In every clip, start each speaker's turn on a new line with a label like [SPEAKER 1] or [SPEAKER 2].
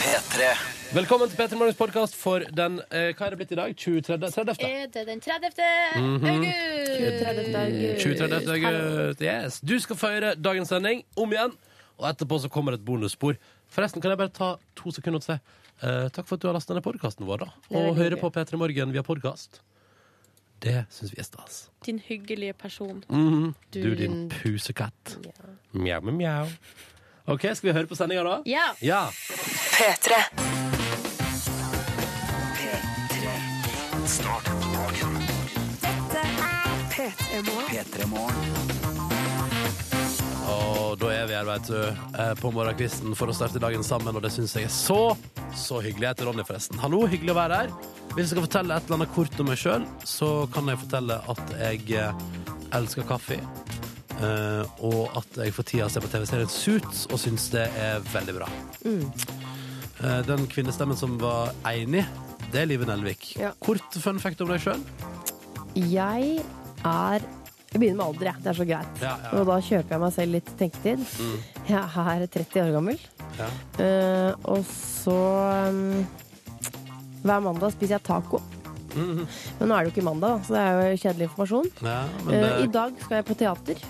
[SPEAKER 1] P3.
[SPEAKER 2] Velkommen til Petter Morgens podkast for den eh, Hva er det blitt i dag? 23. 30.
[SPEAKER 3] Er det den 30. august?
[SPEAKER 2] 23. august. Yes. Du skal få høre dagens sending om igjen, og etterpå så kommer et bonusspor. Forresten, kan jeg bare ta to sekunder og si eh, takk for at du har lastet ned podkasten vår, da. Og hører på P3 Morgen via podkast. Det syns vi er stas.
[SPEAKER 4] Din hyggelige person.
[SPEAKER 2] Du, din pusekatt. Mjau, mjau, mjau. OK, skal vi høre på sendinga, da?
[SPEAKER 4] Ja.
[SPEAKER 2] Ja.
[SPEAKER 5] P3.
[SPEAKER 1] P3 Morgen.
[SPEAKER 2] Og da er vi her, vet du, eh, på morgenkvisten for å starte dagen sammen, og det syns jeg er så, så hyggelig. Jeg heter Ronny, forresten. Hallo, hyggelig å være her. Hvis jeg skal fortelle et eller annet kort om meg sjøl, så kan jeg fortelle at jeg eh, elsker kaffe. eh, og at jeg for tida ser på TV-serien Suits og syns det er veldig bra.
[SPEAKER 6] Mm.
[SPEAKER 2] Eh, den kvinnestemmen som var enig, det er Live Nelvik.
[SPEAKER 6] Ja.
[SPEAKER 2] Kort fun fact om deg sjøl.
[SPEAKER 6] Jeg er Jeg begynner med alder, jeg. Det er så greit.
[SPEAKER 2] Ja, ja. Mm.
[SPEAKER 6] Og da kjøper jeg meg selv litt tenketid. Jeg er 30 år gammel.
[SPEAKER 2] Ja.
[SPEAKER 6] Eh, og så um, Hver mandag spiser jeg taco.
[SPEAKER 2] Mm.
[SPEAKER 6] Men nå er det jo ikke mandag, da, så det er jo kjedelig informasjon.
[SPEAKER 2] Ja, men
[SPEAKER 6] Eh, I
[SPEAKER 2] det...
[SPEAKER 6] dag skal jeg på teater.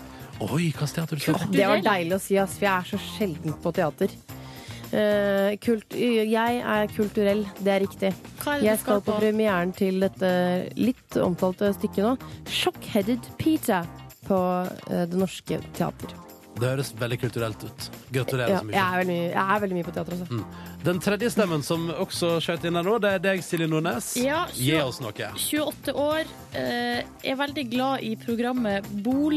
[SPEAKER 2] Oi, hva slags teater du skal på?
[SPEAKER 6] Det var deilig å si, ass, for jeg er så sjelden på teater. Eh, kult, jeg er kulturell, det er riktig.
[SPEAKER 4] Hva er det
[SPEAKER 6] Jeg
[SPEAKER 4] du
[SPEAKER 6] skal på premieren til dette litt omtalte stykket nå. Shockheaded Peter på eh, Det Norske Teater.
[SPEAKER 2] Det høres veldig kulturelt ut. Gratulerer
[SPEAKER 6] Ja,
[SPEAKER 2] så
[SPEAKER 6] jeg,
[SPEAKER 2] mye.
[SPEAKER 6] er veldig, mye- jeg er veldig mye på teater også.
[SPEAKER 2] Den tredje stemmen som også skjøt inn her nå, det er deg, Silje Nordnes.
[SPEAKER 4] Ja, så-
[SPEAKER 2] Gi oss noe.
[SPEAKER 4] 28 år. eh, er veldig glad i programmet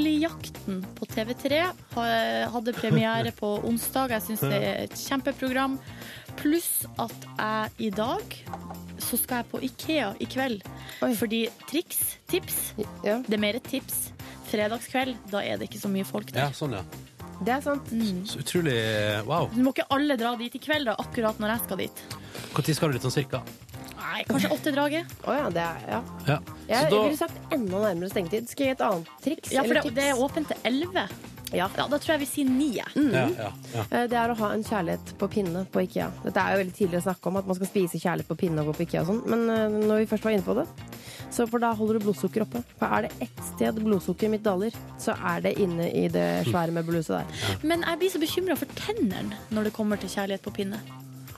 [SPEAKER 4] Boligjakten på TV3. Ha- Hadde premiere på onsdag. Jeg syns det er et kjempeprogram. Pluss at jeg i dag så skal jeg på Ikea i kveld.
[SPEAKER 6] Oi.
[SPEAKER 4] Fordi triks, tips,
[SPEAKER 6] Ja,
[SPEAKER 4] det er mer et tips. Fredagskveld, da er det ikke så mye folk
[SPEAKER 2] Ja,
[SPEAKER 4] der.
[SPEAKER 2] sånn, ja.
[SPEAKER 6] det er sant.
[SPEAKER 2] Så utrolig wow.
[SPEAKER 4] Du må ikke alle dra dit i kveld, da, akkurat når jeg skal dit.
[SPEAKER 2] Når skal du dit sånn cirka?
[SPEAKER 4] Nei, kanskje åttedraget.
[SPEAKER 6] Å ja, det er ja.
[SPEAKER 2] Ja.
[SPEAKER 6] Jeg,
[SPEAKER 2] Så da,
[SPEAKER 6] jeg ville sagt enda nærmere stengetid. Skal jeg gi et annet triks?
[SPEAKER 4] Ja, for
[SPEAKER 6] eller
[SPEAKER 4] det, det er
[SPEAKER 6] tips?
[SPEAKER 4] åpent til elleve.
[SPEAKER 6] Ja.
[SPEAKER 4] Ja, da tror jeg vi sier ni. jeg.
[SPEAKER 2] ja, ja, ja.
[SPEAKER 6] Eh, Det er å ha en kjærlighet på pinne på Ikea. Dette er jo veldig tidlig å snakke om, at man skal spise kjærlighet på pinne og gå på Ikea og sånn, men eh, når vi først var inne på det så For da holder du blodsukkeret oppe. For er det ett sted blodsukkeret mitt daler, så er det inne i det svære møbelhuset der.
[SPEAKER 4] Men jeg blir så bekymra for tennene når det kommer til kjærlighet på pinne.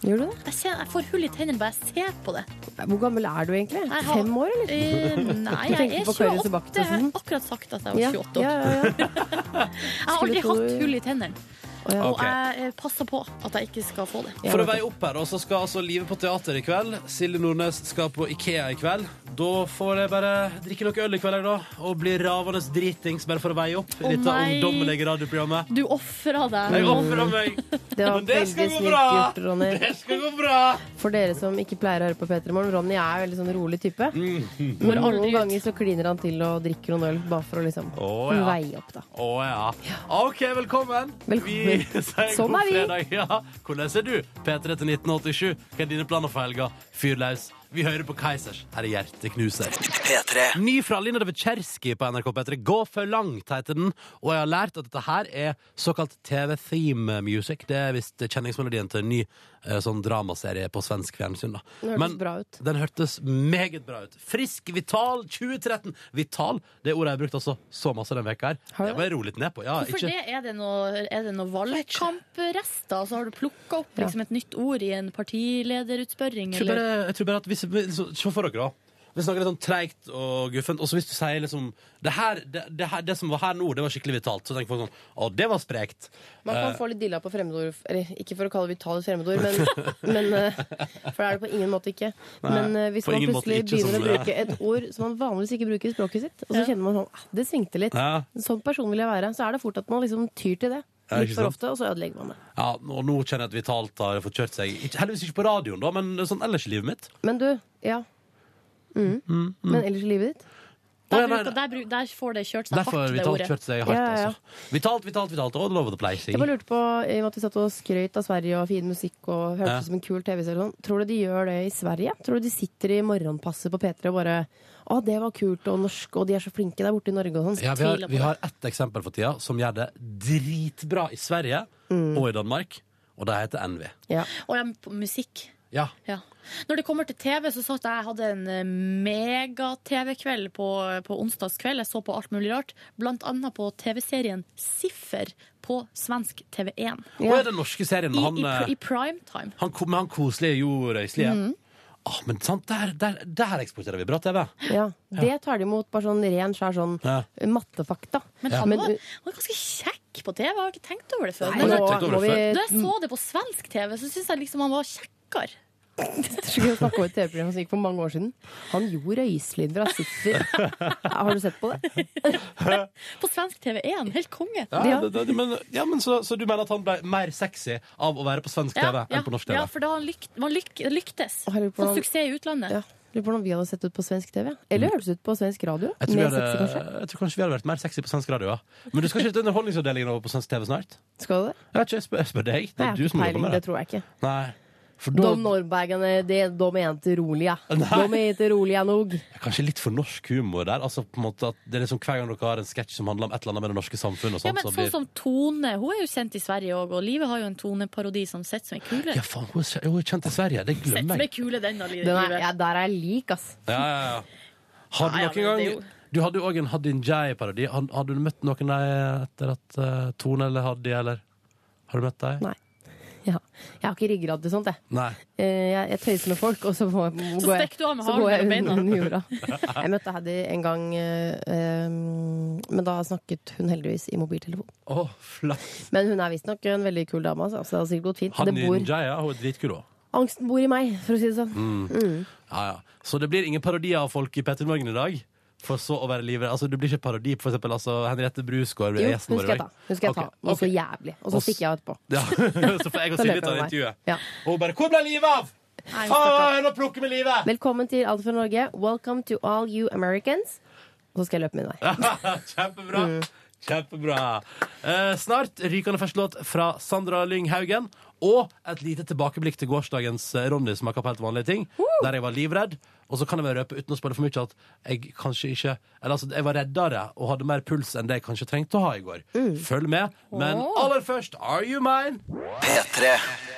[SPEAKER 6] Gjør du det?
[SPEAKER 4] Jeg, ser, jeg får hull i tennene bare jeg ser på det.
[SPEAKER 6] Hvor gammel er du egentlig?
[SPEAKER 4] Jeg har-
[SPEAKER 6] Fem år, eller?
[SPEAKER 4] Eh, nei,
[SPEAKER 6] Du
[SPEAKER 4] jeg
[SPEAKER 6] tenkte
[SPEAKER 4] er
[SPEAKER 6] på Kari
[SPEAKER 4] 28.
[SPEAKER 6] Sebastiansen?
[SPEAKER 4] Jeg har akkurat sagt at jeg
[SPEAKER 6] mm. Ja,
[SPEAKER 4] var 28 år.
[SPEAKER 6] ja, ja, ja.
[SPEAKER 4] Jeg har aldri
[SPEAKER 6] Skulle tro-
[SPEAKER 4] hatt hull i tennene.
[SPEAKER 6] Å, ja.
[SPEAKER 4] Og jeg eh, passer på at jeg ikke skal få det.
[SPEAKER 6] Jeg
[SPEAKER 2] For å
[SPEAKER 6] vet
[SPEAKER 2] veie opp her, og så skal altså Live på teater i kveld. Silje Nordnes skal på Ikea i kveld. Da får jeg bare drikke noe øl i kveld, jeg, da. Og bli ravende dritings, bare for å veie opp. I dette
[SPEAKER 4] nei.
[SPEAKER 2] ungdommelige radioprogrammet.
[SPEAKER 4] Du ofra deg.
[SPEAKER 2] Jeg ofrer meg!
[SPEAKER 6] Det var
[SPEAKER 2] Men det
[SPEAKER 6] veldig
[SPEAKER 2] skal
[SPEAKER 6] snilt
[SPEAKER 2] gå bra.
[SPEAKER 6] gjort, Ronny.
[SPEAKER 2] Det skal gå bra!
[SPEAKER 6] For dere som ikke pleier å høre på P3 Morgen, Ronny er veldig sånn rolig type.
[SPEAKER 2] Mm.
[SPEAKER 4] Går
[SPEAKER 6] Men
[SPEAKER 4] aldri
[SPEAKER 6] noen
[SPEAKER 4] ut.
[SPEAKER 6] ganger så kliner han til og drikker noen øl, bare for å liksom
[SPEAKER 2] Å, ja.
[SPEAKER 6] veie opp, da.
[SPEAKER 2] Å ja. OK, velkommen.
[SPEAKER 6] Velkommen.
[SPEAKER 2] Vi sier
[SPEAKER 6] Sånn
[SPEAKER 2] god
[SPEAKER 6] er vi.
[SPEAKER 2] fredag. Ja. Hvordan er du? P3 til 1987. Hva er dine planer for helga? Fyr løs. Vi hører på Keisers. Her er Hjerteknuser.
[SPEAKER 1] P3.
[SPEAKER 2] Ny fra Linda Devitsjerski på NRK P3. Gå for langt, heter den. Og jeg har lært at dette her er såkalt TV-theme music. Det er visst kjenningsmelodien til en ny eh, sånn dramaserie på svensk fjernsyn. da.
[SPEAKER 6] Den hørtes bra ut.
[SPEAKER 2] Den hørtes meget bra ut. Frisk, vital, 2013. Vital, det ordet jeg har brukt altså så masse den veka her.
[SPEAKER 6] Har du
[SPEAKER 2] Det var jeg rolig ned på. Ja,
[SPEAKER 4] For
[SPEAKER 2] ikke...
[SPEAKER 4] det er det noe, er det noe valgkamprester? Så har du plukka opp liksom, et nytt ord i en partilederutspørring?
[SPEAKER 2] Jeg tror
[SPEAKER 4] Eller?
[SPEAKER 2] bare, jeg tror bare at hvis, så, Se for dere, da. Vi snakker litt sånn treigt og guffent. Og så hvis du sier liksom det, her, det, det, her, det som var her nå, det var skikkelig vitalt. Så tenker folk sånn Å, det var sprekt.
[SPEAKER 6] Man
[SPEAKER 2] Eh.
[SPEAKER 6] kan få litt dilla på fremmedord, eller ikke for å kalle vitale fremmedord, men, men eh, For det er det på ingen måte ikke. Men eh, hvis
[SPEAKER 2] på
[SPEAKER 6] man
[SPEAKER 2] ingen måte
[SPEAKER 6] plutselig
[SPEAKER 2] ikke
[SPEAKER 6] begynner
[SPEAKER 2] som
[SPEAKER 6] å bruke et ord som man vanligvis ikke bruker i språket sitt, og så kjenner man sånn ah, Det svingte litt.
[SPEAKER 2] Ja.
[SPEAKER 6] En Sånn person vil jeg være. Så er det fort at man liksom tyr til det.
[SPEAKER 2] Ja, ikke
[SPEAKER 6] Litt for
[SPEAKER 2] sant?
[SPEAKER 6] ofte, og så ødelegger man det.
[SPEAKER 2] Ja, og nå kjenner jeg at vitalt har fått kjørt seg. Ikke, heldigvis ikke på radioen, da, men sånn ellers i livet mitt.
[SPEAKER 6] Men du, ja. Mm. Men ellers i livet ditt?
[SPEAKER 2] Å, ja,
[SPEAKER 4] Der,
[SPEAKER 2] nei,
[SPEAKER 4] bruker, der, bru- der får det kjørt seg
[SPEAKER 2] Derfor
[SPEAKER 4] hardt,
[SPEAKER 2] har
[SPEAKER 4] det
[SPEAKER 2] vitalt
[SPEAKER 4] ordet.
[SPEAKER 2] kjørt seg hardt,
[SPEAKER 6] Ja, ja, ja.
[SPEAKER 2] altså. Vitalt, vitalt, vitalt. Og love the placing.
[SPEAKER 6] Jeg bare lurte på, i og med at vi satt og skrøt av Sverige og fin musikk og hørtes
[SPEAKER 2] Ja.
[SPEAKER 6] ut som en kul TV-serie og sånn, tror du de gjør det i Sverige? Tror du de sitter i morgenpasset på P3 og bare Å, det var kult, og norsk, og de er så flinke der borte i Norge og sånn.
[SPEAKER 2] Ja, vi har,
[SPEAKER 4] tviler på
[SPEAKER 2] vi
[SPEAKER 4] det.
[SPEAKER 2] har ett eksempel for tida som gjør det dritbra i Sverige og i Danmark, og det heter Envy.
[SPEAKER 6] Ja.
[SPEAKER 4] Og ja, på musikk.
[SPEAKER 2] Ja.
[SPEAKER 7] Ja. Når det kommer til TV, så satt jeg jeg hadde en eh, mega-TV-kveld på, på onsdagskveld. Jeg så på alt mulig rart, blant annet på TV-serien Siffer på svensk TV1.
[SPEAKER 2] Og er den norske serien
[SPEAKER 7] I,
[SPEAKER 2] med han,
[SPEAKER 7] i, pr-
[SPEAKER 2] eh,
[SPEAKER 7] i primetime.
[SPEAKER 2] han, kom- med han koselige Jo Røiselie. Ah, men sant, der, der, der eksporterer vi bra TV.
[SPEAKER 8] Ja, Det tar de imot, bare sånn ren skjær sånn
[SPEAKER 2] Ja.
[SPEAKER 8] mattefakta.
[SPEAKER 7] Men han,
[SPEAKER 8] Men,
[SPEAKER 7] var,
[SPEAKER 8] uh,
[SPEAKER 7] han var ganske kjekk på TV, jeg har ikke tenkt over det
[SPEAKER 6] øh,
[SPEAKER 7] før.
[SPEAKER 8] Nei,
[SPEAKER 7] Men
[SPEAKER 2] det
[SPEAKER 8] nå
[SPEAKER 7] da-
[SPEAKER 2] har jeg tenkt
[SPEAKER 8] må
[SPEAKER 2] over
[SPEAKER 8] vi
[SPEAKER 2] før.
[SPEAKER 7] da jeg så det på svensk TV, så syns jeg liksom han var kjekkere.
[SPEAKER 8] skulle snakke om et TV-program som gikk for mange år siden. Han Jo Røiselid fra Siffer. Har du sett på det?
[SPEAKER 7] På svensk TV1, helt konge.
[SPEAKER 2] Ja,
[SPEAKER 8] Ja.
[SPEAKER 2] Det, det, men, ja, men så, så du mener at han ble mer sexy av å være på svensk TV enn på norsk TV?
[SPEAKER 7] ja, for da han lykt, man lyk, lyktes.
[SPEAKER 8] Og lurer på
[SPEAKER 7] Fått
[SPEAKER 8] om-
[SPEAKER 7] suksess i utlandet.
[SPEAKER 8] Ja. Lurer på hvordan vi hadde sett ut på svensk TV. Eller hørtes ut på svensk radio.
[SPEAKER 2] Mm. Jeg tror, vi
[SPEAKER 8] Mer
[SPEAKER 2] hadde,
[SPEAKER 8] sexy, kanskje.
[SPEAKER 2] jeg tror kanskje vi hadde vært mer sexy på svensk radio. Ja. Men du skal skifte underholdningsavdelingen over på svensk TV snart?
[SPEAKER 8] Skal du det?
[SPEAKER 2] Jeg vet ikke, jeg spør, jeg spør deg. Det
[SPEAKER 8] Nei,
[SPEAKER 2] er
[SPEAKER 8] jeg har
[SPEAKER 2] du som
[SPEAKER 8] ikke
[SPEAKER 2] jobber
[SPEAKER 8] peiling,
[SPEAKER 2] med
[SPEAKER 8] det
[SPEAKER 2] det.
[SPEAKER 8] tror jeg ikke.
[SPEAKER 2] Nei. For da,
[SPEAKER 8] De nordbergene, de, de er ikke rolige. De
[SPEAKER 2] Nei.
[SPEAKER 8] er ikke rolige nok.
[SPEAKER 2] Kanskje litt for norsk humor der. Altså på en måte at det er liksom Hver gang dere har en sketsj som handler om et eller annet med det norske samfunnet og
[SPEAKER 7] Ja,
[SPEAKER 2] sånt,
[SPEAKER 7] men
[SPEAKER 2] så
[SPEAKER 7] sånn
[SPEAKER 2] blir
[SPEAKER 7] som Tone, hun er jo kjent i Sverige òg, og Livet har jo en Tone-parodi som Sett som ei kule.
[SPEAKER 2] Ja, faen, hun er kjent- hun er kjent i Sverige. Det
[SPEAKER 7] Sett som
[SPEAKER 2] glemmer
[SPEAKER 7] ei
[SPEAKER 2] jeg.
[SPEAKER 7] kule, den av
[SPEAKER 8] Den er,
[SPEAKER 7] livet.
[SPEAKER 8] ja, der er jeg lik, ass.
[SPEAKER 2] Ja, ja, ja. Har du
[SPEAKER 7] Ja, ja,
[SPEAKER 2] noen
[SPEAKER 7] men det er
[SPEAKER 2] gang Du hadde jo òg en Hadin Jai-parodi. Har, har du møtt noen der etter at eh, Tone eller Haddi, eller Har du møtt deg?
[SPEAKER 8] Nei. Ja. Jeg har ikke ryggrad til sånt, jeg.
[SPEAKER 2] Nei.
[SPEAKER 8] Eh, Jeg, jeg tøyser med folk, og så, må,
[SPEAKER 7] Så
[SPEAKER 8] går jeg,
[SPEAKER 7] stikker du av med
[SPEAKER 8] så
[SPEAKER 7] halen
[SPEAKER 8] går jeg
[SPEAKER 7] mellom beina.
[SPEAKER 8] under under jorda. Jeg møtte Haddy en gang, eh, eh, men da snakket hun heldigvis i mobiltelefon.
[SPEAKER 2] Å, flaks.
[SPEAKER 8] Men hun er visstnok en veldig kul dame, altså. så det har sikkert gått fint. Det
[SPEAKER 2] Hadin
[SPEAKER 8] bor,
[SPEAKER 2] Jai, ja, hun er dritkul òg.
[SPEAKER 8] angsten bor i meg, for å si det
[SPEAKER 2] Mm,
[SPEAKER 8] sånn.
[SPEAKER 2] Ja, ja. Så det blir ingen parodier av folk i Petter Morgen i dag? For så å være livredd. Altså, det blir ikke parodi på for eksempel altså, Henriette Brusgaard
[SPEAKER 8] Jo,
[SPEAKER 2] blir gjesten
[SPEAKER 8] hun
[SPEAKER 2] vår
[SPEAKER 8] skal
[SPEAKER 2] i
[SPEAKER 8] jeg ta.
[SPEAKER 2] dag.
[SPEAKER 8] Hun skal jeg ta.
[SPEAKER 2] Ok,
[SPEAKER 8] Noe så
[SPEAKER 2] ok.
[SPEAKER 8] jævlig. Og så
[SPEAKER 2] Og s-
[SPEAKER 8] stikker jeg av etterpå.
[SPEAKER 2] Ja. så får jeg og
[SPEAKER 8] Da
[SPEAKER 2] Silje
[SPEAKER 8] løper
[SPEAKER 2] ta det
[SPEAKER 8] hun vei.
[SPEAKER 2] intervjuet.
[SPEAKER 8] Ja.
[SPEAKER 2] Og hun bare 'Hvor ble livet av?'
[SPEAKER 7] Nei,
[SPEAKER 2] Å,
[SPEAKER 7] stakkars.
[SPEAKER 2] jeg må plukke med livet!
[SPEAKER 8] Velkommen til Alt for Norge. Welcome to all you Americans. Og så skal jeg løpe min vei.
[SPEAKER 2] Kjempebra. Kjempebra. Eh, snart rykende første låt fra Sandra Lyng Haugen. Og et lite tilbakeblikk til gårsdagens eh, Ronny som har kapp helt vanlige ting. Der jeg var livredd. Og så kan jeg vel røpe uten å spørre for mye at jeg kanskje ikke Eller altså, jeg var reddere og hadde mer puls enn det jeg kanskje trengte å ha i går. Følg med. Men aller først, Are You Mine?
[SPEAKER 9] P3.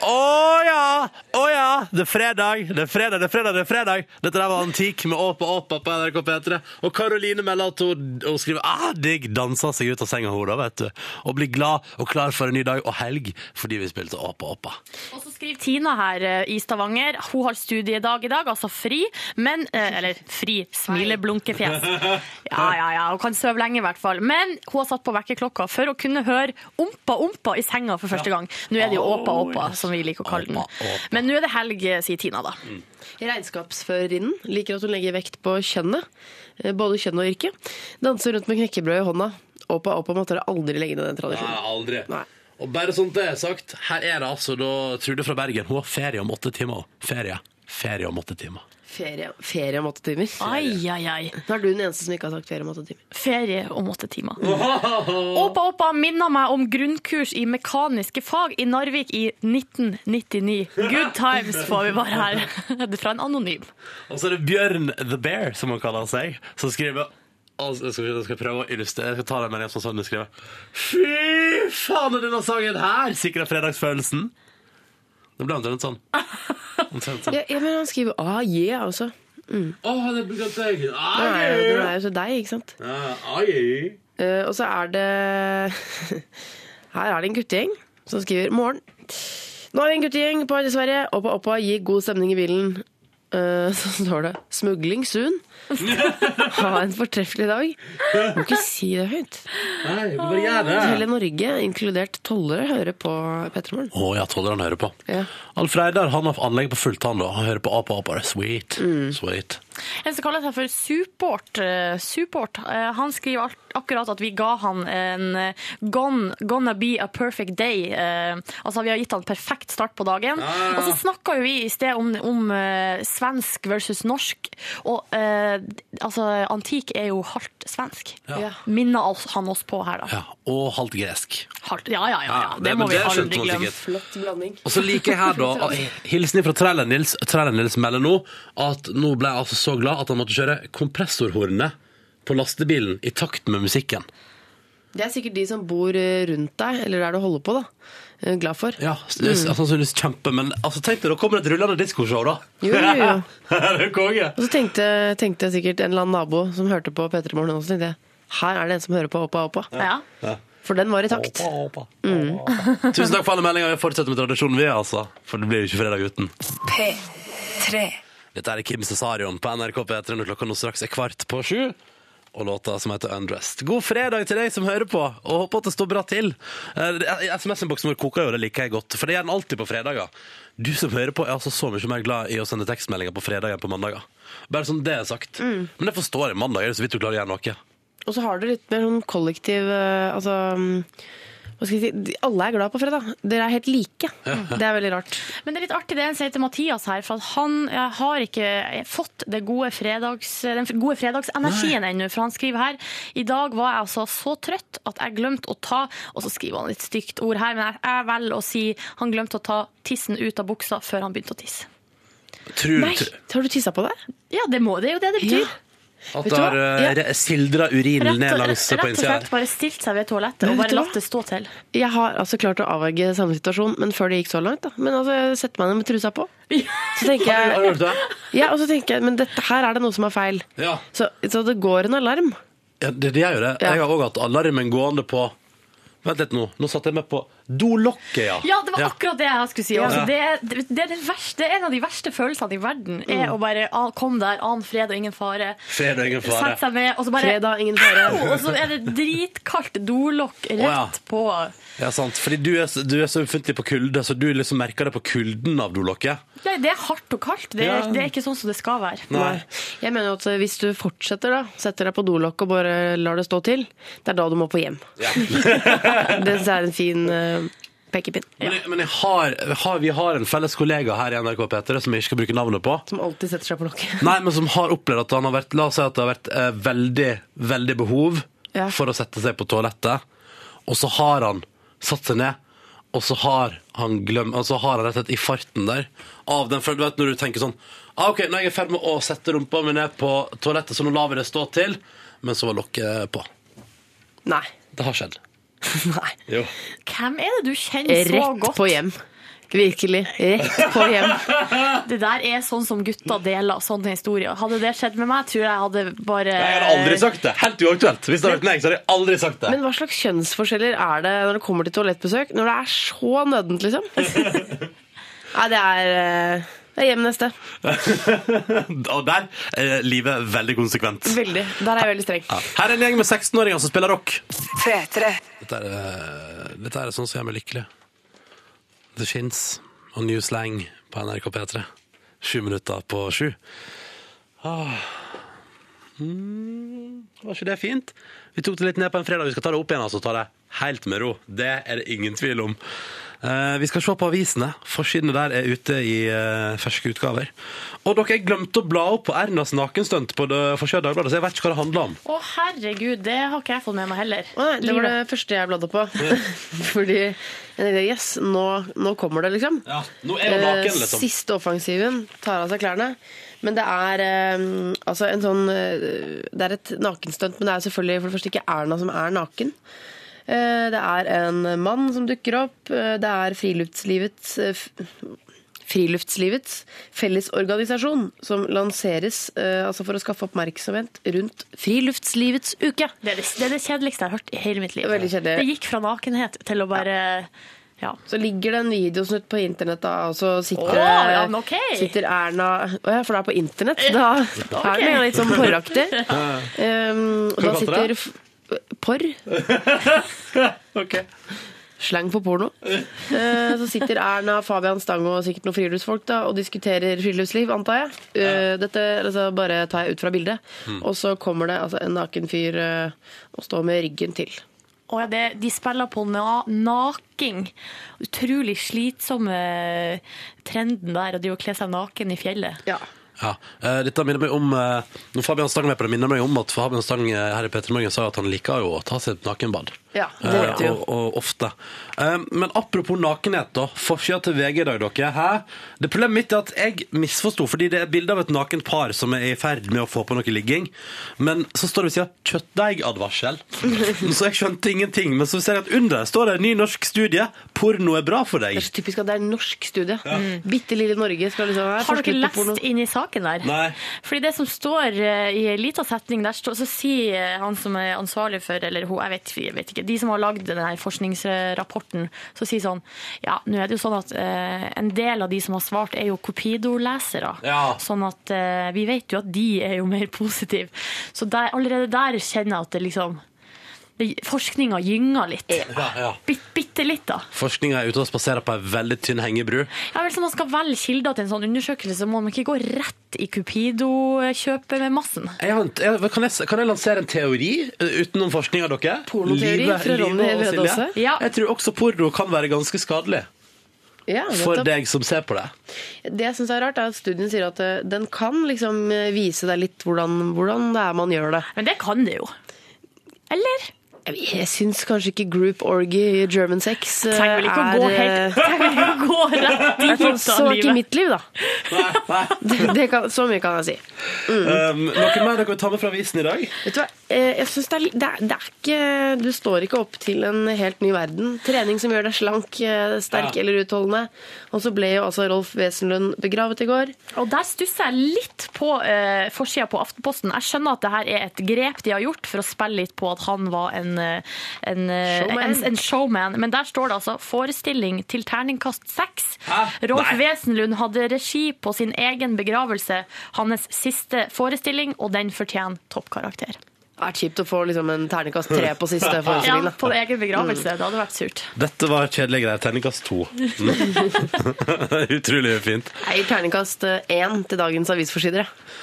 [SPEAKER 2] Å ja! Å ja! Det er fredag, det er fredag, det er fredag. det er fredag Dette der var Antikk med Åpa Åpa på NRK P3. Og Karoline melder at hun, hun skriver ah, digg danser seg ut av senga hun da, vet du. Og blir glad og klar for en ny dag og helg fordi vi spilte Åpa Åpa.
[SPEAKER 4] Og så skriver Tina her eh, i Stavanger. Hun har studiedag i dag, altså fri. Men eh, Eller fri. Smileblunkefjes. Ja, ja, ja. Hun kan sove lenge, i hvert fall. Men hun har satt på vekkerklokka for å kunne høre Ompa Ompa i senga for første gang. Nå er det jo Åpa Åpa, som vi liker å kalle
[SPEAKER 2] Åpa,
[SPEAKER 4] den.
[SPEAKER 2] Åpa. Mm.
[SPEAKER 4] Men nå er det helg, eh, sier Tina, da.
[SPEAKER 6] Regnskapsførerinnen liker at hun legger vekt på kjønnet. eh, Både kjønn og yrke. Danser rundt med knekkebrød i hånda. Oppa oppa måtte dere aldri legge ned den tradisjonen.
[SPEAKER 2] aldri.
[SPEAKER 6] Nei.
[SPEAKER 2] Og bare sånt det er sagt, her er det altså da Trude fra Bergen. Hun har ferie om åtte timer. Ferie. Ferie om åtte timer.
[SPEAKER 6] Ferie, ferie om åtte timer.
[SPEAKER 4] Ai, ai, ai.
[SPEAKER 6] Nå er du den eneste som ikke har sagt ferie om åtte timer.
[SPEAKER 4] Ferie om åtte timer. Åpa Åpa minner meg om grunnkurs i mekaniske fag i Narvik i 1999. Good times får vi bare her. Det er fra en anonym.
[SPEAKER 2] Og så er det Bjørn the Bear, som han kaller seg, som skriver altså, jeg, skal, jeg skal prøve å illustrere. Jeg skal ta den med en som sånn skriver. Fy faen, er denne sangen her sikrer fredagsfølelsen! Det ble omtrent sånn. Omtrent sånn.
[SPEAKER 6] Ja, ja, men han skriver ah, yeah også.
[SPEAKER 2] Å, det ble godt jeg.
[SPEAKER 6] Det er jo- det
[SPEAKER 2] Ai!
[SPEAKER 6] er jo til deg, ikke sant?
[SPEAKER 2] Ja, ai.
[SPEAKER 6] Eh, og så er det Her er det en guttegjeng som skriver Morgen. Nå er vi en guttegjeng på vei til Sverige. Oppa oppa gir god stemning i bilen. Eh, så står det 'smugling soon'. ha en fortreffelig dag. Du må ikke si det høyt.
[SPEAKER 2] Nei, vi bare gjør
[SPEAKER 6] Hele
[SPEAKER 2] det.
[SPEAKER 6] Norge, inkludert tollere, hører på P3morgen.
[SPEAKER 2] Å ja, tåler han hører på.
[SPEAKER 6] Ja.
[SPEAKER 2] Alf Reidar han har anlegg på fullt, han da. Han hører på Apa Apa. Sweet.
[SPEAKER 4] Mm.
[SPEAKER 2] Sweet.
[SPEAKER 4] En som kaller seg for Suport, eh, Suport eh, han skriver alt, akkurat at vi ga han en eh, gone, gonna be a perfect day. eh, altså vi har gitt han perfekt start på dagen.
[SPEAKER 2] ja, ja.
[SPEAKER 4] Og så snakka jo vi i sted om, om eh, svensk versus norsk, og eh, altså antik er jo halvt svensk.
[SPEAKER 2] Ja.
[SPEAKER 4] Minner oss- han oss på her, da.
[SPEAKER 2] Ja, og halvt gresk.
[SPEAKER 4] Halvt, ja, ja, ja, ja.
[SPEAKER 2] Ja,
[SPEAKER 4] Det, må
[SPEAKER 2] men
[SPEAKER 4] vi
[SPEAKER 2] skjønte
[SPEAKER 4] aldri
[SPEAKER 2] man
[SPEAKER 4] glemme.
[SPEAKER 2] sikkert.
[SPEAKER 6] Flott blanding.
[SPEAKER 2] Og så liker jeg her da Hilsen fra Trailer-Nils Trailer-Nils melder nå At nå ble jeg altså så glad at han måtte kjøre kompressorhornet På lastebilen i takt med musikken
[SPEAKER 6] Det er sikkert de som bor eh, rundt deg, eller der du holder på, da. Eh, Glad for.
[SPEAKER 2] Ja, det
[SPEAKER 6] Mm.
[SPEAKER 2] er sannsynligvis kjempe, men altså, tenk deg, da kommer det et rullende diskoshow, da.
[SPEAKER 6] Jo, jo, jo.
[SPEAKER 2] det er jo konge.
[SPEAKER 6] Og så tenkte, tenkte jeg sikkert en eller annen nabo som hørte på P3 Morgen, og så tenkte jeg, her er det en som hører på Oppa Oppa.
[SPEAKER 4] Ja.
[SPEAKER 6] For den var i takt.
[SPEAKER 2] Håpa, håpa. Tusen takk for alle meldinger. Vi fortsetter med tradisjonen, vi, altså. For det blir jo ikke fredag uten.
[SPEAKER 9] P3.
[SPEAKER 2] Dette er Kim Cesarion på NRK P3 når klokka nå straks er kvart på sju. Og låta som heter Undressed. God fredag til deg som hører på, og håper at det står bra til. Eh, SMS-innboksen vår koker jo, det liker jeg godt, for det gjør den alltid på fredager. Du som hører på, er altså så mye mer glad i å sende tekstmeldinger på fredag enn på mandager. Bare sånn det er sagt. Men det forstår jeg. Mandag er det så vidt du klarer å gjøre noe.
[SPEAKER 6] Og så har du litt mer sånn kollektiv eh, Altså mm, hva skal jeg si? de- Alle er glad på fredag. Dere er helt like. Det er veldig rart.
[SPEAKER 4] Men det er litt artig det en sier til Mathias her, for at han eh, har ikke fått det gode fredags, eh, den gode fredagsenergien ennå. For han skriver her I dag var jeg altså så trøtt at jeg glemte å ta Og så skriver han et stygt ord her, men jeg, jeg velger å si han glemte å ta tissen ut av buksa før han begynte å tisse.
[SPEAKER 2] Tror,
[SPEAKER 6] Nei, har du tissa på deg?
[SPEAKER 4] Ja, det må det er jo det det betyr.
[SPEAKER 2] At
[SPEAKER 6] Vet
[SPEAKER 2] det
[SPEAKER 6] du
[SPEAKER 2] har
[SPEAKER 6] hva?
[SPEAKER 2] eh, re- sildra urinen
[SPEAKER 4] Rett,
[SPEAKER 2] ned
[SPEAKER 4] og,
[SPEAKER 2] langs
[SPEAKER 4] rett
[SPEAKER 2] på
[SPEAKER 4] og
[SPEAKER 2] innsida
[SPEAKER 4] slett
[SPEAKER 2] her.
[SPEAKER 4] bare stilt seg ved toalettet og
[SPEAKER 6] Men vet du
[SPEAKER 4] bare
[SPEAKER 6] hva?
[SPEAKER 4] latt det stå til.
[SPEAKER 6] Jeg har altså klart å avverge samme situasjon, men før det gikk så langt. da. Men altså, jeg setter meg ned med trusa på. Så tenker
[SPEAKER 2] Har
[SPEAKER 6] jeg,
[SPEAKER 2] du hørt det?
[SPEAKER 6] ja, og så tenker jeg men dette her er det noe som er feil.
[SPEAKER 2] Ja.
[SPEAKER 6] Så, så det går en alarm.
[SPEAKER 2] Ja, det, det er jo det.
[SPEAKER 6] Ja.
[SPEAKER 2] Jeg har òg hatt alarmen gående på Vent litt nå. Nå satte jeg meg på dolokket, ja.
[SPEAKER 4] Ja, det var akkurat det jeg skulle si. Altså,
[SPEAKER 2] Ja.
[SPEAKER 4] det, er- det, er den verste, det er en av de verste følelsene i verden.
[SPEAKER 6] Mm.
[SPEAKER 4] Er å bare ah, komme der, annen fred og ingen fare.
[SPEAKER 2] Fredag, ingen fare.
[SPEAKER 4] Sette seg med, og så bare
[SPEAKER 6] Fredag, ingen fare.
[SPEAKER 4] Au! Og så er det dritkaldt dolokk rett
[SPEAKER 2] ja.
[SPEAKER 4] på.
[SPEAKER 2] Ja, sant. Fordi du er, så- du er så ømfintlig på kulde, så du liksom merker det på kulden av dolokket.
[SPEAKER 4] Nei, det er hardt og kaldt. Det, er-
[SPEAKER 2] Ja.
[SPEAKER 4] det er ikke sånn som det skal være.
[SPEAKER 2] Nei.
[SPEAKER 6] Jeg mener jo at eh, hvis du fortsetter, da, setter deg på dolokk og bare lar det stå til, det er da du må på hjem. det synes jeg er en fin eh, pekepinn.
[SPEAKER 2] Men, jeg, men jeg har, har, vi har en felles kollega her i NRK P3 som jeg ikke skal bruke navnet på.
[SPEAKER 6] Som alltid setter seg på lokket.
[SPEAKER 2] Nei, men som har opplevd at han har vært La oss si at det har vært eh, veldig, veldig behov
[SPEAKER 6] Ja.
[SPEAKER 2] for å sette seg på toalettet. Og så har han satt seg ned, og så har han glemt Og så har han rett og slett i farten der av den For du vet når du tenker sånn ah, OK, nå er jeg i ferd med å sette rumpa mi ned på toalettet, så nå lar vi det stå til. Men så var lokket eh, på.
[SPEAKER 6] Nei.
[SPEAKER 2] Det har skjedd.
[SPEAKER 6] Nei.
[SPEAKER 2] Jo.
[SPEAKER 4] Hvem er det du kjenner så
[SPEAKER 6] Rett
[SPEAKER 4] godt?
[SPEAKER 6] på hjem. Virkelig. Rett på hjem.
[SPEAKER 4] Det der er sånn som gutta deler sånne historier. Hadde det skjedd med meg, tror jeg jeg hadde bare
[SPEAKER 2] sagt det. Helt uaktuelt. Hvis det hadde vært meg, så hadde jeg aldri sagt det.
[SPEAKER 6] Men hva slags kjønnsforskjeller er det når det kommer til toalettbesøk? Når det er så nøddent, liksom? Nei, det er eh, Det er hjem neste.
[SPEAKER 2] Og der er livet veldig konsekvent.
[SPEAKER 6] Veldig. Der er jeg veldig streng.
[SPEAKER 2] Her er en gjeng med 16-åringer som spiller rock.
[SPEAKER 9] P3.
[SPEAKER 2] Dette er, dette er sånn som gjør meg lykkelig. The Shins og New Slang på NRK P3. Sju minutter på sju. Ah. Mm, var ikke det fint? Vi tok det litt ned på en fredag. Vi skal ta det opp igjen altså, ta det helt med ro. Det er det ingen tvil om. Eh, vi skal se på avisene. Forsidene der er ute i eh, ferske utgaver. Og dere glemte å bla opp på Ernas nakenstunt på det forskjønne Dagbladet, så jeg vet ikke hva det handler om.
[SPEAKER 4] Å, herregud, det har ikke jeg fått med meg heller.
[SPEAKER 6] Å, nei, det var
[SPEAKER 4] Livet.
[SPEAKER 6] det første jeg bladde på. Fordi jeg tenkte, yes, nå, nå kommer det, liksom.
[SPEAKER 2] Ja, nå er hun naken,
[SPEAKER 6] Eh,
[SPEAKER 2] liksom.
[SPEAKER 6] Siste offensiven tar av seg klærne. Men det er eh, altså en sånn eh, Det er et nakenstunt, men det er selvfølgelig for det første ikke Erna som er naken. Eh, det er en mann som dukker opp. eh, det er friluftslivets eh, f- Friluftslivets fellesorganisasjon som lanseres eh, altså for å skaffe oppmerksomhet rundt Friluftslivets uke.
[SPEAKER 4] Det, er det, det er det kjedeligste jeg har hørt i hele mitt liv.
[SPEAKER 6] Veldig kjedelig.
[SPEAKER 4] Det gikk fra nakenhet til å bare ja.
[SPEAKER 6] Så ligger det en videosnutt på internett, da, og så sitter,
[SPEAKER 4] Åh, ja, men ok.
[SPEAKER 6] sitter Erna Å ja, for det er på internett? Da er det jo litt sånn porraktig. Um, og da
[SPEAKER 2] kalte du
[SPEAKER 6] sitter
[SPEAKER 2] det?
[SPEAKER 6] f- Porr. Slang for porno. Eh, så sitter Erna, Fabian Stang og sikkert noen friluftsfolk da, og diskuterer friluftsliv, antar jeg. Eh, dette altså, bare tar jeg ut fra bildet.
[SPEAKER 2] Mm.
[SPEAKER 6] Og så kommer det altså, en naken fyr eh, og står med ryggen til.
[SPEAKER 4] Å ja, det, de spiller på na naking. Utrolig slitsomme trenden der å drive og kle seg naken i fjellet.
[SPEAKER 2] Ja. Eh, Dette minner meg om eh, Når Fabian Stang var med på det, minner meg om at Fabian Stang eh, her i Peter Morgen sa at han liker jo å ta seg et nakenbad.
[SPEAKER 6] Ja, det
[SPEAKER 2] Eh,
[SPEAKER 6] vet du jo.
[SPEAKER 2] og, og ofte. Eh, Men apropos nakenhet, da. Forsida til VG i dag, dere. Hæ? Det Problemet mitt er at jeg misforsto, fordi det er bilde av et nakent par som er i ferd med å få på noe ligging. Men så står det ved siden av 'kjøttdeigadvarsel'. Så jeg skjønte ingenting. Men så ser jeg at under står det en ny norsk studie 'Porno er bra for deg'.
[SPEAKER 6] Det er så typisk at det er en norsk studie. Bitte lille Norge skal liksom være
[SPEAKER 4] Mm. Har dere
[SPEAKER 6] forsker på porno.
[SPEAKER 4] lest inn i saken der?
[SPEAKER 2] Nei.
[SPEAKER 4] Fordi det som står eh, i en liten setning der, står- så sier eh, han som er ansvarlig for, eller hun, jeg vet, jeg vet ikke, de som har lagd denne her forskningsrapporten, så sier sånn, ja, nå er det jo sånn at eh, en del av de som har svart er jo Cupido-lesere.
[SPEAKER 2] Ja.
[SPEAKER 4] Sånn at eh, vi vet jo at de er jo mer positive. Så der, allerede der kjenner jeg at det liksom, det, forskninga gynger litt.
[SPEAKER 2] Ja, ja.
[SPEAKER 4] Bitt, bitte litt da.
[SPEAKER 2] Forskninga er ute og spaserer på ei veldig tynn hengebru.
[SPEAKER 4] Ja, vel, så man skal velge kilder til en sånn undersøkelse, så må man ikke gå rett i Cupido-kjøpet med massen.
[SPEAKER 2] Jeg har en, jeg, kan, jeg, kan jeg lansere en teori eh, utenom forskning av dere?
[SPEAKER 6] Pornoteori fra Ronny
[SPEAKER 2] og
[SPEAKER 6] Brede
[SPEAKER 2] Silje.
[SPEAKER 6] Aase.
[SPEAKER 4] Ja.
[SPEAKER 2] Jeg tror også porno kan være ganske skadelig
[SPEAKER 6] Ja,
[SPEAKER 2] for
[SPEAKER 6] nettopp.
[SPEAKER 2] deg som ser på det.
[SPEAKER 6] Det jeg syns er rart, er at studien sier at eh, den kan liksom eh, vise deg litt hvordan, hvordan det er man gjør det.
[SPEAKER 4] Men det kan det jo. Eller?
[SPEAKER 6] Jeg- Jeg syns kanskje ikke group orgy i German sex eh,
[SPEAKER 4] Trenger vel ikke å gå
[SPEAKER 6] eh,
[SPEAKER 4] helt Trenger vel ikke å gå rett i
[SPEAKER 6] Så
[SPEAKER 4] hytta
[SPEAKER 6] var ikke
[SPEAKER 4] livet.
[SPEAKER 6] mitt liv, da. Det, det kan, så mye kan jeg si.
[SPEAKER 2] Um, noe mer dere vil ta med fra avisen i dag?
[SPEAKER 6] Vet du hva? Eh, Jeg synes det, er, li- det, er, det er ikke Du står ikke opp til en helt ny verden. Trening som gjør deg slank, eh, sterk
[SPEAKER 2] Ja.
[SPEAKER 6] eller utholdende. Og så ble jo altså Rolf Wesenlund begravet i går.
[SPEAKER 4] Og der stusser jeg litt på uh, forsida på Aftenposten. Jeg skjønner at det her er et grep de har gjort for å spille litt på at han var en, eh, en, eh,
[SPEAKER 6] Showman.
[SPEAKER 4] en, en showman. Men der står det altså 'forestilling til terningkast seks'.
[SPEAKER 2] Hæ?
[SPEAKER 4] Rolf
[SPEAKER 2] Nei.
[SPEAKER 4] Wesenlund hadde regi på sin egen begravelse, hans siste forestilling, og den fortjener toppkarakter.
[SPEAKER 6] Det er kjipt å få liksom en terningkast tre på siste
[SPEAKER 4] Ja,
[SPEAKER 6] forestilling. da.
[SPEAKER 4] på egen begravelse.
[SPEAKER 2] Mm.
[SPEAKER 4] Det hadde vært surt.
[SPEAKER 2] Dette var kjedelige greier. Terningkast to. Mm. Utrolig fint.
[SPEAKER 6] Jeg gir terningkast eh, én til dagens avisforsider. jeg.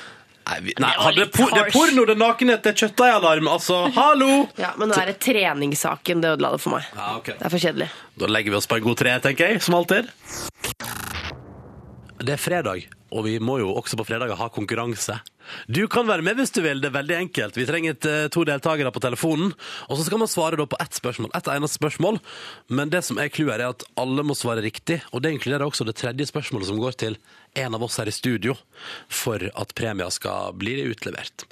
[SPEAKER 2] Nei, vi, nei,
[SPEAKER 4] var
[SPEAKER 2] hadde
[SPEAKER 4] litt
[SPEAKER 2] por det er
[SPEAKER 4] harsh.
[SPEAKER 2] porno, det er nakenhet, det er kjøttdeigalarm. Altså, hallo!
[SPEAKER 6] Ja, men nå er det treningssaken det ødela det for meg.
[SPEAKER 2] Ja, ok.
[SPEAKER 6] Det er for kjedelig.
[SPEAKER 2] Da legger vi oss på en god tre, tenker jeg, som alltid. Det er fredag, og vi må jo også på fredager ha konkurranse. Du kan være med hvis du vil, det er veldig enkelt. Vi trenger et, eh, to deltakere på telefonen, og så skal man svare da på ett spørsmål, ett eneste spørsmål. Men det som er clouet her er at alle må svare riktig, og det inkluderer også det tredje spørsmålet som går til en av oss her i studio, for at premia skal bli utlevert.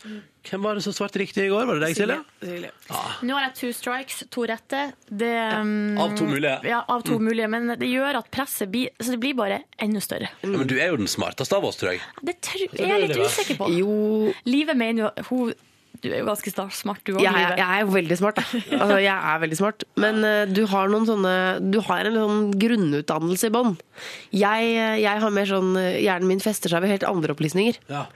[SPEAKER 2] Hvem var det som svarte riktig i går? Var det deg, Silje?
[SPEAKER 4] Nå har jeg to strikes, to rette. Det, um,
[SPEAKER 2] Av to mulige.
[SPEAKER 4] Ja, av to
[SPEAKER 2] Mm.
[SPEAKER 4] mulige, men det gjør at presset blir, så det blir bare enda større.
[SPEAKER 2] Ja, men du er jo den smarteste av oss, tror jeg.
[SPEAKER 4] Det tr- jeg er jeg litt usikker på.
[SPEAKER 6] Jo,
[SPEAKER 4] Livet mener jo hun Du er jo ganske star- smart, du òg,
[SPEAKER 6] jeg, er-
[SPEAKER 4] Livet.
[SPEAKER 6] jeg er jo veldig smart. da. Altså, jeg er veldig smart. Men eh, du har noen sånne Du har en sånn grunnutdannelse i bånn. Jeg, jeg har mer sånn eh, Hjernen min fester seg ved helt andre opplysninger.
[SPEAKER 2] Ja.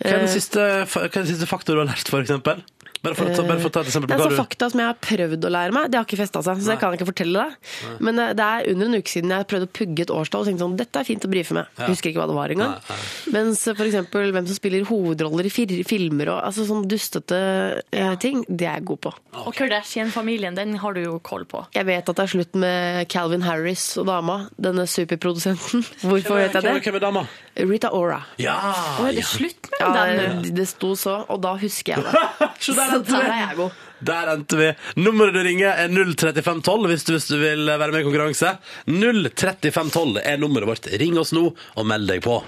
[SPEAKER 2] Hva er den siste, hva er den siste fakta du har lært, for eksempel? Bare for, å ta- bare for å ta et eksempel på
[SPEAKER 6] Det er
[SPEAKER 2] hva
[SPEAKER 6] sånn
[SPEAKER 2] du...
[SPEAKER 6] fakta som jeg har prøvd å lære meg. Det har ikke festa seg, så det kan jeg ikke fortelle deg. Men eh, det er under en uke siden jeg prøvde å pugge et årstall og tenkte sånn Dette er fint å brife med. Jeg Husker ikke hva det var engang.
[SPEAKER 2] Nei,
[SPEAKER 6] Mens eh, for eksempel hvem som spiller hovedroller i fir filmer og altså sånn dustete eh, ting, det er jeg god på.
[SPEAKER 4] Og Kardashian-familien, den har du jo koll på.
[SPEAKER 6] Jeg vet at det er slutt med Calvin Harris og dama, denne superprodusenten. Hvorfor vet jeg det?
[SPEAKER 2] Hvem er dama?
[SPEAKER 6] Rita Ora.
[SPEAKER 2] Ja!
[SPEAKER 4] Nå er det slutt med
[SPEAKER 6] Ja,
[SPEAKER 4] den.
[SPEAKER 6] det- det sto så, og da husker jeg det.
[SPEAKER 2] Så der
[SPEAKER 6] Så
[SPEAKER 2] endte
[SPEAKER 6] der er
[SPEAKER 2] vi!
[SPEAKER 6] jeg god.
[SPEAKER 2] Der endte vi. Nummeret du ringer er 03512 hvis du, hvis du vil være med i konkurranse. 03512 er nummeret vårt. Ring oss nå og meld deg på.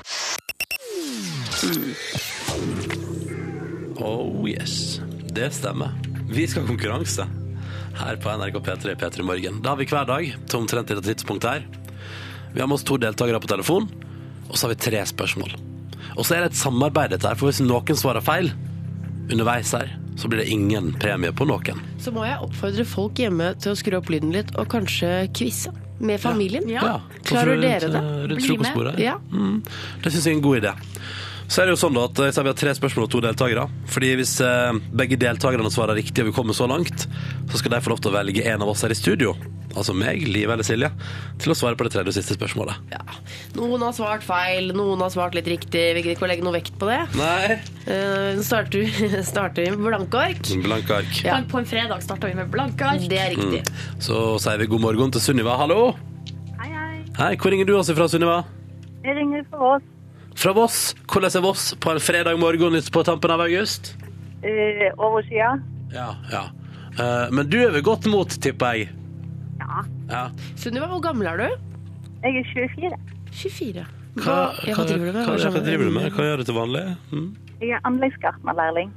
[SPEAKER 2] Oh yes, det stemmer. Vi skal ha konkurranse her på NRK P3 P3 Morgen. Det har vi hver dag til omtrent dette tidspunktet her. Vi har med oss to deltakere på telefon, og så har vi tre spørsmål. Og så er det et samarbeid dette her, for hvis noen svarer feil underveis her, så blir det ingen premie på noen.
[SPEAKER 6] Så må jeg oppfordre folk hjemme til å skru opp lyden litt og kanskje quize med familien.
[SPEAKER 2] Ja,
[SPEAKER 6] Klarer
[SPEAKER 2] rundt,
[SPEAKER 6] dere det?
[SPEAKER 2] eh, Rundt
[SPEAKER 4] Bli
[SPEAKER 2] frokostbordet.
[SPEAKER 6] Ja.
[SPEAKER 2] Mm, det syns jeg er en god idé. Så er det jo sånn da at eh, så har vi hatt tre spørsmål og to deltakere. Fordi hvis eh, begge deltakerne svarer riktig og vi kommer så langt, så skal de få lov til å velge en av oss her i studio, altså meg, Liv eller Silje, til å svare på det tredje og siste spørsmålet.
[SPEAKER 6] Ja. Noen har svart feil, noen har svart litt riktig. Vi gidder ikke å legge noe vekt på det.
[SPEAKER 2] Nei.
[SPEAKER 6] Eh, Nå starter, vi- starter vi med blanke ark.
[SPEAKER 2] Blanke ark.
[SPEAKER 6] Ja.
[SPEAKER 4] På en fredag starta vi med blanke ark.
[SPEAKER 6] Det er riktig.
[SPEAKER 2] Mm. Så sier vi god morgen til Sunniva. Hallo!
[SPEAKER 10] Hei, hei.
[SPEAKER 2] Hei, hvor ringer du oss ifra, Sunniva?
[SPEAKER 10] Jeg ringer fra Ås.
[SPEAKER 2] Fra Voss, hvordan er Voss på en fredag morgen på tampen av august?
[SPEAKER 10] Eh, over sida.
[SPEAKER 2] Ja, ja. Eh, men du er ved godt mot, tipper jeg. Ja.
[SPEAKER 6] Sunniva, hvor gammel er du?
[SPEAKER 10] Jeg er 24.
[SPEAKER 6] 24.
[SPEAKER 2] Hva,
[SPEAKER 6] ja, hva driver du
[SPEAKER 2] Hva,
[SPEAKER 6] med?
[SPEAKER 2] hva,
[SPEAKER 6] Hva skjønner
[SPEAKER 2] hva
[SPEAKER 6] jeg?
[SPEAKER 2] driver du med? Hva gjør du til vanlig? Mm.
[SPEAKER 10] Jeg er anleggsgartnerlærling.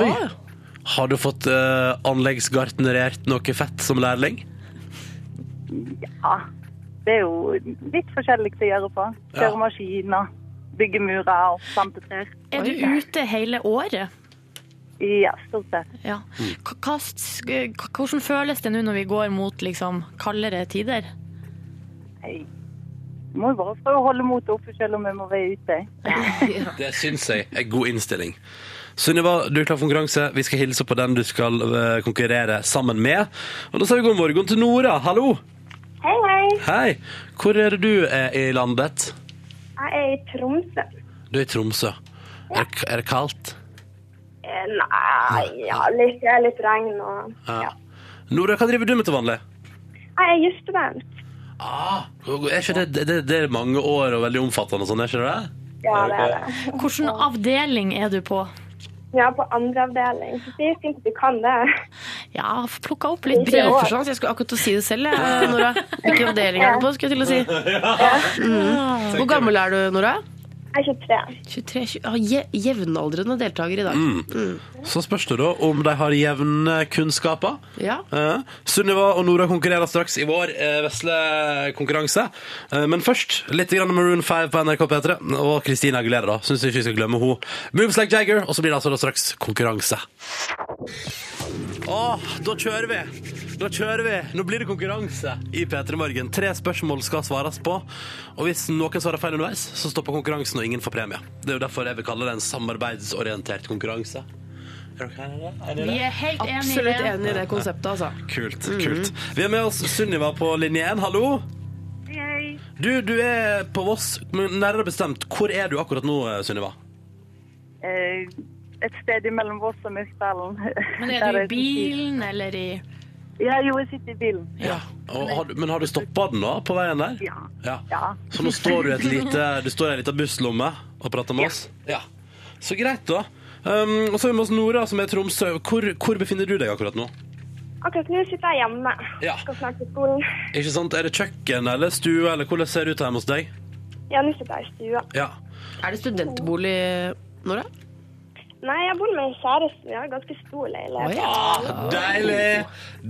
[SPEAKER 2] Oi! Har du fått eh, anleggsgartnerert noe fett som lærling?
[SPEAKER 10] Ja. Det er jo litt forskjellig å gjøre på.
[SPEAKER 2] Ja.
[SPEAKER 10] Kjøre maskin og bygge murer og plante trær.
[SPEAKER 4] Er du ute hele året?
[SPEAKER 10] Ja, stort sett.
[SPEAKER 4] Ja. Hva- hva s- k- hvordan føles det nå når vi går mot liksom, kaldere tider?
[SPEAKER 10] Jeg må jo bare prøve å holde motet oppe selv om jeg må være ute.
[SPEAKER 2] Det syns jeg er god innstilling. Sunniva, du er klar for konkurranse. Vi skal hilse på den du skal eh, konkurrere sammen med. Og da sier vi god morgen til Nora. Hallo!
[SPEAKER 11] Hei, hei.
[SPEAKER 2] Hei! Hvor er det du er i landet?
[SPEAKER 11] Jeg er i Tromsø.
[SPEAKER 2] Du er i Tromsø. Er, det- er det kaldt?
[SPEAKER 11] Eh, Nei, ja, litt, det er litt regn og
[SPEAKER 2] Ja. Nora, hva driver du med til vanlig?
[SPEAKER 11] Jeg er jusstudent.
[SPEAKER 2] Ah, er ikke det, det, det er mange år og veldig omfattende og sånn, er ikke det det?
[SPEAKER 11] Ja, det er det.
[SPEAKER 4] Hvilken avdeling er du på?
[SPEAKER 11] Jeg er på andre avdeling. Så det er fint at du kan det.
[SPEAKER 4] Ja, plukka opp litt
[SPEAKER 11] Ikke
[SPEAKER 4] brev.
[SPEAKER 11] år.
[SPEAKER 6] Forsvant, sånn, jeg skulle akkurat til å si det selv, jeg, eh, Nora. Hvilken avdeling er du på, skulle jeg til å si. Mm. Hvor gammel er du, Nora?
[SPEAKER 11] Jeg er 23.
[SPEAKER 6] 23, 20, ah, je, jevnaldrende deltaker i dag.
[SPEAKER 2] Så spørs det da om de har jevne kunnskaper.
[SPEAKER 6] Ja.
[SPEAKER 2] Eh, Sunniva og Nora konkurrerer straks i vår eh, vesle konkurranse. Eh, men først litt grann Maroon 5 på NRK P3. Og Christina Aguilera, da. Syns ikke vi skal glemme hun Moves like Jagger. Og så blir det altså da straks konkurranse. Åh, da kjører vi! Da kjører vi! Nå blir det konkurranse i P3 Morgen. Tre spørsmål skal svares på. Og hvis noen svarer feil underveis, så stopper konkurransen, og ingen får premie. Det er jo derfor jeg vil kalle det en samarbeidsorientert konkurranse. Er dere enige? i det? Er dere det?
[SPEAKER 4] Vi er helt enige i
[SPEAKER 6] Absolutt
[SPEAKER 4] det.
[SPEAKER 6] enig i det konseptet, altså.
[SPEAKER 2] Kult, kult. Vi har med oss Sunniva på linje 1. Hallo! Du, du er på Voss, men nærmere bestemt. Hvor er du akkurat nå, Sunniva?
[SPEAKER 10] Eh, Et sted imellom Voss og Myrkdalen.
[SPEAKER 4] Men
[SPEAKER 10] Der
[SPEAKER 4] er du i
[SPEAKER 10] det-
[SPEAKER 4] bilen eller i
[SPEAKER 10] Ja, jo, jeg sitter i bilen.
[SPEAKER 2] Ja. Og har, du- men har du stoppa den da, på veien der?
[SPEAKER 10] Ja.
[SPEAKER 2] Ja.
[SPEAKER 10] Ja.
[SPEAKER 2] Så nå står du i et lite, du står i ei lita busslomme og prater med oss? Ja. Så greit, da. Um, og så har vi med oss Nora, som er i Tromsø. Hvor, hvor befinner du deg akkurat nå?
[SPEAKER 11] Akkurat nå sitter jeg hjemme.
[SPEAKER 2] Ja.
[SPEAKER 11] Skal snart til skolen.
[SPEAKER 2] Ikke sant? Er det kjøkken eller stue, eller hvordan ser det ut hjemme hos deg?
[SPEAKER 11] Ja, nå sitter jeg i stua.
[SPEAKER 2] Ja.
[SPEAKER 6] Er det studentbolig, Nora?
[SPEAKER 11] Nei, jeg bor med kjæresten. Vi har en ganske stor leilighet.
[SPEAKER 2] Ah, deilig!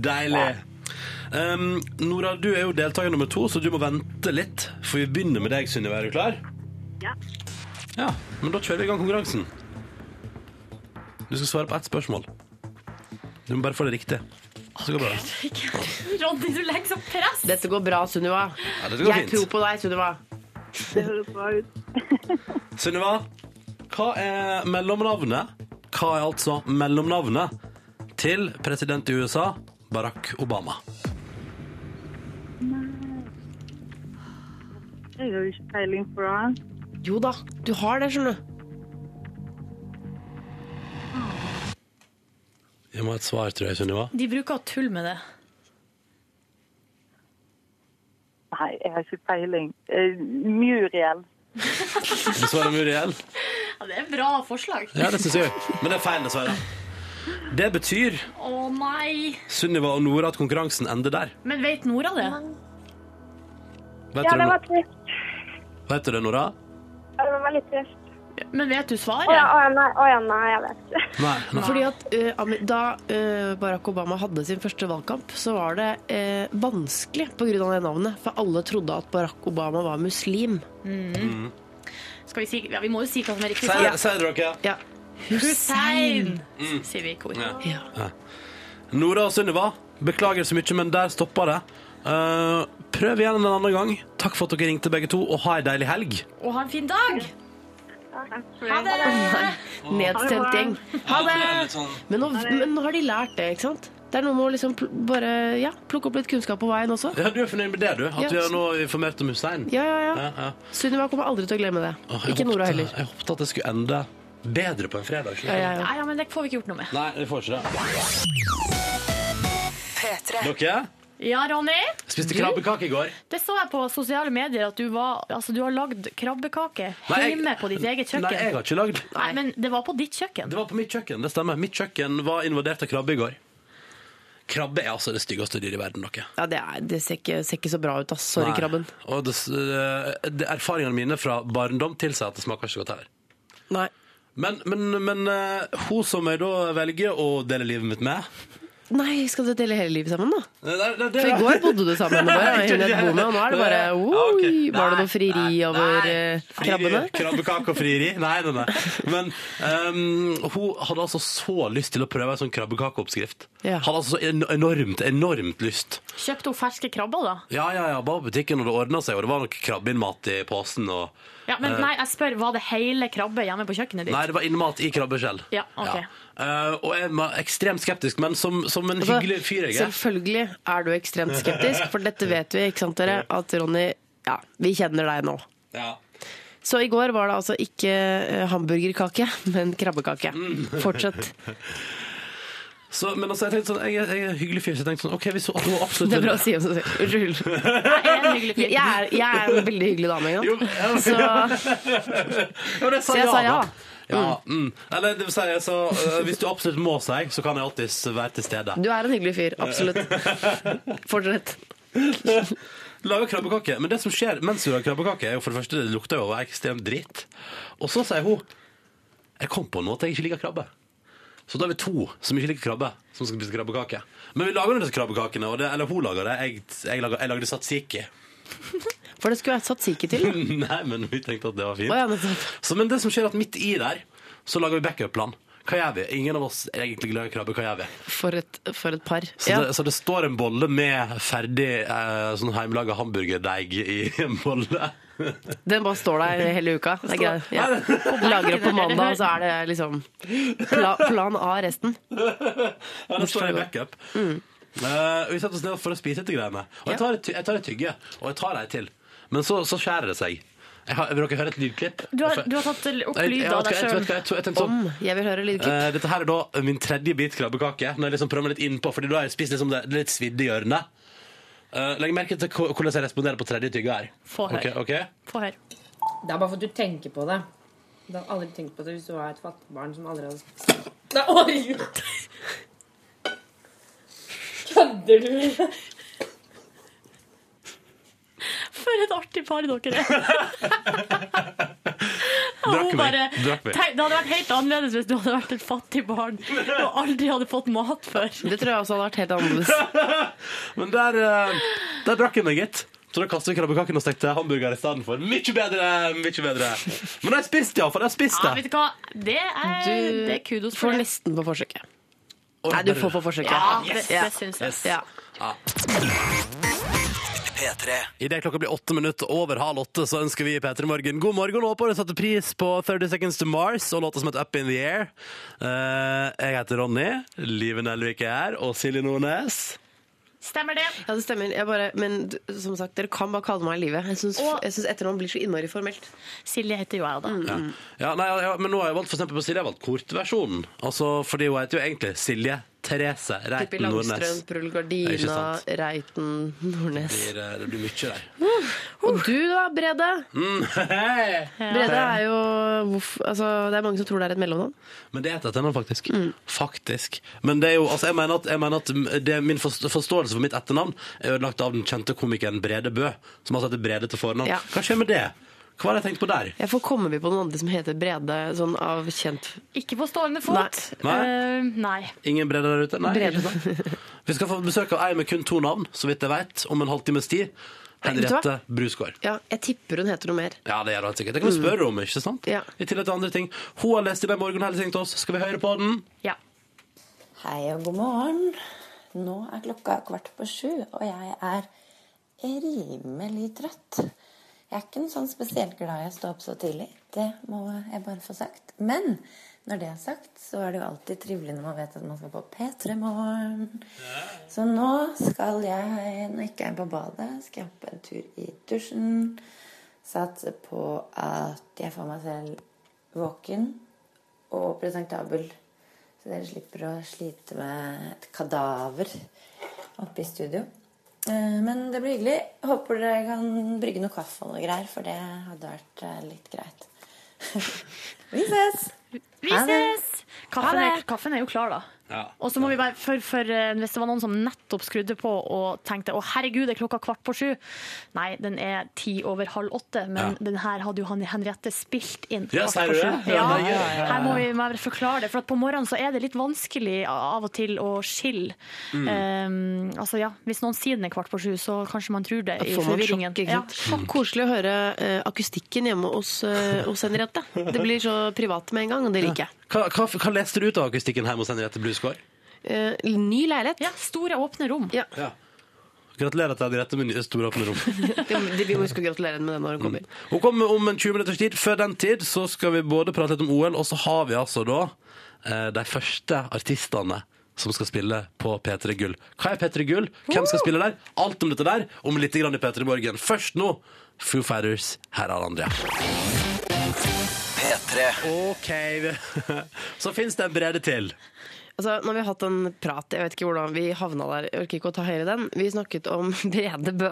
[SPEAKER 2] Deilig. Um, Nora, du er jo deltaker nummer to, så du må vente litt. For vi begynner med deg, Synnøve. Er du klar?
[SPEAKER 10] Ja.
[SPEAKER 2] Ja, Men da kjører vi i gang konkurransen. Du skal svare på ett spørsmål. Du må bare få det riktig. Så går det bra.
[SPEAKER 4] Ronny, du legger så press!
[SPEAKER 6] Dette går bra, Sunniva.
[SPEAKER 2] Ja, dette går
[SPEAKER 6] Jeg tror
[SPEAKER 2] fint.
[SPEAKER 6] på deg, Sunniva.
[SPEAKER 10] Det høres bra ut.
[SPEAKER 2] Synnøve, hva er mellomnavnet? Hva er altså mellomnavnet til president i USA, Barack Obama?
[SPEAKER 10] Jeg har jo ikke peiling på det.
[SPEAKER 6] Jo da, du har det, skjønner du.
[SPEAKER 2] Vi må ha et svar, tror jeg, Synnøve.
[SPEAKER 4] De bruker å tulle med det.
[SPEAKER 10] Nei, jeg har ikke peiling. Eh, Muriel.
[SPEAKER 2] Du svarer Muriel.
[SPEAKER 4] Ja, det er et bra forslag.
[SPEAKER 2] Ja, det syns jeg Men det er feil, dessverre. Det betyr,
[SPEAKER 4] Å nei!
[SPEAKER 2] Sunniva og Nora, at konkurransen ender der.
[SPEAKER 4] Men vet Nora det?
[SPEAKER 2] Vet,
[SPEAKER 11] Ja,
[SPEAKER 2] du,
[SPEAKER 11] det
[SPEAKER 2] det,
[SPEAKER 11] var trist.
[SPEAKER 2] Nora? vet du det, Nora?
[SPEAKER 11] Ja, det var veldig trist.
[SPEAKER 4] Men vet du
[SPEAKER 11] Å ja,
[SPEAKER 4] svaret?
[SPEAKER 11] å ja, nei, å ja, nei, jeg vet ikke.
[SPEAKER 2] Nei. nei.
[SPEAKER 6] Fordi at eh, Amer- Da eh, Barack Obama hadde sin første valgkamp, så var det eh, vanskelig pga. det navnet. For alle trodde at Barack Obama var muslim.
[SPEAKER 4] Skal vi si Ja, vi må jo si hva som er riktig
[SPEAKER 2] Sier
[SPEAKER 4] svar.
[SPEAKER 2] sier dere
[SPEAKER 6] Ja.
[SPEAKER 4] Hussein, sier vi i kor.
[SPEAKER 2] Mm. Ja.
[SPEAKER 6] Ja.
[SPEAKER 2] Nora og Sunniva, beklager så mye, men der stoppa det. Eh, prøv igjen en annen gang. Takk for at dere ringte, begge to, og ha ei deilig helg.
[SPEAKER 4] Og ha en fin dag! Ha det!
[SPEAKER 6] Nedstemt gjeng. Ha det! Men nå, men nå har de lært det, ikke sant? Det er noe med å liksom pl bare ja, plukke opp litt kunnskap på veien også.
[SPEAKER 2] Ja, du er fornøyd med det, du? At
[SPEAKER 6] Ja.
[SPEAKER 2] vi har nå informert om Hussein?
[SPEAKER 6] Ja, ja, ja.
[SPEAKER 2] Ja, ja.
[SPEAKER 6] Sunniva kommer aldri til å glemme det.
[SPEAKER 2] Åh, jeg
[SPEAKER 6] Ikke Nora
[SPEAKER 2] håpte-
[SPEAKER 6] heller.
[SPEAKER 2] Jeg håpet at det skulle ende bedre på en fredag. ikke sant?
[SPEAKER 6] Ja, ja, ja.
[SPEAKER 4] Nei, ja, men det får vi ikke gjort noe med.
[SPEAKER 2] Nei, vi får ikke det.
[SPEAKER 9] P3.
[SPEAKER 2] Dere?
[SPEAKER 4] Ja, Ronny.
[SPEAKER 2] Spiste krabbekake i går.
[SPEAKER 4] Det så jeg på sosiale medier, at du, var, altså, du har lagd krabbekake
[SPEAKER 2] Nei, jeg-
[SPEAKER 4] hjemme på ditt eget kjøkken.
[SPEAKER 2] Nei, jeg har ikke lagd.
[SPEAKER 4] Nei, men det var på ditt kjøkken.
[SPEAKER 2] Det var på mitt kjøkken, det stemmer. Mitt kjøkken var invadert av krabbe i går. Krabbe er altså det styggeste dyret i verden, dere.
[SPEAKER 6] Ja, det, er, det ser, ikke, ser ikke så bra ut, ass. Sorry,
[SPEAKER 2] Nei.
[SPEAKER 6] krabben.
[SPEAKER 2] Og det, s- eh, det, erfaringene mine fra barndom tilsier at det smaker ikke så godt heller.
[SPEAKER 6] Nei.
[SPEAKER 2] Men, men, men eh, hun som jeg da velger å dele livet mitt med
[SPEAKER 6] Nei, skal dere dele hele livet sammen, da?
[SPEAKER 2] Nei, nei, nei, det-
[SPEAKER 6] For i går bodde du sammen med meg, og hun jeg bor med, og nå er det bare
[SPEAKER 2] Ja,
[SPEAKER 6] oi,
[SPEAKER 2] ok.
[SPEAKER 6] Var det
[SPEAKER 2] Nei,
[SPEAKER 6] noe frieri
[SPEAKER 2] nei,
[SPEAKER 6] over
[SPEAKER 2] nei.
[SPEAKER 6] eh,
[SPEAKER 2] Frieri,
[SPEAKER 6] krabbene?
[SPEAKER 2] Krabbekake og frieri? Nei, nei, nei. Men ehm, hun hadde altså så lyst til å prøve en sånn krabbekakeoppskrift.
[SPEAKER 6] Ja.
[SPEAKER 2] Hadde altså så en- enormt, enormt lyst.
[SPEAKER 4] Kjøpte hun ferske krabber, da?
[SPEAKER 2] Ja, ja, ja, bare på butikken, og det ordna seg, og det var nok krabbeinnmat i posen. Og...
[SPEAKER 4] Ja, men nei, jeg spør, var det hele krabbe hjemme på kjøkkenet ditt?
[SPEAKER 2] Eh. Nei, det var innmat i krabbeskjell.
[SPEAKER 4] Ja, ok.
[SPEAKER 2] Eh, og jeg var ekstremt skeptisk, men som, som en
[SPEAKER 6] Altså,
[SPEAKER 2] hyggelig fyr jeg er.
[SPEAKER 6] Selvfølgelig er du ekstremt skeptisk, for dette vet vi, ikke sant dere, at Ronny Ja, vi kjenner deg nå.
[SPEAKER 2] Ja.
[SPEAKER 6] Så i går var det altså ikke eh, hamburgerkake, men krabbekake. Fortsett.
[SPEAKER 2] Så, men altså, jeg tenkte sånn, jeg, er- jeg er en hyggelig fyr, så jeg tenkte sånn, ok, hvis hun, at hun absolutt
[SPEAKER 6] Det er bra å si om seg selv.
[SPEAKER 4] Jeg
[SPEAKER 6] Unnskyld.
[SPEAKER 4] er en hyggelig fyr.
[SPEAKER 6] Jeg er, jeg er en veldig hyggelig dame,
[SPEAKER 2] Jo,
[SPEAKER 6] ikke sant?
[SPEAKER 2] ja, men-
[SPEAKER 6] Så,
[SPEAKER 2] Ja, det
[SPEAKER 6] Så jeg sa ja,
[SPEAKER 2] da. Ja, mm. Eller det vil si, så, eh, hvis du absolutt må si, så kan jeg alltids være til stede.
[SPEAKER 6] du er en hyggelig fyr. Absolutt. Fortsett.
[SPEAKER 2] Lager krabbekake. Men det som skjer mens du lager krabbekake, er jo for det første det lukter jo ekstremt dritt. Og så sier hun Jeg kom på nå at jeg ikke liker krabbe. Så da er vi to som ikke liker krabbe, som skal spise krabbekake. Men vi lager nå disse krabbekakene, og det, eller hun lager det. Jeg, jeg, lager, jeg lagde satsiki.
[SPEAKER 6] For det skulle vært satsiki til.
[SPEAKER 2] Nei, men vi tenkte at det var fint.
[SPEAKER 6] Å, ja, nettopp.
[SPEAKER 2] Så, men det som skjer er at midt i der, så lager vi backup-plan. Hva gjør vi? Ingen av oss er egentlig glad i krabbe. Hva gjør vi?
[SPEAKER 6] For et, for et par.
[SPEAKER 2] Så, det, så det står en bolle med ferdig eh, sånn hjemmelaga hamburgerdeig i en bolle.
[SPEAKER 6] Den bare står der hele uka. Det er greit. Ja.
[SPEAKER 2] Nei,
[SPEAKER 6] Lager opp på mandag, og så er det liksom pla, plan A resten.
[SPEAKER 2] Ja, det står i backup.
[SPEAKER 4] Mm.
[SPEAKER 2] Eh, vi setter oss ned for å spise dette greiene. Og jeg tar, et ty- jeg tar et tygge, og jeg tar ei til. Men så, så skjærer det seg. Jeg har, vil dere høre et lydklipp?
[SPEAKER 4] Du har, du har tatt opp
[SPEAKER 2] Jeg-
[SPEAKER 4] lyd
[SPEAKER 2] jeg-
[SPEAKER 4] av
[SPEAKER 2] vet du
[SPEAKER 4] deg
[SPEAKER 2] hva,
[SPEAKER 4] sjøl.
[SPEAKER 2] vet du hva, jeg tror- jeg tenkte sånn,
[SPEAKER 6] Om Mm, jeg vil høre lydklipp.
[SPEAKER 2] eh, dette her er da min tredje bit krabbekake. Når jeg liksom prøver meg litt innpå, Fordi da har jeg spist liksom det, det litt svidde hjørnet. Eh, legg merke til hvor- hvordan jeg responderer på tredje tygge her.
[SPEAKER 4] Få høre.
[SPEAKER 2] Ok, ok?
[SPEAKER 4] Få høre.
[SPEAKER 12] Det er bare for at du tenker på det. Du hadde aldri tenkt på det hvis du var et fattig barn som aldri hadde spist. Nei, herregud! Kødder du?
[SPEAKER 4] For et artig par dere er.
[SPEAKER 2] Drakk
[SPEAKER 4] Hun
[SPEAKER 2] vi.
[SPEAKER 4] bare-
[SPEAKER 2] Drakk vi.
[SPEAKER 4] Tenk, Det hadde vært helt annerledes hvis du hadde vært et fattig barn og aldri hadde fått mat før.
[SPEAKER 6] Det tror jeg også hadde vært helt annerledes.
[SPEAKER 2] Men der, eh, der brakk jeg meg, gitt. Så da kastet vi krabbekaken og stekte hamburger i stedet for. Mye bedre! mye bedre. Men jeg spiste, iallfall. Jeg spiste.
[SPEAKER 4] Ja, vet du hva? Det er, det er kudos
[SPEAKER 6] Du
[SPEAKER 4] for
[SPEAKER 6] får
[SPEAKER 4] det.
[SPEAKER 6] nesten på forsøket.
[SPEAKER 2] Oi,
[SPEAKER 6] Nei, du
[SPEAKER 2] der
[SPEAKER 6] får på
[SPEAKER 4] Ja,
[SPEAKER 6] forsøket.
[SPEAKER 4] det, det syns jeg.
[SPEAKER 2] Yes.
[SPEAKER 6] Ja.
[SPEAKER 2] Idet klokka blir åtte minutter over halv åtte, så ønsker vi P3 Morgen god morgen og håper du setter pris på 30 Seconds to Mars og låta som heter Up In The Air. Eh, jeg heter Ronny. Live Nelvik er her. Og Silje Nordnes.
[SPEAKER 4] Stemmer det.
[SPEAKER 6] Ja, det stemmer. Jeg bare, men d- som sagt, dere kan bare kalle meg Live. Jeg syns
[SPEAKER 4] Og-
[SPEAKER 6] jeg syns etternavn blir så innmari formelt.
[SPEAKER 4] Silje heter jo jeg, da.
[SPEAKER 2] Ja. Ja, nei, ja, men nå har jeg valgt for eksempel på Silje, jeg har valgt kortversjonen. Altså, fordi hun heter jo egentlig Silje Therese
[SPEAKER 6] Pippi
[SPEAKER 2] Reiten
[SPEAKER 6] Langstrømpe,
[SPEAKER 2] Nordnes.
[SPEAKER 6] Prull
[SPEAKER 2] Det er ikke
[SPEAKER 6] Gardina,
[SPEAKER 2] sant.
[SPEAKER 6] Reiten, Nordnes.
[SPEAKER 2] Det blir, eh, det blir mye der.
[SPEAKER 6] Og du da, Brede?
[SPEAKER 2] Mm. Hei!
[SPEAKER 6] Brede er jo hvorf- altså, Det er mange som tror det er et mellomnavn.
[SPEAKER 2] Men det er et etternavn, faktisk.
[SPEAKER 6] Mm.
[SPEAKER 2] Faktisk. Men det er jo, altså, jeg mener at, jeg mener at det, min forst- forståelse for mitt etternavn er ødelagt av den kjente komikeren Brede Bø, som altså heter Brede til fornavn.
[SPEAKER 6] Ja.
[SPEAKER 2] Hva skjer med det? Hva har jeg tenkt på der?
[SPEAKER 6] Jeg får komme vi på noen andre som heter Brede, sånn av kjent
[SPEAKER 4] Ikke på stående fot.
[SPEAKER 2] Nei. Nei.
[SPEAKER 4] Eh, nei.
[SPEAKER 2] Ingen Brede der ute? Nei,
[SPEAKER 6] Brede.
[SPEAKER 2] ikke sant? Vi skal få besøk av ei med kun to navn, så vidt jeg vet, om en halvtimes tid.
[SPEAKER 6] Nei, vet du
[SPEAKER 2] Henriette Brusgaard.
[SPEAKER 6] Ja, jeg tipper hun heter noe mer.
[SPEAKER 2] Ja, det gjør du helt sikkert. Det kan vi spørre om, ikke sant?
[SPEAKER 6] Mm. Ja.
[SPEAKER 2] I tillegg til andre ting. Hun har lest i dag morgen hele ting til oss. Skal vi høre på den?
[SPEAKER 4] Ja.
[SPEAKER 13] Hei og god morgen. Nå er klokka kvart på sju, og jeg er rimelig trøtt. Jeg er ikke noe sånn spesielt glad i å stå opp så tidlig. Det må jeg bare få sagt. Men når det er sagt, så er det jo alltid trivelig når man vet at man skal på P3 Morgen. Så nå skal jeg, når jeg ikke er på badet, skal jeg på en tur i dusjen. Satse på at jeg får meg selv våken og presentabel. Så dere slipper å slite med et kadaver oppe i studio. Eh, Men det blir hyggelig. Håper dere kan brygge noe kaffe og noe greier, for det hadde vært eh, litt greit. Vi ses!
[SPEAKER 4] Vi
[SPEAKER 13] Ha det.
[SPEAKER 4] ses! Kaffen
[SPEAKER 13] Ha
[SPEAKER 4] er,
[SPEAKER 13] det.
[SPEAKER 4] kaffen er jo klar, da.
[SPEAKER 2] Ja.
[SPEAKER 4] Og så må vi bare, for, for eh, Hvis det var noen som nettopp skrudde på og tenkte å herregud, det er klokka kvart på sju. Nei, den er ti over halv åtte, men den her hadde jo han- Henriette spilt inn.
[SPEAKER 2] Ja,
[SPEAKER 4] kvart
[SPEAKER 2] sier
[SPEAKER 4] på
[SPEAKER 2] du
[SPEAKER 4] sju.
[SPEAKER 2] det? Ja,
[SPEAKER 4] Ja,
[SPEAKER 2] det er gøy.
[SPEAKER 4] Her må vi må jeg bare forklare det, for at på morgenen så er det litt vanskelig av og til å skille.
[SPEAKER 2] Mm.
[SPEAKER 4] Eh, altså ja, Hvis noen sier den er kvart på sju, så kanskje man tror det
[SPEAKER 6] Da
[SPEAKER 4] i
[SPEAKER 6] får man
[SPEAKER 4] forvirringen.
[SPEAKER 6] sjokk, ikke sant? Koselig å høre eh, akustikken hjemme hos, eh, hos Henriette. Det blir så privat med en gang, og det liker jeg.
[SPEAKER 2] Hva, hva, hva leste du ut av akustikken hjemme hos Henriette Blusgaard?
[SPEAKER 6] Eh, ny leilighet.
[SPEAKER 4] Ja, store, åpne rom.
[SPEAKER 6] Ja.
[SPEAKER 2] Gratulerer til Henriette med nye store åpne rom.
[SPEAKER 6] Det, det, vi må huske å gratulere henne med det når hun kommer.
[SPEAKER 2] Hun kommer om en 20 minutters tid. Før den tid så skal vi både prate litt om OL, og så har vi altså da eh, de første artistene som skal spille på P3 Gull. Hva er P3 Gull? Hvem skal spille der? Alt om dette der, om litt grann i P3 Morgen. Først nå, Foo Fighters. Her er Andrea. P3. OK. vi- Så fins det en bredde til.
[SPEAKER 6] Altså, når vi har hatt en prat, jeg vet ikke hvordan vi havna der, jeg orker ikke å ta høyre den. Vi snakket om Brede Bø.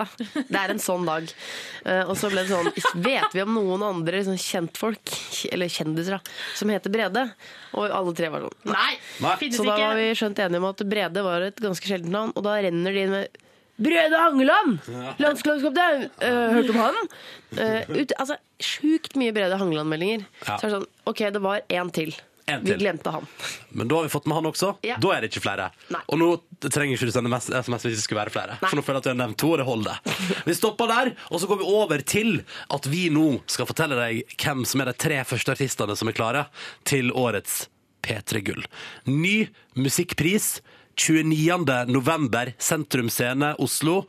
[SPEAKER 6] Det er en sånn dag. Eh, og så ble det sånn, vet vi om noen andre sånn kjentfolk, eller kjendiser da, som heter Brede? Og alle tre var sånn,
[SPEAKER 4] nei.
[SPEAKER 2] Nei.
[SPEAKER 6] Så
[SPEAKER 2] finnes
[SPEAKER 6] da
[SPEAKER 2] ikke.
[SPEAKER 6] var vi skjønt enige om at Brede var et ganske sjeldent navn, og da renner de inn med Brede Hangeland!
[SPEAKER 2] Ja.
[SPEAKER 6] Landslagskaptein! Eh, hørt om han? Eh, ut, altså, sjukt mye Brede Hangeland-meldinger.
[SPEAKER 2] Ja.
[SPEAKER 6] Så er det sånn, ok, det var én til.
[SPEAKER 2] En
[SPEAKER 6] Vi
[SPEAKER 2] til.
[SPEAKER 6] glemte han.
[SPEAKER 2] Men da har vi fått med han også.
[SPEAKER 6] Ja.
[SPEAKER 2] Da er det ikke flere.
[SPEAKER 6] Nei.
[SPEAKER 2] Og nå trenger ikke du sende mess- SMS hvis det skulle være flere. For nå føler jeg at vi har nevnt to, og det holder. Vi stopper der, og så går vi over til at vi nå skal fortelle deg hvem som er de tre første artistene som er klare til årets P3 Gull. Ny musikkpris. 29. november, Sentrum Scene, Oslo.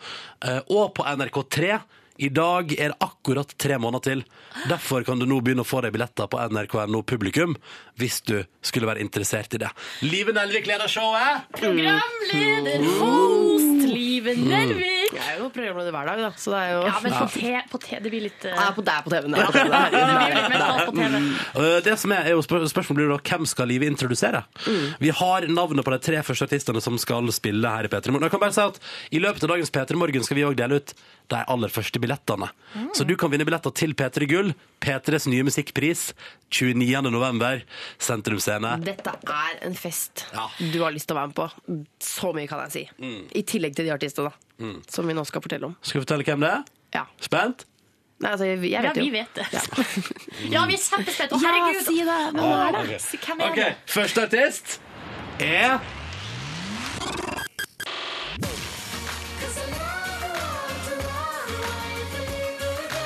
[SPEAKER 2] eh, Og på NRK3. I dag er det akkurat tre måneder til. Derfor kan du nå begynne å få deg billetter på nrk.no publikum, hvis du skulle være interessert i det. Live Nelvik leder showet.
[SPEAKER 4] Programleder, host, Liven Nelvik.
[SPEAKER 6] Jeg er jo programleder hver dag, da. Så det er jo
[SPEAKER 4] Ja, men på te, på te det blir litt eh,
[SPEAKER 6] Ja, på, det er på TV-en.
[SPEAKER 4] Ja,
[SPEAKER 6] det er på TV-en.
[SPEAKER 4] det blir litt mer stas på TV.
[SPEAKER 2] Eh, Det som er, er jo spør spørsmålet blir jo da hvem skal Live introdusere?
[SPEAKER 4] Mm.
[SPEAKER 2] Vi har navnet på de tre første artistene som skal spille her i P3 Morgen. Jeg kan bare si at I løpet av dagens P3 Morgen skal vi òg dele ut de aller første billettene.
[SPEAKER 4] Mm.
[SPEAKER 2] Så du kan vinne billetter til P3 Gull, P3s nye musikkpris, 29. november, Sentrum Scene.
[SPEAKER 6] Dette er en fest
[SPEAKER 2] Ja.
[SPEAKER 6] du har lyst til å være med på. Så mye kan jeg si. I tillegg til de artistene
[SPEAKER 2] Mm.
[SPEAKER 6] som vi nå skal fortelle om.
[SPEAKER 2] Skal vi fortelle hvem det er?
[SPEAKER 6] Ja.
[SPEAKER 2] Spent?
[SPEAKER 6] Nei, altså, jeg, jeg
[SPEAKER 4] Ja,
[SPEAKER 6] vet jo.
[SPEAKER 4] vi vet det. Ja, vi er kjempespent. Å,
[SPEAKER 6] Ja,
[SPEAKER 4] herregud.
[SPEAKER 6] si det. Hvem
[SPEAKER 4] Å,
[SPEAKER 6] er det?
[SPEAKER 2] ok.
[SPEAKER 4] Si hvem er
[SPEAKER 2] Ok,
[SPEAKER 4] det?
[SPEAKER 2] Første artist er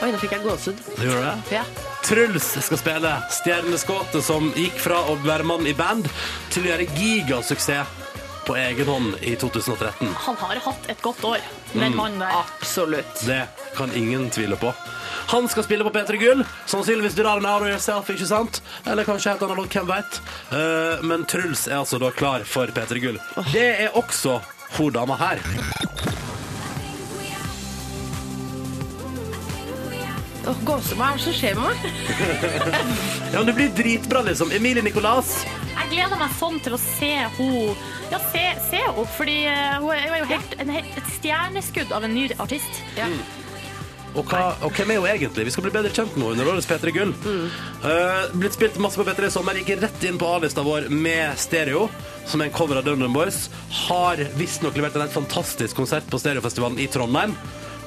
[SPEAKER 6] Oi, nå fikk jeg gåsehud.
[SPEAKER 2] Det gjør det?
[SPEAKER 6] Ja.
[SPEAKER 2] Truls skal spille Stjerneskottet som gikk fra å være mann i band til å gjøre gigasuksess på egen hånd i 2013.
[SPEAKER 4] Han har hatt et godt år, den
[SPEAKER 2] Mm.
[SPEAKER 4] mannen der.
[SPEAKER 6] Absolutt.
[SPEAKER 2] Det kan ingen tvile på. Han skal spille på P3 Gull. Sannsynligvis Duran Now Yourself, ikke sant? Eller kanskje helt annen låt, hvem veit. Eh, Men Truls er altså da klar for P3 Gull. Det er også hun dama her.
[SPEAKER 6] Åh, gåse, hva er det som skjer med meg?
[SPEAKER 2] Ja, men Det blir dritbra, liksom. Emilie Nicolas.
[SPEAKER 4] Jeg gleder meg sånn til å se henne. Ja, se, se henne, fordi eh, hun er jo helt, en, helt et stjerneskudd av en ny artist.
[SPEAKER 2] Og, hva, og hvem er hun egentlig? Vi skal bli bedre kjent nå under årets P3 Gull.
[SPEAKER 6] Mm.
[SPEAKER 2] Eh, blitt spilt masse på P3 i sommer. Gikk rett inn på A-lista vår med Stereo, som er en cover av Dundrum Boys. Har visstnok levert en helt fantastisk konsert på Stereofestivalen i Trondheim.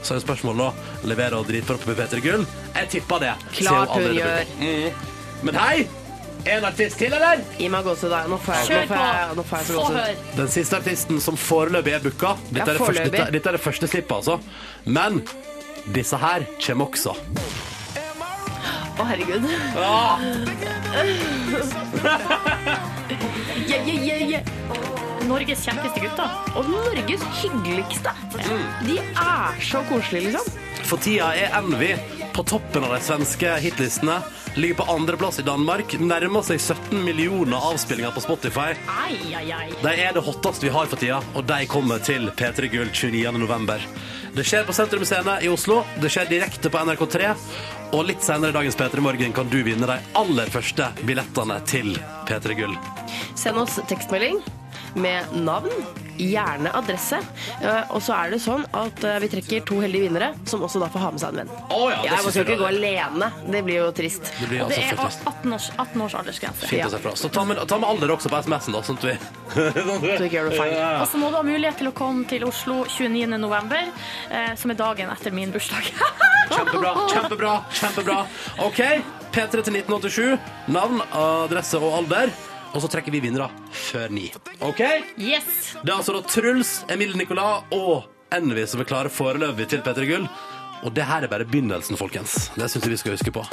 [SPEAKER 2] Så er jo spørsmålet da leverer hun dritbra på P3 Gull. Jeg tipper det. siden
[SPEAKER 6] Klart hun
[SPEAKER 2] allerede
[SPEAKER 6] gjør.
[SPEAKER 2] fulgte. Mm. Men hei! En artist til, eller?
[SPEAKER 6] Gi meg gåsehud. da. Nå får jeg,
[SPEAKER 4] Kjør
[SPEAKER 6] nå får jeg, nå får jeg så
[SPEAKER 4] Få
[SPEAKER 6] gåsehud.
[SPEAKER 4] høre.
[SPEAKER 2] Den siste artisten som foreløpig er booka. Dette,
[SPEAKER 6] Ja,
[SPEAKER 2] er det første-
[SPEAKER 6] foreløpig.
[SPEAKER 2] dette, dette er det første slippet, altså. Men disse her kommer også.
[SPEAKER 6] Å, herregud.
[SPEAKER 2] Ah!
[SPEAKER 6] Yeah, yeah, yeah, yeah.
[SPEAKER 4] Norges kjekkeste gutter.
[SPEAKER 6] Og Norges hyggeligste.
[SPEAKER 2] Mm.
[SPEAKER 6] De er så koselige, liksom.
[SPEAKER 2] For tida er Envy på toppen av de svenske hitlistene. Ligger på andreplass i Danmark. Nærmer seg 17 millioner avspillinger på Spotify.
[SPEAKER 4] Ai, ai, ai.
[SPEAKER 2] De er det hotteste vi har for tida, og de kommer til P3 Gull 29. november. Det skjer på Sentrum Scene i Oslo, det skjer direkte på NRK3, og litt senere i dagens P3 Morgen kan du vinne de aller første billettene til P3 Gull.
[SPEAKER 6] Send oss tekstmelding med navn, gjerne adresse. Eh, Og så er det sånn at eh, vi trekker to heldige vinnere, som også da får ha med seg en venn.
[SPEAKER 2] Å ja, det
[SPEAKER 6] jeg
[SPEAKER 2] synes
[SPEAKER 6] skal
[SPEAKER 2] jeg
[SPEAKER 6] ikke
[SPEAKER 2] er
[SPEAKER 6] gå alene. Det blir jo trist.
[SPEAKER 2] Det blir
[SPEAKER 4] Og det
[SPEAKER 2] altså
[SPEAKER 4] er
[SPEAKER 2] for trist.
[SPEAKER 4] 18 års, 18 års aldersgrense.
[SPEAKER 2] Fint å se fra. Så ta med, ta med alder også på SMS-en, da, sånn at vi sånn at vi-
[SPEAKER 6] Så ikke gjør du feil.
[SPEAKER 2] Ja.
[SPEAKER 4] Og så må du ha mulighet til å komme til Oslo 29. november, eh, som er dagen etter min bursdag.
[SPEAKER 2] Kjempebra, kjempebra, kjempebra. OK, P3 til 1987. Navn, adresse og alder. Og så trekker vi vinnere før ni. OK?
[SPEAKER 4] Yes!
[SPEAKER 2] Det er altså da Truls, Emil Nicolas og Envy som er klare foreløpig til P3 Gull. Og det her er bare begynnelsen, folkens. Det syns jeg vi skal huske på.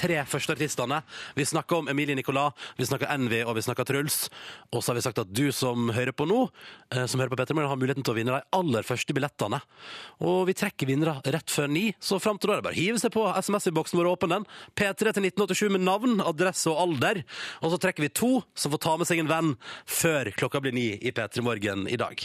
[SPEAKER 2] Tre første artistene. Vi snakker om Emilie Nicolas, vi snakker Envy og vi snakker Truls. Og så har vi sagt at du som hører på nå, eh, som hører på Petter Morgen, har muligheten til å vinne de aller første billettene. Og vi trekker vinnere rett før ni, så fram til da er det bare å hive seg på. SMS-boksen vår er åpen, den. P3 til 1987 med navn, adresse og alder. Og så trekker vi to som får ta med seg en venn før klokka blir ni i P3 Morgen i dag.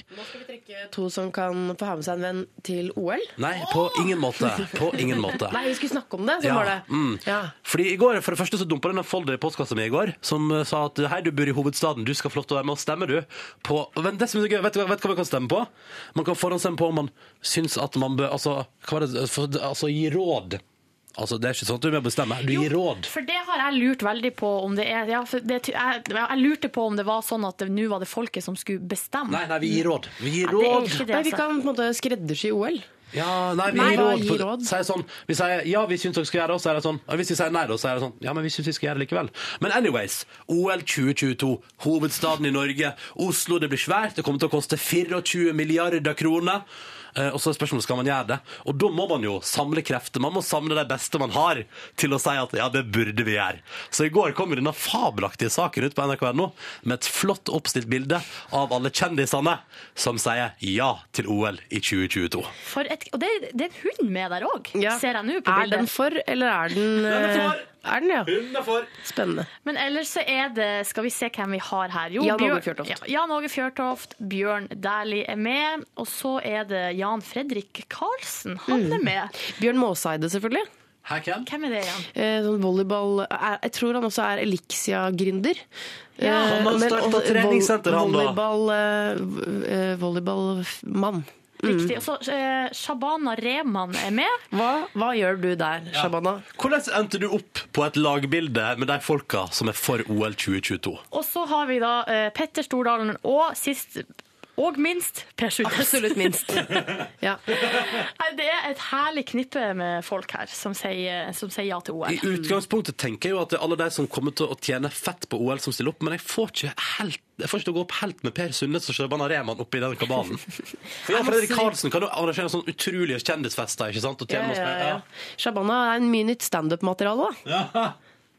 [SPEAKER 6] To som kan få ha med seg en venn til OL.
[SPEAKER 2] Nei, på ingen måte. På ingen måte.
[SPEAKER 6] Nei, vi skulle snakke om det, så
[SPEAKER 2] Ja,
[SPEAKER 6] var det.
[SPEAKER 2] mm.
[SPEAKER 6] Ja.
[SPEAKER 2] Fordi i går, For det første så dumpa den en folder i postkassa mi i går som eh, sa at hei, du bor i hovedstaden, du skal få lov til å være med og stemme, du. På, men det som er gøy, vet du hva vet du hva man kan stemme på? Man kan forhåndsstemme på om man syns at man bør Altså, hva var det, for, altså gi råd. Altså, Det er ikke sånn at du er med å bestemme. Du gir råd.
[SPEAKER 4] For det har jeg lurt veldig på om det er ja, for det, jeg, jeg lurte på om det var sånn at det- nå var det folket som skulle bestemme.
[SPEAKER 2] Nei, nei, vi gir råd. Vi gir
[SPEAKER 4] Nei, det er
[SPEAKER 2] råd.
[SPEAKER 4] ikke det,
[SPEAKER 6] Nei, vi
[SPEAKER 4] altså.
[SPEAKER 6] kan på en måte skreddersy OL.
[SPEAKER 2] Ja, nei, vi
[SPEAKER 6] Nei,
[SPEAKER 2] gir
[SPEAKER 6] hva
[SPEAKER 2] råd.
[SPEAKER 6] gir
[SPEAKER 2] På,
[SPEAKER 6] råd?
[SPEAKER 2] Sier sånn, vi sier ja, vi syns dere skal gjøre det, og så er det sånn. Og hvis vi sier nei, da, så er det sånn. Ja, men vi syns vi skal gjøre det likevel. Men anyways, OL 2022, hovedstaden i Norge. Oslo, det blir svært. Det kommer til å koste 24 milliarder kroner. Eh, Og så er spørsmålet skal man gjøre det. Og da må man jo samle krefter. Man må samle de beste man har, til å si at ja, det burde vi gjøre. Så i går kom jo denne fabelaktige saken ut på nrk.no med et flott oppstilt bilde av alle kjendisene som sier ja til OL i 2022.
[SPEAKER 4] For et, og det, det er en hund med der òg,
[SPEAKER 6] Ja.
[SPEAKER 4] ser jeg nå på
[SPEAKER 6] Er den
[SPEAKER 4] bildet.
[SPEAKER 6] for, eller er den
[SPEAKER 2] Den er for.
[SPEAKER 6] eh, Er den, ja.
[SPEAKER 2] Hun er for.
[SPEAKER 6] Spennende.
[SPEAKER 4] Men ellers så er det Skal vi se hvem vi har her. Jo,
[SPEAKER 6] Jan Åge
[SPEAKER 4] Bjørn-
[SPEAKER 6] Fjørtoft.
[SPEAKER 4] Ja, Jan Åge Fjørtoft. Bjørn Dæhlie er med. Og så er det Jan Fredrik Karlsen. Han
[SPEAKER 6] Mm.
[SPEAKER 4] er med.
[SPEAKER 6] Bjørn Maaseide, selvfølgelig.
[SPEAKER 2] Her, hvem?
[SPEAKER 4] Hvem er det igjen?
[SPEAKER 6] Eh, sånn volleyball er, Jeg tror han også er Elixia-gründer. Eh,
[SPEAKER 2] Han
[SPEAKER 4] Ja.
[SPEAKER 2] har startet treningssenter, han da.
[SPEAKER 6] Volleyballmann. eh, Volleyballmann.
[SPEAKER 4] Riktig. Og så eh, Shabana Rehman er med.
[SPEAKER 6] Hva, hva gjør du der, Shabana?
[SPEAKER 2] Hvordan endte du opp på et lagbilde med de folka som er for OL 2022?
[SPEAKER 4] Og så har vi da eh, Petter Stordalen og sist og minst Per Sundnes.
[SPEAKER 6] Absolutt minst. ja.
[SPEAKER 4] Nei, Det er et herlig knippe med folk her som sier, som sier ja til
[SPEAKER 2] I
[SPEAKER 4] OL.
[SPEAKER 2] utgangspunktet tenker jeg jo at det er alle de som kommer til å tjene fett på OL, som stiller opp, men jeg får ikke helt jeg får ikke til å gå opp helt med Per Sundnes og Shabana Rehman oppi den kabalen. For Jan Fredrik Karlsen kan jo arrangere sånne utrolige kjendisfester, ikke sant? Og
[SPEAKER 6] Ja,
[SPEAKER 2] tjene
[SPEAKER 6] ja, ja.
[SPEAKER 2] masse
[SPEAKER 6] Eh, Shabana er en mye nytt standup-materiale, da.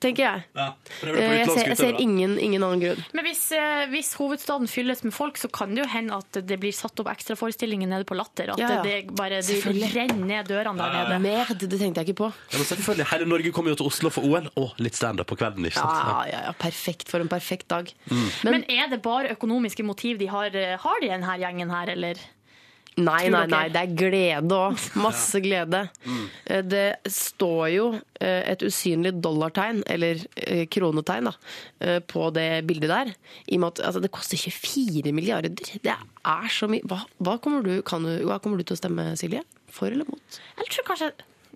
[SPEAKER 6] Tenker jeg.
[SPEAKER 2] penger. Ja. Prøver det på
[SPEAKER 6] Eh, Jeg ser,
[SPEAKER 2] utenlandske
[SPEAKER 6] jeg ser
[SPEAKER 2] utøvere.
[SPEAKER 6] ingen, ingen annen grunn.
[SPEAKER 4] Men hvis, eh, hvis hovedstaden fylles med folk, så kan det jo hende at det blir satt opp ekstraforestillinger nede på Latter. At
[SPEAKER 6] Ja, ja.
[SPEAKER 4] det bare det
[SPEAKER 6] Selvfølgelig.
[SPEAKER 4] renner ned dørene der nede.
[SPEAKER 6] Mer, det det tenkte jeg ikke på.
[SPEAKER 2] Ja, men selvfølgelig, Hele Norge kommer jo til Oslo for OL, og litt standup på kvelden. ikke sant? Mm.
[SPEAKER 6] Ja, ja, ja, perfekt for en perfekt dag. Men,
[SPEAKER 4] Men er det bare økonomiske motiv de har? eh, Har de denne gjengen her, eller?
[SPEAKER 6] nei, nei,
[SPEAKER 4] tror dere- Mm.
[SPEAKER 6] nei, det er glede òg. Masse glede. Eh, Det står jo eh, et usynlig dollartegn, eller eh, kronetegn, da, eh, på det bildet der. I og med at altså, det koster 24 milliarder. Det er så mye. Hva, hva, kommer du, kan du, hva kommer du til å stemme, Silje? For eller mot?
[SPEAKER 4] Jeg tror kanskje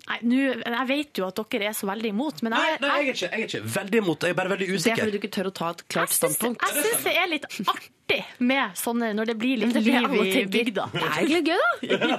[SPEAKER 4] Nei, nå- jeg vet jo at dere er så veldig imot, men
[SPEAKER 2] Nei,
[SPEAKER 4] jeg,
[SPEAKER 2] nei, jeg er ikke, jeg er ikke veldig imot det, jeg er bare veldig
[SPEAKER 6] Det er
[SPEAKER 2] usikker.
[SPEAKER 6] fordi du ikke tør å ta et klart
[SPEAKER 4] Jeg syns,
[SPEAKER 6] standpunkt.
[SPEAKER 4] jeg syns det er litt artig med sånne når det blir litt
[SPEAKER 6] Det er det
[SPEAKER 4] liv
[SPEAKER 6] alle
[SPEAKER 4] i
[SPEAKER 6] tenker.
[SPEAKER 4] bygda.
[SPEAKER 6] Det er egentlig gøy, da.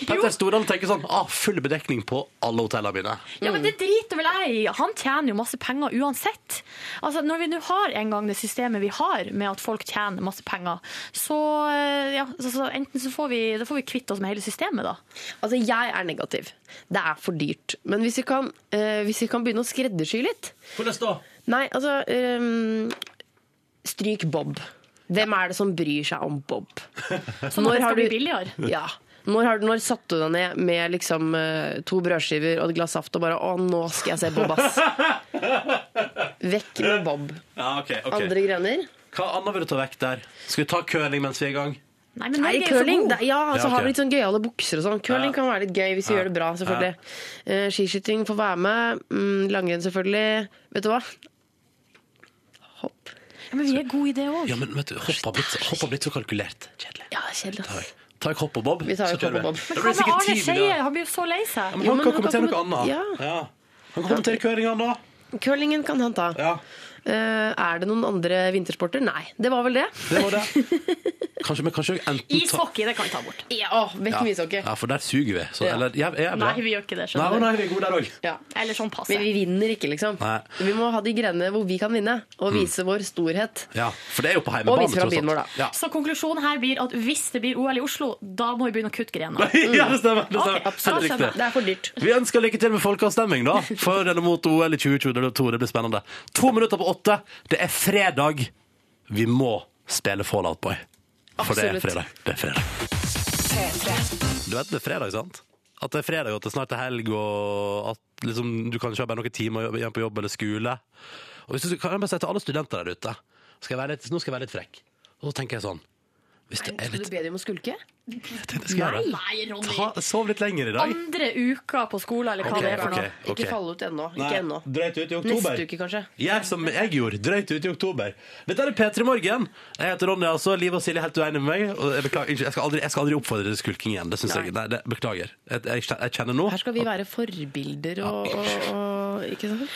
[SPEAKER 2] Petter Stordalen tenker sånn ah, full bedekning på alle hotellene mine.
[SPEAKER 4] Ja, men det driter vel jeg i. Han tjener jo masse penger uansett. Altså, når vi nå har en gang det systemet vi har, med at folk tjener masse penger, så, eh, ja, så, så enten så får vi, da får vi kvitte oss med hele systemet, da.
[SPEAKER 6] Altså, jeg er negativ. Det er for dyrt. Men hvis vi kan, eh, hvis vi kan begynne å skreddersy litt
[SPEAKER 2] Hvordan da?
[SPEAKER 6] Nei, altså ehm, Stryk Bob. Hvem er det som bryr seg om Bob?
[SPEAKER 4] Sånn at det skal bli billigere.
[SPEAKER 6] Ja. Når, har, du- når satte du deg ned med liksom, eh, to brødskiver og et glass saft og bare 'Å, nå skal jeg se Bob, ass'. Vekk med Bob.
[SPEAKER 2] Ja, ok, ok.
[SPEAKER 6] Andre grønner.
[SPEAKER 2] Hva annet vil du ta vekk der? Skal vi ta curling mens vi er i gang?
[SPEAKER 4] Nei, men
[SPEAKER 6] Nei,
[SPEAKER 4] Norge er jo så
[SPEAKER 6] curling,
[SPEAKER 4] god.
[SPEAKER 6] det, ja, altså,
[SPEAKER 2] Ja, ok.
[SPEAKER 6] har vi litt sånn gøyale bukser og sånn. Curling
[SPEAKER 2] Ja.
[SPEAKER 6] kan være litt gøy hvis vi
[SPEAKER 2] Ja.
[SPEAKER 6] gjør det bra, selvfølgelig. Eh, skiskyting får være med. Mm, langrenn, selvfølgelig. Vet du hva? Hopp.
[SPEAKER 4] Ja, men vi er gode i det òg.
[SPEAKER 2] Ja, men vet du, hopp har blitt, hopp har blitt så kalkulert. Kjedelig.
[SPEAKER 4] Ja, det er kjedelig.
[SPEAKER 2] Ta vekk- Ta vekk hopp og bob,
[SPEAKER 4] Vi tar
[SPEAKER 2] så
[SPEAKER 4] vekk
[SPEAKER 2] kjører
[SPEAKER 4] hopp og
[SPEAKER 2] vi. Da blir
[SPEAKER 4] Men hva
[SPEAKER 2] det
[SPEAKER 4] med
[SPEAKER 2] sikkert
[SPEAKER 4] Arne
[SPEAKER 2] ti
[SPEAKER 4] Seier?
[SPEAKER 2] milliarder.
[SPEAKER 4] Han blir jo så lei seg.
[SPEAKER 2] Ja, men han kan kommentere noe annet. Ja. Han kan kommentere curlinga nå.
[SPEAKER 6] Curlingen kan han ta. Eh, er det noen andre vintersporter? Nei, det var vel det.
[SPEAKER 2] Det var det. Kanskje, men kanskje enten ta...
[SPEAKER 4] det kan vi ta bort.
[SPEAKER 6] Ja, åh, vekk med ishockey.
[SPEAKER 2] Ja, for der suger vi. Så,
[SPEAKER 6] Ja.
[SPEAKER 2] eller, jeg, jeg er bra.
[SPEAKER 4] Nei, vi gjør ikke det.
[SPEAKER 2] Nei,
[SPEAKER 4] skjønner
[SPEAKER 2] å
[SPEAKER 4] du.
[SPEAKER 2] nei, vi er gode der òg.
[SPEAKER 6] Ja.
[SPEAKER 4] Eller sånn passe.
[SPEAKER 6] Men vi vinner ikke, liksom.
[SPEAKER 2] Nei.
[SPEAKER 6] Vi må ha de greiene hvor vi kan vinne, og
[SPEAKER 2] Mm.
[SPEAKER 6] vise vår storhet.
[SPEAKER 2] Ja, for det er jo på
[SPEAKER 6] Og
[SPEAKER 2] heimebane,
[SPEAKER 6] viser fram byen vår, da.
[SPEAKER 2] Ja.
[SPEAKER 4] Så konklusjonen her blir at hvis det blir OL i Oslo, da må vi begynne å kutte grener.
[SPEAKER 2] ja, det stemmer. Det, stemmer.
[SPEAKER 4] Ok,
[SPEAKER 2] Helt
[SPEAKER 4] da skjønner
[SPEAKER 2] riktig.
[SPEAKER 4] jeg.
[SPEAKER 6] Det er for dyrt.
[SPEAKER 2] Vi ønsker lykke til med folkeavstemning, da. For eller mot OL i 2022. Det blir spennende. To minutter på åtte. Det er fredag. Vi må spille Fallout Boy. For det er
[SPEAKER 9] Absolutt.
[SPEAKER 2] fredag. Det er fredag.
[SPEAKER 9] P3.
[SPEAKER 2] Du vet det er fredag, sant? At det er fredag og at det snart er helg, og at liksom, du kan ikke ha bare noen timer igjen på jobb eller skole. Og hvis du, kan jeg bare si til alle studenter der ute skal jeg være litt, Nå skal jeg være litt frekk. Og så tenker jeg sånn Hvis det er
[SPEAKER 6] Skal
[SPEAKER 2] litt
[SPEAKER 6] du be dem å skulke?
[SPEAKER 2] det skal jeg gjøre.
[SPEAKER 4] Nei, Ronny.
[SPEAKER 2] Ta, Sov litt lenger i dag.
[SPEAKER 4] Andre uka på skolen, eller hva
[SPEAKER 2] Ok,
[SPEAKER 4] det er for noe.
[SPEAKER 2] ok, ok.
[SPEAKER 6] Ikke falle ut ennå. Ikke
[SPEAKER 2] Nei,
[SPEAKER 6] ennå.
[SPEAKER 2] Drøyt ut i oktober.
[SPEAKER 6] Neste uke, kanskje.
[SPEAKER 2] Gjør som jeg gjorde, drøyt ut i oktober. Dette er P3 Morgen. Jeg heter Ronny, altså. Liv og Silje er helt uenige med meg. Og jeg, beklager, unnskyld, jeg, skal aldri, jeg skal aldri oppfordre til skulking igjen. Det synes jeg. Nei, det, beklager. Jeg, jeg, jeg kjenner nå
[SPEAKER 6] Her skal vi være forbilder og, og, og Ikke sant?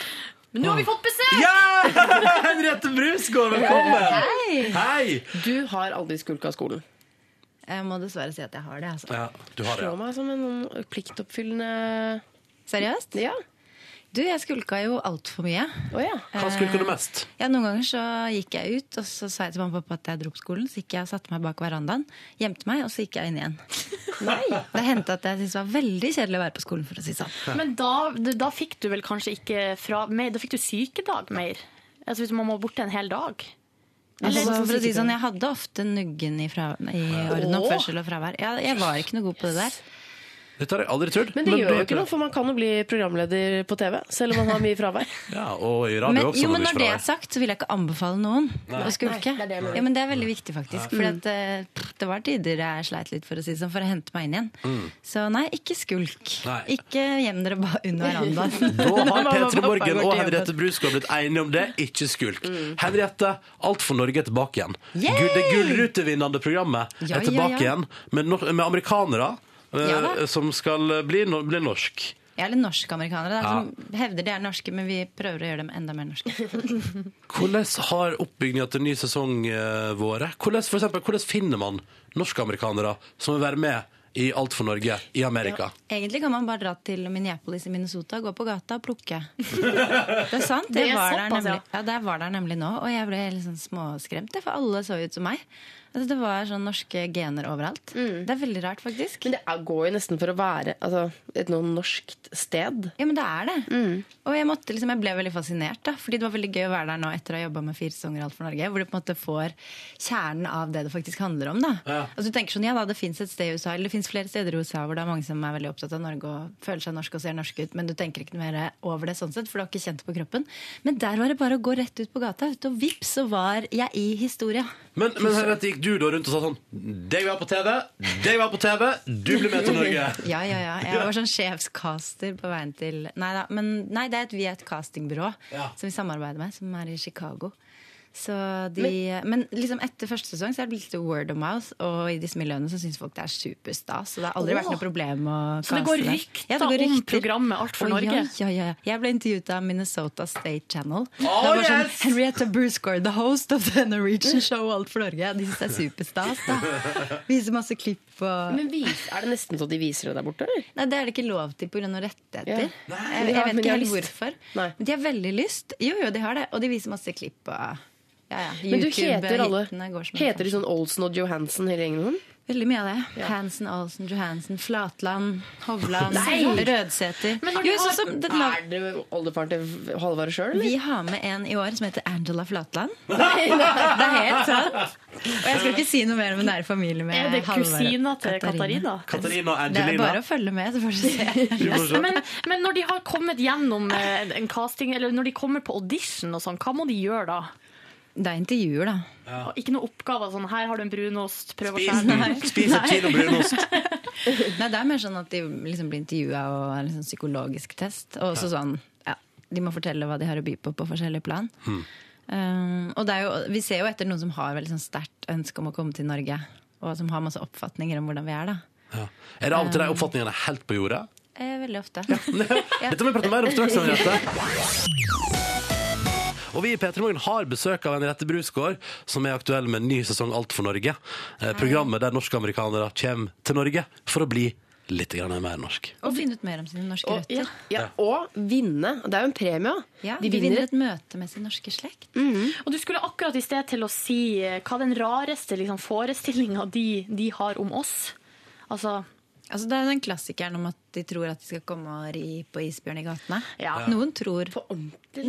[SPEAKER 4] Men nå har vi fått besøk!
[SPEAKER 2] Ja! Henriette Brusgaard, velkommen! Hei!
[SPEAKER 6] Du har aldri skulka skolen.
[SPEAKER 14] Jeg må dessverre si at jeg har det. Altså.
[SPEAKER 2] Ja, du har det,
[SPEAKER 6] Slå
[SPEAKER 2] ja.
[SPEAKER 6] meg som en pliktoppfyllende
[SPEAKER 14] Seriøst?
[SPEAKER 6] Ja.
[SPEAKER 14] Du, jeg skulka jo altfor mye.
[SPEAKER 6] Å ja.
[SPEAKER 2] Hva skulker du mest?
[SPEAKER 14] Ja, Noen ganger så gikk jeg ut, og så sa jeg til mamma og pappa at jeg dro på skolen. Så gikk jeg og satte meg bak verandaen, gjemte meg, og så gikk jeg inn igjen. Det hendte at jeg syntes det var veldig kjedelig å være på skolen, for å si sånn.
[SPEAKER 4] Men da, da fikk du vel kanskje ikke fra mer, Da fikk du sykedag mer? Altså hvis man må borte en hel dag?
[SPEAKER 14] Altså, for å si sånn, Jeg hadde ofte nuggen i, fra, i orden
[SPEAKER 6] Åh.
[SPEAKER 14] oppførsel og fravær. Ja, jeg var ikke noe god på det der.
[SPEAKER 2] Dette har jeg aldri trodd.
[SPEAKER 6] Men det gjør
[SPEAKER 2] du-
[SPEAKER 6] jo ikke noe, for man kan jo bli programleder på TV, selv om man har mye fravær.
[SPEAKER 2] Ja, og i radio
[SPEAKER 14] Men,
[SPEAKER 2] også.
[SPEAKER 14] jo, men
[SPEAKER 2] når
[SPEAKER 14] når
[SPEAKER 2] du
[SPEAKER 14] det
[SPEAKER 2] ikke
[SPEAKER 14] er sagt, så vil jeg ikke anbefale noen å skulke.
[SPEAKER 6] Nei, det er det jeg mener.
[SPEAKER 14] ja, men det er veldig viktig,
[SPEAKER 2] Mm.
[SPEAKER 14] faktisk. For det var tider jeg sleit litt for å si det sånn, for å hente meg inn igjen. Så nei, ikke skulk.
[SPEAKER 2] Mm. Nei.
[SPEAKER 14] Ikke gjem dere bare under
[SPEAKER 2] Da har
[SPEAKER 14] verandaen.
[SPEAKER 6] Mamma og
[SPEAKER 2] Petra
[SPEAKER 6] pappa
[SPEAKER 2] Morgen
[SPEAKER 6] går
[SPEAKER 2] og
[SPEAKER 6] til
[SPEAKER 2] Henriette Brusgaard blitt enige om det. Ikke skulk.
[SPEAKER 14] Mm.
[SPEAKER 2] Henriette, Alt for Norge er tilbake igjen. Gud, det gullrutevinnende programmet
[SPEAKER 14] Ja,
[SPEAKER 2] er tilbake
[SPEAKER 14] ja, ja.
[SPEAKER 2] igjen med, nor- med amerikanere eh,
[SPEAKER 14] Ja da.
[SPEAKER 2] som skal bli, no- bli norsk.
[SPEAKER 14] Jeg er litt norsk-amerikanere, da,
[SPEAKER 2] Ja.
[SPEAKER 14] som hevder de er norske, men vi prøver å gjøre dem enda mer norske.
[SPEAKER 2] Hvordan har oppbygninga til ny sesong eh, vært? Hvordan, for eksempel, hvordan finner man norsk-amerikanere som vil være med i Alt for Norge i Amerika?
[SPEAKER 14] Egentlig kan man bare dra til Minneapolis i Minnesota, gå på gata og plukke. Det er sant.
[SPEAKER 4] Det
[SPEAKER 14] Jeg
[SPEAKER 4] er
[SPEAKER 14] var, der
[SPEAKER 4] såpass, ja.
[SPEAKER 14] nemlig, ja, jeg var der nemlig nå, og jeg ble litt sånn småskremt, for alle så ut som meg. Altså, det var sånn norske gener overalt.
[SPEAKER 4] Mm.
[SPEAKER 14] Det er veldig rart, faktisk.
[SPEAKER 6] Men det er, går jo nesten for å være altså, et noe norskt sted.
[SPEAKER 14] Ja, men det er det. Og jeg, måtte, liksom, jeg ble veldig fascinert, da, fordi det var veldig gøy å være der nå etter å ha jobba med fire sesonger i Alt for Norge, hvor du på en måte får kjernen av det det faktisk handler om. Da.
[SPEAKER 2] Ja.
[SPEAKER 14] Altså, du tenker sånn, ja da, Det fins et sted i USA, eller det finnes flere steder i USA hvor det er mange som er veldig opptatt av Norge og føler seg norske og ser norske ut, men du tenker ikke noe mer over det sånn sett, for du har ikke kjent det på kroppen. Men der var det bare å gå rett ut på gata, vet du, og vips, så var jeg i historia.
[SPEAKER 2] Men, men Henriette, gikk du da rundt og sa sånn Det vi har på TV, det vi har på TV, du blir med til Norge.
[SPEAKER 14] Ja, ja, ja. Jeg var sånn sjefskaster på veien til Nei da. Men nei, det er et, vi er et castingbyrå
[SPEAKER 2] Ja.
[SPEAKER 14] som vi samarbeider med, som er i Chicago. Så de, men liksom etter første sesong så er det blitt litt word of mouth, og i disse miljøene så syns folk det er superstas. Så det har aldri vært noe problem å
[SPEAKER 4] Så det går
[SPEAKER 14] caste det.
[SPEAKER 4] rykter
[SPEAKER 14] Ja, det går
[SPEAKER 4] om
[SPEAKER 14] rykter.
[SPEAKER 4] programmet Alt for
[SPEAKER 14] Å, Ja,
[SPEAKER 4] Norge?
[SPEAKER 14] ja, ja. ja. Jeg ble intervjuet av Minnesota State Channel.
[SPEAKER 2] Oh,
[SPEAKER 14] det var sånn,
[SPEAKER 2] yes!
[SPEAKER 14] Henrietta Brusgaard, the host of the Norwegian show Alt for Norge. De syns det er superstas. da. Viser masse klipp og
[SPEAKER 6] Men vis, er det nesten så de viser det der borte, eller?
[SPEAKER 14] Nei, Det er det ikke lov til pga.
[SPEAKER 6] Ja.
[SPEAKER 14] rettigheter. Jeg,
[SPEAKER 6] Men de
[SPEAKER 14] jeg
[SPEAKER 6] har-
[SPEAKER 14] vet
[SPEAKER 6] men de
[SPEAKER 14] ikke
[SPEAKER 6] har
[SPEAKER 14] helt
[SPEAKER 6] lyst.
[SPEAKER 14] hvorfor.
[SPEAKER 6] Nei.
[SPEAKER 14] Men de har veldig lyst. Jo, jo, de har det. Og de viser masse klipp. Og, ja, ja.
[SPEAKER 6] Men du heter alle
[SPEAKER 14] YouTube-hitene går som en
[SPEAKER 6] Heter de sånn Olsen og Johansen hele gjengen? sånn?
[SPEAKER 14] Veldig mye av det. Hansen, Olsen, Johansen, Flatland, Hovland,
[SPEAKER 4] Nei!
[SPEAKER 14] Rødsæter.
[SPEAKER 4] Men når de
[SPEAKER 14] Jo,
[SPEAKER 4] har-
[SPEAKER 14] sånn som det,
[SPEAKER 6] Er du oldefaren til Halvard sjøl, eller?
[SPEAKER 14] Vi har med en i år som heter Angela Flatland. Det er helt sant. Og jeg skal ikke si noe mer om hun er i familie
[SPEAKER 6] Eh,
[SPEAKER 14] med
[SPEAKER 4] Er det
[SPEAKER 14] Halvard og
[SPEAKER 4] kusina til Katarina?
[SPEAKER 2] Katarina og
[SPEAKER 14] Det er
[SPEAKER 2] Angelina.
[SPEAKER 14] bare å følge med, så får du se.
[SPEAKER 2] Du får se.
[SPEAKER 4] Men, men når de har kommet gjennom eh, en casting, eller når de kommer på audition og sånn, hva må de gjøre da?
[SPEAKER 14] Det er intervjuer, da.
[SPEAKER 4] Og ikke noen oppgaver sånn 'her har du en brunost, prøv å
[SPEAKER 2] Spis
[SPEAKER 4] skjære den'.
[SPEAKER 2] den. Spis et kilo brunost.
[SPEAKER 14] Nei, det er mer sånn at de liksom blir intervjua og er liksom sånn, psykologisk test. Og også sånn, ja, de må fortelle hva de har å by på på forskjellige plan. Um, og det er jo, vi ser jo etter noen som har veldig sånn sterkt ønske om å komme til Norge, og som har masse oppfatninger om hvordan vi er, da.
[SPEAKER 2] Er det av og til de oppfatningene helt på jordet?
[SPEAKER 14] Eh, veldig ofte.
[SPEAKER 2] Dette må vi prate mer om straks. Henriette. Og vi i P3 Morgen har besøk av Henriette Brusgaard, som er aktuell med en ny sesong Alt for Norge. Eh, programmet der norske amerikanere kommer til Norge for å bli litt grann mer norsk.
[SPEAKER 14] Og finne ut mer om sine norske
[SPEAKER 6] Og, ja,
[SPEAKER 14] røtter.
[SPEAKER 6] ja, og vinne. Det er jo en premie.
[SPEAKER 14] Ja, de vinner Mm. et møte med sin norske slekt.
[SPEAKER 4] Og du skulle akkurat i sted til å si eh, hva den rareste liksom, forestillinga de, de har om oss. Altså,
[SPEAKER 14] Altså, det er jo den klassikeren om at de tror at de skal komme og ri på isbjørn i gatene.
[SPEAKER 4] Ja.
[SPEAKER 14] Noen tror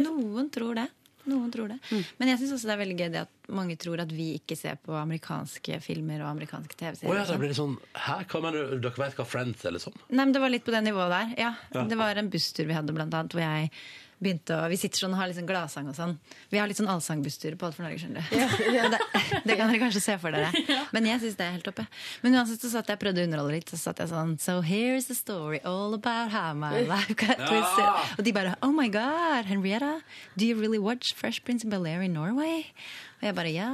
[SPEAKER 14] Noen tror det. Noen tror det.
[SPEAKER 2] Mm.
[SPEAKER 14] Men jeg syns også det er veldig gøy det at mange tror at vi ikke ser på amerikanske filmer og amerikanske
[SPEAKER 2] Å
[SPEAKER 14] TV-serier.
[SPEAKER 2] ja,
[SPEAKER 14] og
[SPEAKER 2] da
[SPEAKER 14] sånn.
[SPEAKER 2] blir det sånn Hæ, hva mener du? Dere vet hva Friends er, liksom?
[SPEAKER 14] Nei, men Det var litt på det nivået der. Ja.
[SPEAKER 2] Ja.
[SPEAKER 14] Det var en busstur vi hadde, blant annet, hvor jeg begynte å Vi sitter sånn og har litt sånn gladsang og sånn. Vi har litt sånn allsangbusstur på Alt for Norge, skjønner du. det, det kan dere kanskje se for dere. Men jeg syns det er helt topp, jeg. Men uansett så satt jeg og prøvde å underholde litt. Så satt jeg sånn So here's a story all about how my life got
[SPEAKER 1] Ja.
[SPEAKER 14] twisted. Og de bare Oh my God, Henrietta, do you really watch Fresh Prince of Bel-Air in Norway? Og jeg bare ja.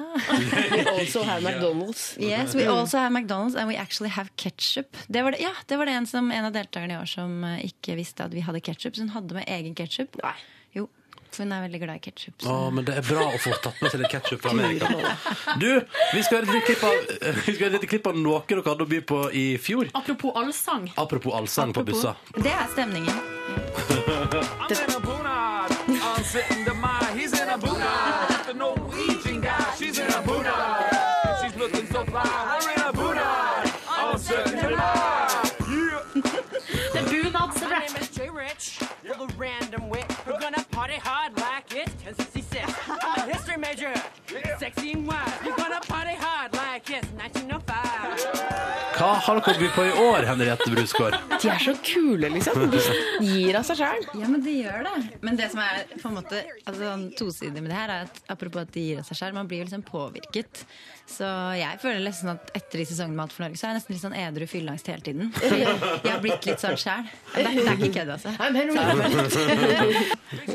[SPEAKER 6] also have McDonald's.
[SPEAKER 14] Yes, we also have McDonald's and we actually have ketchup. Det var det, ja, det var det en, som, en av deltakerne i år som eh, ikke visste at vi hadde ketchup, så hun hadde med egen ketchup. Jo, for hun er veldig glad i ketchup.
[SPEAKER 2] Å, men det er bra å få tatt med seg litt ketsjup fra Amerika. Du, vi skal høre et lite klipp av, vi skal høre et lite klipp av noe dere hadde å by på i fjor.
[SPEAKER 4] apropos allsang.
[SPEAKER 2] Apropos allsang på busser.
[SPEAKER 14] Det er stemningen.
[SPEAKER 15] I'm in a bunad. I'm sitting to my. He's in a bunad. The Norwegian guy. She's in a bunad. She's looking so fly. I'm in a bunad. I'm sitting to my.
[SPEAKER 4] Det er
[SPEAKER 16] My
[SPEAKER 4] bunadsrapp.
[SPEAKER 16] name is Jay Rich, little random wit. We're gonna party hard like it's 1066. I'm a history major, sexy and wild. We're gonna party hard like oh it's 1905.
[SPEAKER 2] Hva har dere å by på i år, Henriette Brusgaard?
[SPEAKER 6] De er så kule, liksom. De gir av seg sjæl.
[SPEAKER 14] Ja, men de gjør det. Men det som er på en måte altså, sånn tosidig med det her, er at apropos at de gir av seg selv, man blir jo liksom påvirket. Så jeg føler nesten at etter de sesongene med Alt for Norge, så er jeg nesten litt sånn edru fyllangst hele tiden. Fordi jeg har blitt litt sånn sjæl. Det, er- det er ikke kødd, altså.
[SPEAKER 6] I'm Henrietta.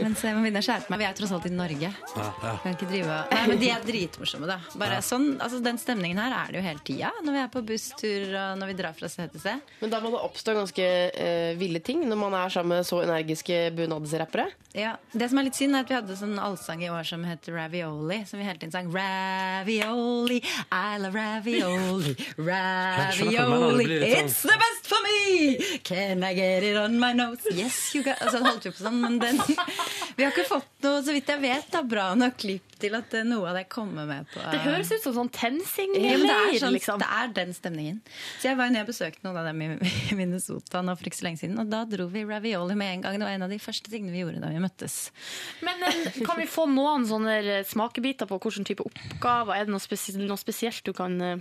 [SPEAKER 14] Men så jeg må begynne å skjerpe meg. Vi er tross alt i Norge. Kan ikke drive og- Nei, men De er dritmorsomme, da. Bare sånn, altså Den stemningen her er det jo hele tida når vi er på busstur og når vi drar fra sted til sted.
[SPEAKER 6] Men da må det oppstå ganske eh, ville ting når man er sammen med så energiske bunadsrappere.
[SPEAKER 14] Ja, Det som er litt synd, er at vi hadde sånn allsang i år som het Ravioli. Som vi hele tiden sang Ravioli, I love ravioli, ravioli, it's the best for me! Can I get it on my nose? Yes, you can Altså, den holdt vi på sånn, men den Vi har ikke fått noe, så vidt jeg vet, da, bra nok klipp til at eh, noe av det kommer med på
[SPEAKER 4] Det høres ut som sånn
[SPEAKER 14] ja, men det, er
[SPEAKER 4] TenSing-leir,
[SPEAKER 14] sånn,
[SPEAKER 4] liksom.
[SPEAKER 14] det er den stemningen. Så jeg var jo nede og besøkte noen av dem i i Minnesota nå for ikke så lenge siden. Og da dro vi ravioli med en gang. Det var en av de første tingene vi gjorde da vi møttes.
[SPEAKER 4] Men eh, kan vi få noen sånne eh, smakebiter på hvilken type oppgaver? Er det noe, spesi noe spesielt du kan eh,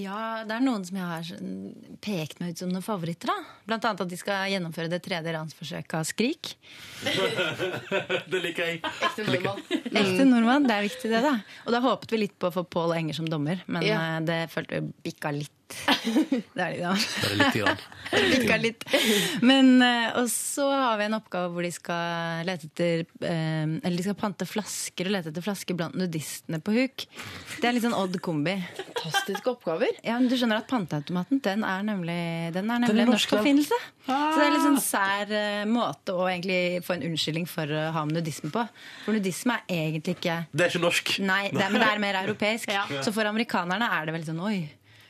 [SPEAKER 14] Ja, det er noen som jeg har sånn pekt meg ut som noen favoritter. da. Blant annet at de skal gjennomføre det tredje ransforsøket av Skrik.
[SPEAKER 2] Det liker jeg. Ekte nordmann.
[SPEAKER 14] Ekte nordmann, det er viktig det, da. Og da håpet vi litt på å få Pål Enger som dommer, men
[SPEAKER 2] Ja.
[SPEAKER 14] eh, det følte vi bikka litt. Det er litt, ja.
[SPEAKER 2] Bare litt grann.
[SPEAKER 14] Bikka litt. Men, eh, og så har vi en oppgave hvor de skal lete etter eh, Eller de skal pante flasker og lete etter flasker blant nudistene på huk. Det er litt sånn odd kombi.
[SPEAKER 6] Fantastiske oppgaver.
[SPEAKER 14] Ja, men Du skjønner at panteautomaten den er nemlig, den
[SPEAKER 6] Den
[SPEAKER 14] er nemlig
[SPEAKER 6] er
[SPEAKER 14] en
[SPEAKER 6] norsk,
[SPEAKER 14] norsk
[SPEAKER 6] ja.
[SPEAKER 14] oppfinnelse. Så det er litt
[SPEAKER 6] Ah.
[SPEAKER 14] sånn sær eh, måte å egentlig få en unnskyldning for å ha med nudisme på. For nudisme er egentlig ikke
[SPEAKER 2] Det er ikke norsk.
[SPEAKER 14] Nei, det er, men det er mer europeisk.
[SPEAKER 2] Ja.
[SPEAKER 14] Så for amerikanerne er det veldig sånn oi.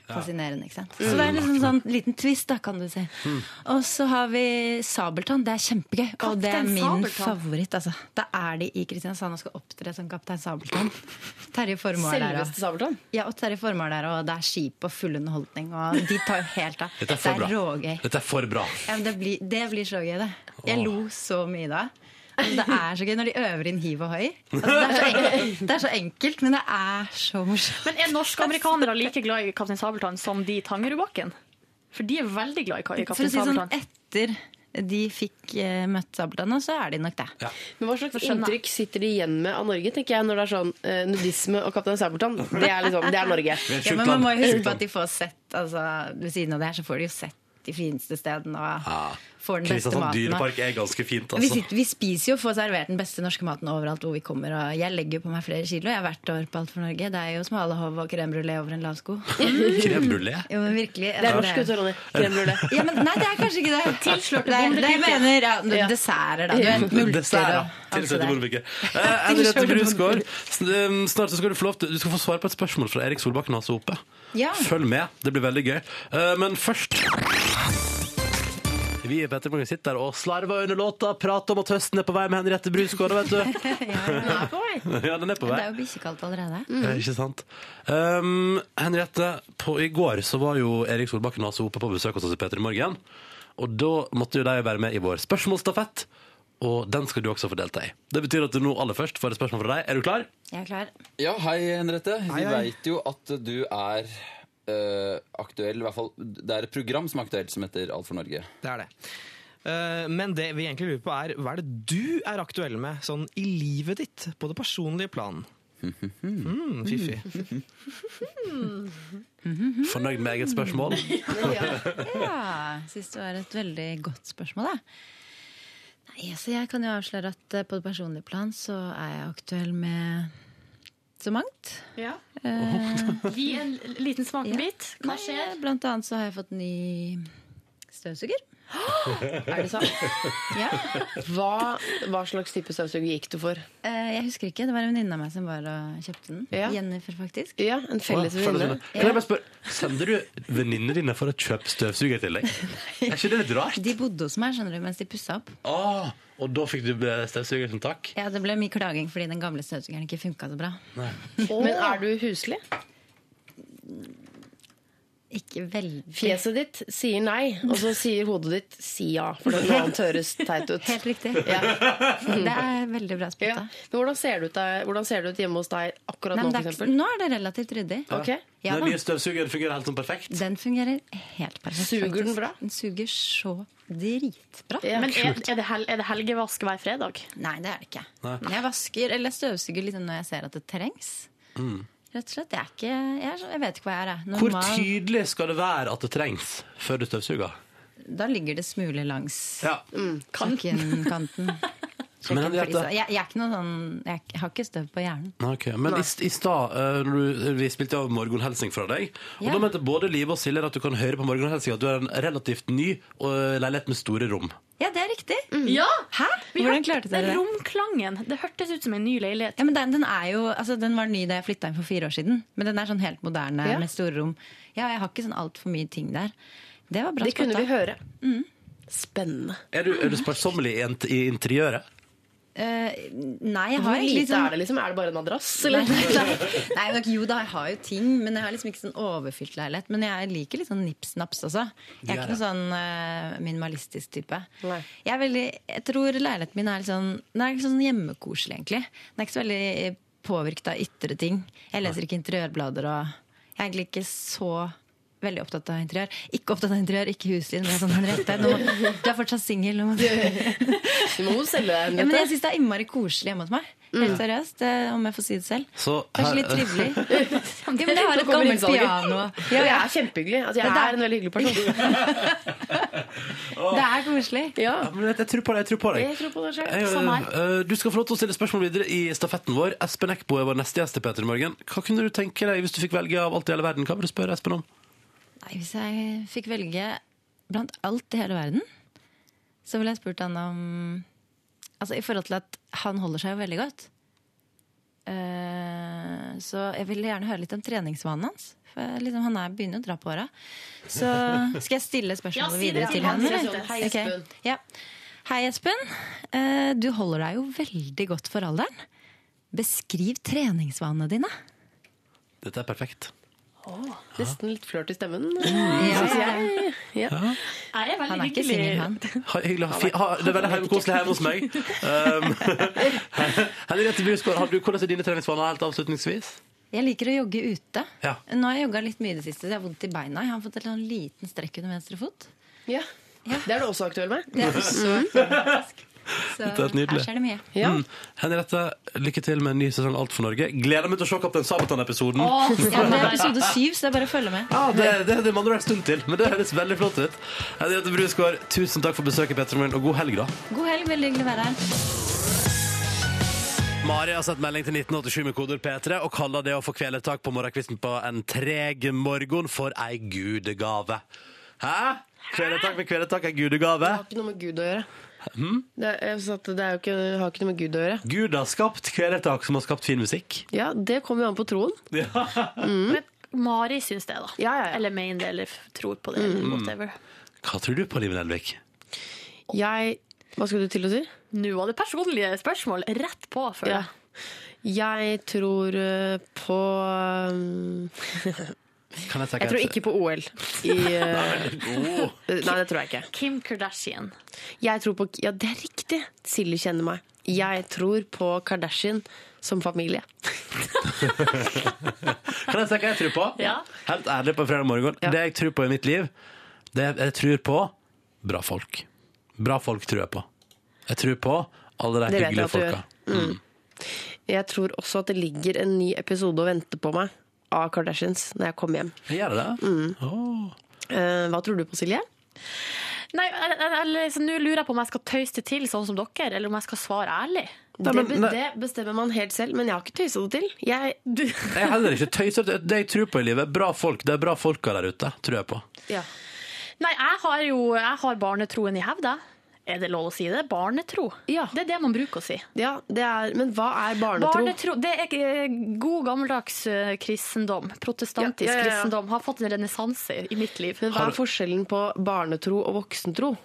[SPEAKER 2] Ja.
[SPEAKER 14] Fascinerende. ikke sant?
[SPEAKER 2] Mm.
[SPEAKER 14] Så det er liksom sånn liten twist, da, kan du si. Og så har vi Sabeltann. Det er kjempegøy. Og det er
[SPEAKER 1] Kaptein
[SPEAKER 14] min
[SPEAKER 1] Sabeltann.
[SPEAKER 14] favoritt. altså. Da er de i Kristiansand og skal opptre som Kaptein Sabeltann. Terje Formoe er der.
[SPEAKER 6] Selveste Sabeltann?
[SPEAKER 14] Ja, og Terje Formoe er der, og det er skip og full underholdning. Og de tar jo helt av.
[SPEAKER 2] Dette er for bra.
[SPEAKER 14] rågøy.
[SPEAKER 2] Dette er for bra.
[SPEAKER 14] Ja, men det, blir, det blir så gøy, det. Jeg lo så mye da. Altså, det er så gøy når de øver inn hiv og hoi. Altså, det, er så enkelt, det er så enkelt, men det er så morsomt.
[SPEAKER 4] Men er norske amerikanere like glad i Kaptein Sabeltann som de i Tangerudbakken? For de er veldig glad i ka- i
[SPEAKER 14] For å
[SPEAKER 4] Kaptein
[SPEAKER 14] si sånn,
[SPEAKER 4] Sabeltann.
[SPEAKER 14] etter de fikk eh, møtt Sabeltann, så er de nok det.
[SPEAKER 6] Men Hva slags
[SPEAKER 14] Skjønner.
[SPEAKER 6] inntrykk sitter de igjen med av Norge, tenker jeg, når det er sånn eh, nudisme og Kaptein Sabeltann? Det er liksom, det er Norge.
[SPEAKER 14] Ja, men man må jo huske på at de får sett altså, Ved siden av det her så får de jo sett de fineste stedene og får den beste
[SPEAKER 2] Kristiansand
[SPEAKER 14] maten. og-
[SPEAKER 2] sånn dyrepark er ganske fint,
[SPEAKER 14] vi,
[SPEAKER 2] altså.
[SPEAKER 14] sitter, vi spiser jo og får servert den beste norske maten overalt hvor vi kommer. Og jeg legger jo på meg flere kilo. Jeg har hvert år på Alt for Norge. Det er jo smalahove og crème brulé over en lav sko.
[SPEAKER 2] Crème brulé?
[SPEAKER 14] Jo, men virkelig.
[SPEAKER 2] Det er norsk,
[SPEAKER 14] det-
[SPEAKER 2] vet du, Ronny. Crème brulé.
[SPEAKER 14] Ja, men nei, det er kanskje ikke det.
[SPEAKER 2] Tilslørt
[SPEAKER 14] det, er- det jeg
[SPEAKER 2] bondepikke.
[SPEAKER 14] mener ja, desserter, da. Du vet, multer og alt det
[SPEAKER 2] Tilsett i
[SPEAKER 14] der.
[SPEAKER 2] bondebygget. Eh, Henriette Brusgaard, sn- eh, snart så skal du få lov til Du skal få svare på et spørsmål fra Erik Solbakken, altså oppe.
[SPEAKER 14] Ja.
[SPEAKER 2] Følg med, det blir veldig gøy. Eh, Men først vi i Petter Morgen sitter der og slarver under låta, prater om at høsten er på vei med Henriette Brusgaard, vet du. ja, den er på
[SPEAKER 14] Det
[SPEAKER 2] vei.
[SPEAKER 14] er jo bikkjekaldt allerede.
[SPEAKER 2] Eh, Ikke sant? Um, Henriette, på, i går så var jo Erik Solbakken altså oppe på besøk hos oss i Peter i morgen. Og da måtte jo de være med i vår spørsmålsstafett, og den skal du også få delta i. Det betyr at du nå aller først får et spørsmål fra deg. Er du klar?
[SPEAKER 14] Jeg er klar.
[SPEAKER 1] Ja, hei, Henriette.
[SPEAKER 2] Hei,
[SPEAKER 1] Vi
[SPEAKER 2] hei.
[SPEAKER 1] veit jo at du er eh, aktuell. I hvert fall, det er et program som er aktuelt, som heter Alt for Norge.
[SPEAKER 17] Det er det. Eh, Men det vi egentlig lurer på er, hva er det du er aktuell med sånn i livet ditt, på det personlige plan? Mm, fiffig.
[SPEAKER 14] Mm.
[SPEAKER 2] Fornøyd med eget spørsmål?
[SPEAKER 14] Ja, syns det var et veldig godt spørsmål, da. Nei, så jeg kan jo avsløre at eh, på det personlige plan så er jeg aktuell med så mangt.
[SPEAKER 4] Ja.
[SPEAKER 14] Eh,
[SPEAKER 4] Gi en liten smakebit. Hva
[SPEAKER 14] Nei,
[SPEAKER 4] skjer?
[SPEAKER 14] Blant annet så har jeg fått ny støvsuger.
[SPEAKER 6] Er det sant?
[SPEAKER 14] Ja.
[SPEAKER 6] Hva, hva slags type støvsuger gikk du for?
[SPEAKER 14] Eh, Jeg husker ikke, det var en venninne av meg som var og kjøpte den.
[SPEAKER 6] Ja.
[SPEAKER 14] Jennifer, faktisk.
[SPEAKER 6] Ja, en felles
[SPEAKER 2] Å,
[SPEAKER 6] venninne.
[SPEAKER 2] Kan jeg bare spørre, Sender du venninnene dine for å kjøpe støvsuger til deg? Er ikke det litt rart?
[SPEAKER 14] De bodde hos meg skjønner du, mens de pussa opp.
[SPEAKER 2] Ah, og da fikk du eh, støvsuger som takk?
[SPEAKER 14] Ja, Det ble mye klaging fordi den gamle støvsugeren ikke funka så bra.
[SPEAKER 2] Nei.
[SPEAKER 6] Men er du huslig?
[SPEAKER 14] Ikke veldig.
[SPEAKER 6] Fjeset ditt sier nei, og så sier hodet ditt si ja. For det noe annet høres teit ut.
[SPEAKER 14] Helt riktig. Det er veldig bra spotta.
[SPEAKER 6] Ja. Men hvordan ser, det ut der, hvordan ser det ut hjemme hos deg akkurat
[SPEAKER 14] Nei,
[SPEAKER 6] nå,
[SPEAKER 14] men
[SPEAKER 6] for
[SPEAKER 14] det er ikke-
[SPEAKER 6] eksempel?
[SPEAKER 14] nå er det relativt ryddig. Ja,
[SPEAKER 2] Den
[SPEAKER 14] da.
[SPEAKER 2] nye støvsugeren fungerer helt sånn perfekt?
[SPEAKER 14] Den fungerer helt perfekt.
[SPEAKER 6] Suger den
[SPEAKER 14] faktisk.
[SPEAKER 6] bra?
[SPEAKER 14] Den suger så dritbra.
[SPEAKER 4] Men er, er, det hel, er det helgevask hver fredag?
[SPEAKER 14] Nei, det er det ikke.
[SPEAKER 2] Nei.
[SPEAKER 14] Jeg vasker eller støvsuger liksom når jeg ser at det trengs.
[SPEAKER 2] Mm.
[SPEAKER 14] Rett og slett. Jeg, er ikke, jeg, er, så- jeg vet ikke hva jeg er. jeg.
[SPEAKER 2] Hvor
[SPEAKER 14] Normal-
[SPEAKER 2] tydelig skal det være at det trengs før du støvsuger?
[SPEAKER 14] Da ligger det smuler langs
[SPEAKER 2] Ja.
[SPEAKER 14] kjøkkenkanten.
[SPEAKER 2] Men
[SPEAKER 14] Fordi så-
[SPEAKER 2] Henriette,
[SPEAKER 14] Jeg, jeg er ikke noe sånn Jeg, jeg har ikke støv på hjernen.
[SPEAKER 2] Nei, ok. Men i, i stad eh, når du- vi spilte av morgenhelsing fra deg, og
[SPEAKER 14] Ja.
[SPEAKER 2] da mente både Live og Silje at du kan høre på morgenhelsing at du er en relativt ny og eh, leilighet med store rom.
[SPEAKER 14] Ja, det er riktig.
[SPEAKER 4] Ja!
[SPEAKER 14] Hæ?
[SPEAKER 4] Vi
[SPEAKER 14] Hvordan
[SPEAKER 4] hørte-
[SPEAKER 14] klarte dere det?
[SPEAKER 4] den Romklangen. Det hørtes ut som en ny leilighet.
[SPEAKER 14] Ja, men den, den, er jo, altså, den var ny da jeg flytta inn for fire år siden. Men den er sånn helt moderne
[SPEAKER 4] Ja.
[SPEAKER 14] med store rom. Ja, jeg har ikke sånn altfor mye ting der. Det var bra
[SPEAKER 6] Det kunne
[SPEAKER 14] spotta.
[SPEAKER 6] vi høre. Spennende.
[SPEAKER 2] Er du, er du sparsommelig i, int- i interiøret?
[SPEAKER 14] Eh, nei, jeg
[SPEAKER 6] Hvor
[SPEAKER 14] har
[SPEAKER 6] lite
[SPEAKER 14] egentlig sånn-
[SPEAKER 6] er det, liksom? Er det bare en madrass,
[SPEAKER 14] Nei,
[SPEAKER 6] eller?
[SPEAKER 14] nei, nei, nok, jo da, jeg har jo ting, men jeg har liksom ikke sånn overfylt leilighet. Men jeg liker litt sånn nips-naps også. Jeg er
[SPEAKER 6] Ja,
[SPEAKER 14] ikke
[SPEAKER 6] ja.
[SPEAKER 14] noen sånn eh, minimalistisk type. Jeg, er veldig, jeg tror leiligheten min er litt sånn, den er litt sånn hjemmekoselig, egentlig. Den er ikke så veldig eh, påvirket av ytre ting. Jeg leser ikke interiørblader og Jeg er egentlig ikke så veldig opptatt av interiør. Ikke opptatt av interiør, ikke huslig. Men jeg er sånn, Henriette, nå må, du er fortsatt singel. nå må du-
[SPEAKER 6] Du må jo selge deg,
[SPEAKER 14] ja, men jeg
[SPEAKER 6] Henriette.
[SPEAKER 14] syns det er innmari koselig hjemme hos meg.
[SPEAKER 6] Mm.
[SPEAKER 14] Helt seriøst, eh, om jeg får si det selv.
[SPEAKER 2] Så
[SPEAKER 14] Kanskje
[SPEAKER 2] her-
[SPEAKER 14] litt trivelig. ja, men jeg
[SPEAKER 6] Nå
[SPEAKER 14] har et
[SPEAKER 6] kommer
[SPEAKER 14] gammelt
[SPEAKER 6] innsalget.
[SPEAKER 14] piano.
[SPEAKER 6] Ja, jeg er kjempehyggelig. Altså, jeg
[SPEAKER 14] Det er-
[SPEAKER 6] er en veldig hyggelig person.
[SPEAKER 14] Det er koselig.
[SPEAKER 2] Ja, men jeg, jeg tror på deg. Jeg tror på deg.
[SPEAKER 6] Jeg tror på det
[SPEAKER 2] Jeg,
[SPEAKER 6] selv.
[SPEAKER 2] eh, eh, du skal få lov til å stille spørsmål videre i stafetten vår. Espen Eckbo er vår neste gjest i Peter i morgen. Hva kunne du tenke deg hvis du fikk velge av alt i hele verden? Hva vil du spørre Espen om?
[SPEAKER 14] Nei, hvis jeg fikk velge blant alt i hele verden, så ville jeg spurt han om Altså i forhold til at han holder seg jo veldig godt. Eh, så jeg ville gjerne høre litt om treningsvanen hans. For liksom, han er begynner å dra på åra. Så skal jeg stille
[SPEAKER 4] Ja,
[SPEAKER 14] spørsmålet
[SPEAKER 4] si det
[SPEAKER 14] videre
[SPEAKER 4] til
[SPEAKER 14] til
[SPEAKER 4] han,
[SPEAKER 14] han.
[SPEAKER 4] så jeg
[SPEAKER 14] eller?
[SPEAKER 4] skjønner. Hei, Espen.
[SPEAKER 14] Ok. Ja. Hei, Espen. Eh, du holder deg jo veldig godt for alderen. Beskriv treningsvanene dine.
[SPEAKER 2] Dette er perfekt.
[SPEAKER 6] Nesten litt flørt i stemmen.
[SPEAKER 14] Ja.
[SPEAKER 6] synes jeg. Ja.
[SPEAKER 4] Jeg er veldig
[SPEAKER 6] Han er ikke
[SPEAKER 4] hyggelig.
[SPEAKER 6] singel, han.
[SPEAKER 2] Ha, hyggelig, ha, fi, ha, det er veldig hjemmekoselig hjemme hos meg. Um, Henriette Brusgaard, har du- hvordan er dine treningsvaner helt avslutningsvis?
[SPEAKER 14] Jeg liker å jogge ute.
[SPEAKER 2] Ja.
[SPEAKER 14] Nå har jeg jogga litt mye i det siste, så jeg har vondt i beina. Jeg har fått en sånn liten strekk under venstre fot.
[SPEAKER 6] Ja. Det er du også aktuell med?
[SPEAKER 14] Det er så Så
[SPEAKER 2] Dette er nydelig.
[SPEAKER 14] her skjer det mye.
[SPEAKER 2] Mm. Henriette, lykke til med en ny sesong Alt for Norge. Gleder meg til å se Kaptein Sabeltann-episoden.
[SPEAKER 14] Åh, ja, det er episode syv, så det er bare å følge med.
[SPEAKER 2] Ja, det, det, det må det være en stund til, men det høres veldig flott ut. Henriette Brusgaard, tusen takk for besøket, Petter Morgen, og god helg, da.
[SPEAKER 14] God helg, veldig hyggelig å være her.
[SPEAKER 2] Mari har sett melding til 1987 med koder P3 og kaller det å få kvelertak på morgenkvisten på en treg morgen for ei gudegave. Hæ? Kvelertak med kvelertak er gudegave?
[SPEAKER 6] har ikke noe med Gud å gjøre.
[SPEAKER 2] Hm?
[SPEAKER 6] Det, er- jeg sa at det er jo ikke, har ikke noe med Gud å gjøre.
[SPEAKER 2] Gud har skapt kvelertak som har skapt fin musikk.
[SPEAKER 6] Ja, det kommer jo an på troen.
[SPEAKER 4] Men Mari syns det, da. Eller mener det, eller tror på det. Eller
[SPEAKER 2] Mm.
[SPEAKER 4] whatever.
[SPEAKER 2] Hva tror du på, Liv Nelvik?
[SPEAKER 6] Jeg Hva skulle du til å si?
[SPEAKER 4] Nå var det personlige spørsmål rett på, føler
[SPEAKER 6] Ja.
[SPEAKER 4] jeg.
[SPEAKER 6] Jeg tror eh, på um,
[SPEAKER 2] Kan jeg ta
[SPEAKER 6] Jeg tror ikke på OL. I, eh, Nei, det tror jeg ikke.
[SPEAKER 4] Kim Kardashian.
[SPEAKER 6] Jeg tror på Ja, det er riktig! Silje kjenner meg. Jeg tror på Kardashian som familie.
[SPEAKER 2] Kan jeg si hva jeg tror på? Helt ærlig på en fredag morgen. Det jeg tror på i mitt liv, det er- jeg tror på bra folk. Bra folk tror jeg på. Jeg tror på alle de
[SPEAKER 6] Det vet jeg
[SPEAKER 2] hyggelige
[SPEAKER 6] at du
[SPEAKER 2] folka.
[SPEAKER 6] gjør. Mm. Jeg tror også at det ligger en ny episode og venter på meg av Kardashians når jeg kommer hjem.
[SPEAKER 2] Jeg gjør det.
[SPEAKER 6] Mm. Eh, hva tror du på, Silje?
[SPEAKER 4] Nei, eller- eller så Nå lurer jeg på om jeg skal tøyse det til sånn som dere, eller om jeg skal svare ærlig.
[SPEAKER 6] Det, be- det bestemmer man helt selv, men jeg har ikke tøysa det til. Jeg,
[SPEAKER 2] Jeg er heller ikke tøysete. Det jeg tror på i livet, er bra folk. Det er bra folka der ute, tror jeg på.
[SPEAKER 4] Nei, jeg har jo jeg har barnetroen i hevd, jeg. Er det lov å si det? Barnetro. Det er det man bruker å si.
[SPEAKER 6] ja, det er, men hva er barnetro?
[SPEAKER 4] Barnetro, Det er eh, god gammeldags eh, kristendom. Protestantisk
[SPEAKER 6] Ja, ja, ja, ja.
[SPEAKER 4] kristendom har fått en renessanse i mitt liv.
[SPEAKER 6] Men hva er forskjellen på barnetro og voksentro?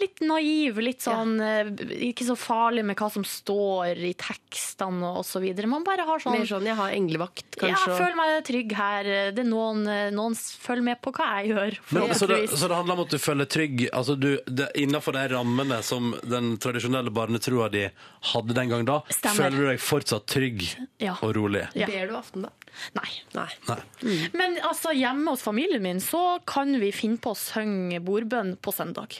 [SPEAKER 4] Litt naiv, litt sånn eh, Ikke så farlig med hva som står i tekstene og så videre. Man bare har sånn
[SPEAKER 6] Mer sånn jeg har englevakt,
[SPEAKER 4] Ja,
[SPEAKER 6] kanskje.
[SPEAKER 4] jeg føler meg trygg her. Det er noen, eh, noen s- følger med på hva jeg
[SPEAKER 2] Men,
[SPEAKER 4] gjør.
[SPEAKER 2] så, det,
[SPEAKER 4] forhåpentligvis.
[SPEAKER 2] så det handler om at du føler trygg altså du, det, innenfor de rammene som den tradisjonelle barnetroa di hadde den gang da?
[SPEAKER 4] Stemmer.
[SPEAKER 2] Føler du deg fortsatt trygg
[SPEAKER 4] Ja.
[SPEAKER 2] og rolig?
[SPEAKER 6] Ber du aften, da?
[SPEAKER 4] Nei.
[SPEAKER 6] Nei.
[SPEAKER 2] Nei.
[SPEAKER 4] Men altså, hjemme hos familien min så kan vi finne på å synge bordbønn på søndag.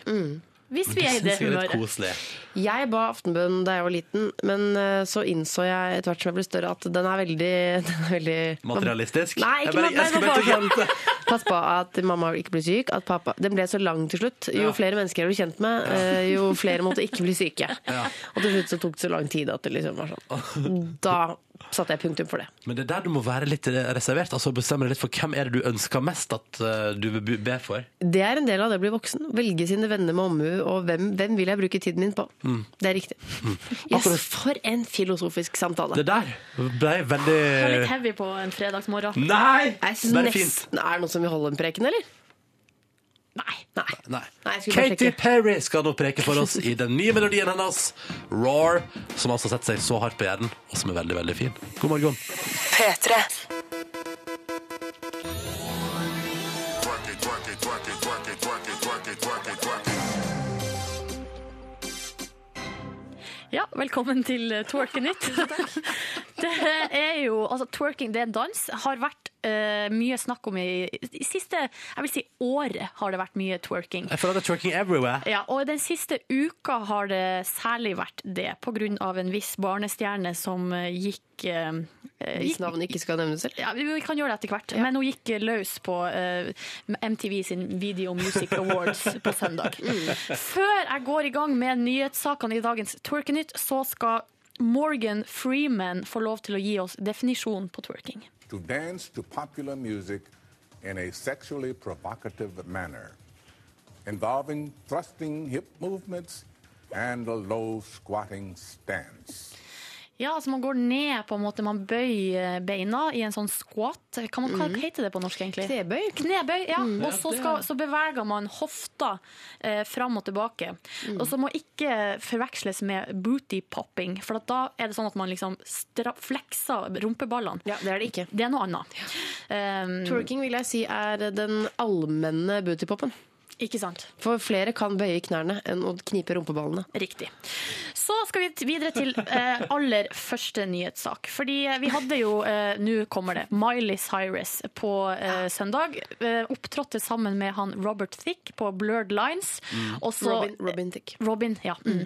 [SPEAKER 4] Hvis vi er i det humøret.
[SPEAKER 2] koselig.
[SPEAKER 6] Jeg ba aftenbønn da jeg var liten, men eh, så innså jeg etter hvert som jeg ble større at den er veldig, den er veldig
[SPEAKER 2] Materialistisk?
[SPEAKER 6] Nei,
[SPEAKER 2] Jeg
[SPEAKER 6] ikke
[SPEAKER 2] bare-
[SPEAKER 6] mat- nei,
[SPEAKER 2] jeg skulle
[SPEAKER 6] det var
[SPEAKER 2] bare
[SPEAKER 6] bare sånn. Pass på at mamma ikke blir syk. At pappa, den ble så lang til slutt. Jo
[SPEAKER 2] Ja.
[SPEAKER 6] flere mennesker jeg ble kjent med, eh, jo flere måtte ikke bli syke.
[SPEAKER 2] Ja.
[SPEAKER 6] Og til slutt så tok det så lang tid at det liksom var sånn. Da satte jeg punktum for det.
[SPEAKER 2] Men det er der du må være litt reservert. altså Bestemme deg litt for hvem er det du ønsker mest at eh, du vil be for.
[SPEAKER 6] Det er en del av det å bli voksen. Velge sine venner med omhu, og hvem, hvem vil jeg bruke tiden min på?
[SPEAKER 2] Mm.
[SPEAKER 6] Det er riktig. Yes, for en filosofisk samtale.
[SPEAKER 2] Det der ble veldig
[SPEAKER 4] Det er litt heavy på en fredagsmorgen.
[SPEAKER 2] Eh, Nei!
[SPEAKER 6] Jeg synes
[SPEAKER 2] Bare
[SPEAKER 6] nesten, Er det noen som vil holde en preken, eller?
[SPEAKER 2] Nei.
[SPEAKER 6] Nei, jeg skulle bare
[SPEAKER 2] Katy
[SPEAKER 6] sjekke.
[SPEAKER 2] Perry skal nå preke for oss i den nye melodien hennes, 'Roar', som altså setter seg så hardt på hjernen, og som er veldig, veldig fin. God morgen.
[SPEAKER 9] P3.
[SPEAKER 4] Ja, velkommen til eh, Twerke nytt. Det er jo, altså Twerking det er en dans. Har vært eh, mye snakk om i, i siste jeg vil si året har det vært mye twerking.
[SPEAKER 2] Jeg føler at det er twerking everywhere.
[SPEAKER 4] Ja, og den siste uka har det særlig vært det, på grunn av en viss barnestjerne som eh, gikk eh, eh,
[SPEAKER 6] Hvis
[SPEAKER 4] gikk-
[SPEAKER 6] navnet ikke skal nevnes selv.
[SPEAKER 4] Ja, vi vi kan gjøre det etter hvert, men hun gikk eh, løs på eh, MTV sin Video Music Awards på søndag. Før jeg går i gang med nyhetssakene i dagens Twerkenytt, så skal Morgan Freeman få lov til å gi oss definisjonen på twerking.
[SPEAKER 18] to dance to popular music in a sexually provocative manner, involving thrusting hip movements and a low squatting stance.
[SPEAKER 4] Ja, altså man går ned på en måte, man bøyer beina i en sånn squat. Kan man, Hva heter det på norsk egentlig?
[SPEAKER 6] Mm. Knebøy.
[SPEAKER 4] Knebøy, ja.
[SPEAKER 6] Mm.
[SPEAKER 4] Og så, skal, så beveger man hofta eh, fram og tilbake.
[SPEAKER 6] Mm.
[SPEAKER 4] Og så må ikke forveksles med booty popping, for at da er det sånn at man liksom stra flekser rumpeballene.
[SPEAKER 6] Ja, det er det ikke.
[SPEAKER 4] Det er noe annet. Um,
[SPEAKER 6] Twerking vil jeg si er den allmenne bootypopen.
[SPEAKER 4] Ikke sant.
[SPEAKER 6] For flere kan bøye knærne enn å knipe rumpeballene.
[SPEAKER 4] Riktig. Så skal vi t- videre til eh, aller første nyhetssak. Fordi eh, vi hadde jo, eh, nå kommer det, Miley Cyrus på eh, søndag. Eh, opptrådte sammen med han Robert Thicke på Blurred Lines.
[SPEAKER 8] Mm.
[SPEAKER 4] Og så-
[SPEAKER 8] Robin- Robin Thicke.
[SPEAKER 4] Robin, ja. Mm.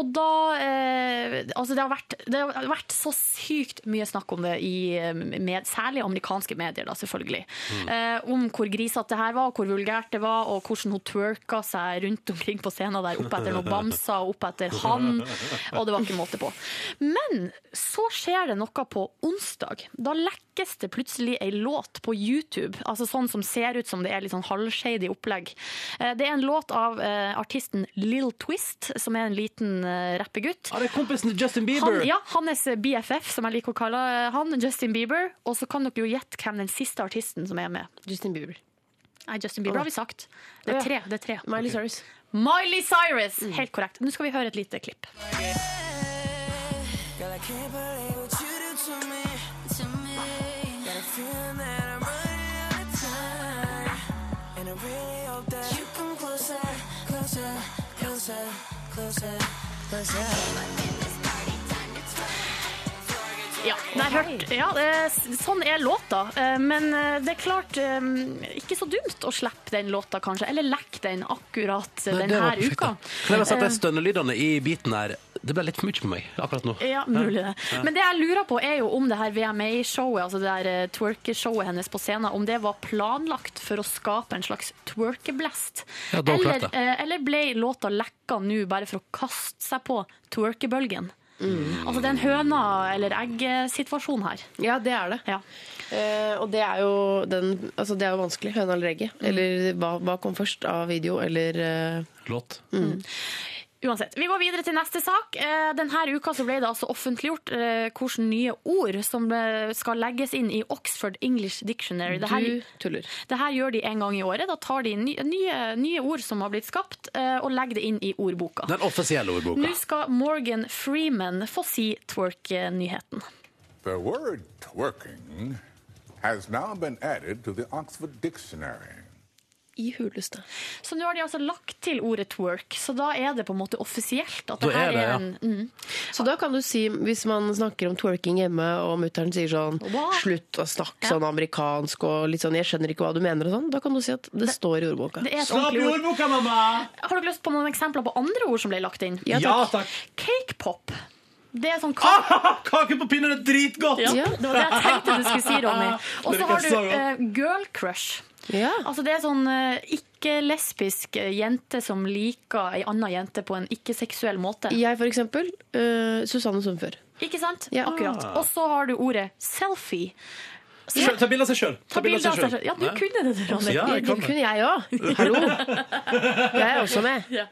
[SPEAKER 4] Og da eh, Altså, det har, vært, det har vært så sykt mye snakk om det i eh, med, Særlig amerikanske medier, da, selvfølgelig.
[SPEAKER 19] Mm.
[SPEAKER 4] Eh, om hvor grisete det her var, og hvor vulgært det var, og hvordan hun twerka seg rundt omkring på scenen der oppe etter noen bamser, og oppe etter han. Og det var ikke måte på. Men så skjer det noe på onsdag. Da lekkes det plutselig ei låt på YouTube. Altså sånn som ser ut som det er litt sånn halvshady opplegg. Eh, Det er en låt av eh, artisten Lil Twist, som er en liten eh, rappegutt.
[SPEAKER 2] Ja, det er kompisen til Justin Bieber.
[SPEAKER 4] Han, ja, hans BFF, som jeg liker å kalle eh, han, Justin Bieber. Og så kan dere jo gjette hvem den siste artisten som er med.
[SPEAKER 8] Justin Bieber.
[SPEAKER 4] Nei, Justin Bieber har vi sagt. Det
[SPEAKER 8] Å, ja.
[SPEAKER 4] er tre. Det er tre.
[SPEAKER 8] Miley Cyrus.
[SPEAKER 4] Miley Cyrus! Helt korrekt. Nå skal vi høre et lite klipp.
[SPEAKER 19] Girl, I can't believe what you do to me, to me. Got a feeling that I'm running out of time, and I really hope that you come closer, closer, closer, closer, closer.
[SPEAKER 4] Ja, der hørt, ja eh, s- sånn er låta. Eh, Men eh, det er klart eh, ikke så dumt å slippe den låta, kanskje. Eller lekke den akkurat
[SPEAKER 2] Nei, det
[SPEAKER 4] denne
[SPEAKER 2] var perfekt,
[SPEAKER 4] uka.
[SPEAKER 2] da. Kan jeg bare si at de
[SPEAKER 4] Eh,
[SPEAKER 2] stønnelydene i biten her Det ble litt for mye for meg akkurat nå.
[SPEAKER 4] Ja, mulig det. Men det jeg lurer på er jo om det her VMA-showet, altså det der eh, twerkeshowet hennes på scenen, om det var planlagt for å skape en slags twerkeblast.
[SPEAKER 2] Ja, det var klart det.
[SPEAKER 4] eller, eh, eller ble låta lekka nå bare for å kaste seg på twerkebølgen?
[SPEAKER 2] Mm.
[SPEAKER 4] Altså det er en høna- eller egg-situasjon her.
[SPEAKER 8] Ja, det er det. Eh, og det er jo, den, altså det er jo vanskelig. Høna eller egget. Eller hva, hva kom først av video eller eh,
[SPEAKER 2] Låt.
[SPEAKER 8] Mm.
[SPEAKER 4] Uansett, Vi går videre til neste sak. Eh, Denne uka så ble det altså offentliggjort eh, hvilke nye ord som eh, skal legges inn i Oxford English Dictionary. Det her-
[SPEAKER 8] Du tuller.
[SPEAKER 4] det her gjør de en gang i året. Da tar de ny- nye, nye ord som har blitt skapt, eh, og legger det inn i ordboka.
[SPEAKER 2] Den offisielle ordboka.
[SPEAKER 4] Nå skal Morgan Freeman få si twerk-nyheten.
[SPEAKER 18] The word twerking has now been added to the Oxford Dictionary.
[SPEAKER 8] I huleste.
[SPEAKER 4] Så nå har de altså lagt til ordet twerk, så da er det på en måte offisielt at
[SPEAKER 8] Da
[SPEAKER 4] det her
[SPEAKER 8] er det,
[SPEAKER 4] er
[SPEAKER 8] ja.
[SPEAKER 4] en mm.
[SPEAKER 8] Så da kan du si, hvis man snakker om twerking hjemme, og mutter'n sier sånn
[SPEAKER 4] Hva?
[SPEAKER 8] 'slutt å snakke sånn amerikansk' og litt sånn 'jeg skjønner ikke hva du mener' og sånn, da kan du si at det, står i ordboka.
[SPEAKER 4] det er et Slapp i ordentlig ord. ordboka, Har dere lyst på noen eksempler på andre ord som ble lagt inn?
[SPEAKER 8] Ja, Ah, takk. Ja,
[SPEAKER 4] Cakepop. Det er sånn kake
[SPEAKER 2] Kake på pinnen er dritgodt!
[SPEAKER 4] Ja, det var det jeg tenkte du skulle si, Ronny. Og
[SPEAKER 2] Det
[SPEAKER 4] så
[SPEAKER 2] liker
[SPEAKER 4] har
[SPEAKER 2] jeg
[SPEAKER 4] du
[SPEAKER 2] så godt.
[SPEAKER 4] eh, girl crush. Altså Det er sånn eh, ikke-lesbisk eh, jente som liker ei anna jente på en ikke-seksuell måte.
[SPEAKER 8] Jeg, for eksempel. eh, Susanne Sundfør.
[SPEAKER 4] Ikke sant?
[SPEAKER 8] Ja.
[SPEAKER 4] Akkurat.
[SPEAKER 8] Ah.
[SPEAKER 4] Og så har du ordet selfie.
[SPEAKER 2] Selv- Ta bilde av seg sjøl.
[SPEAKER 4] Ta bilde av seg selv. Ja, du kunne det, Ronny.
[SPEAKER 2] Ja, jeg kan det.
[SPEAKER 8] jeg òg. Hallo. Jeg er også med.
[SPEAKER 4] Ja.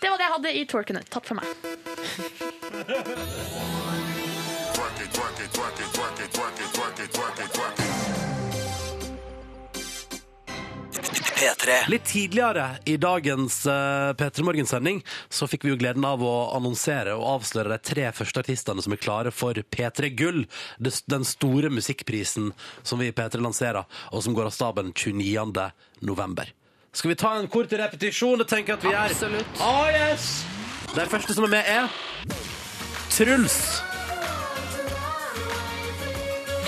[SPEAKER 4] Det var det jeg hadde i twerkene. Takk for meg.
[SPEAKER 15] Twerk it, twerk it, twerk it, twerk it, twerk it, twerk it, twerk it, twerk it.
[SPEAKER 2] Litt tidligere i dagens eh, P3 Morgen-sending så fikk vi jo gleden av å annonsere og avsløre de tre første artistene som er klare for P3 Gull, det, den store musikkprisen som vi i P3 lanserer, og som går av staben 29. november. Skal vi ta en kort repetisjon? Det tenker jeg at vi gjør.
[SPEAKER 15] Absolutt.
[SPEAKER 2] Ah, yes! De første som er med, er Truls.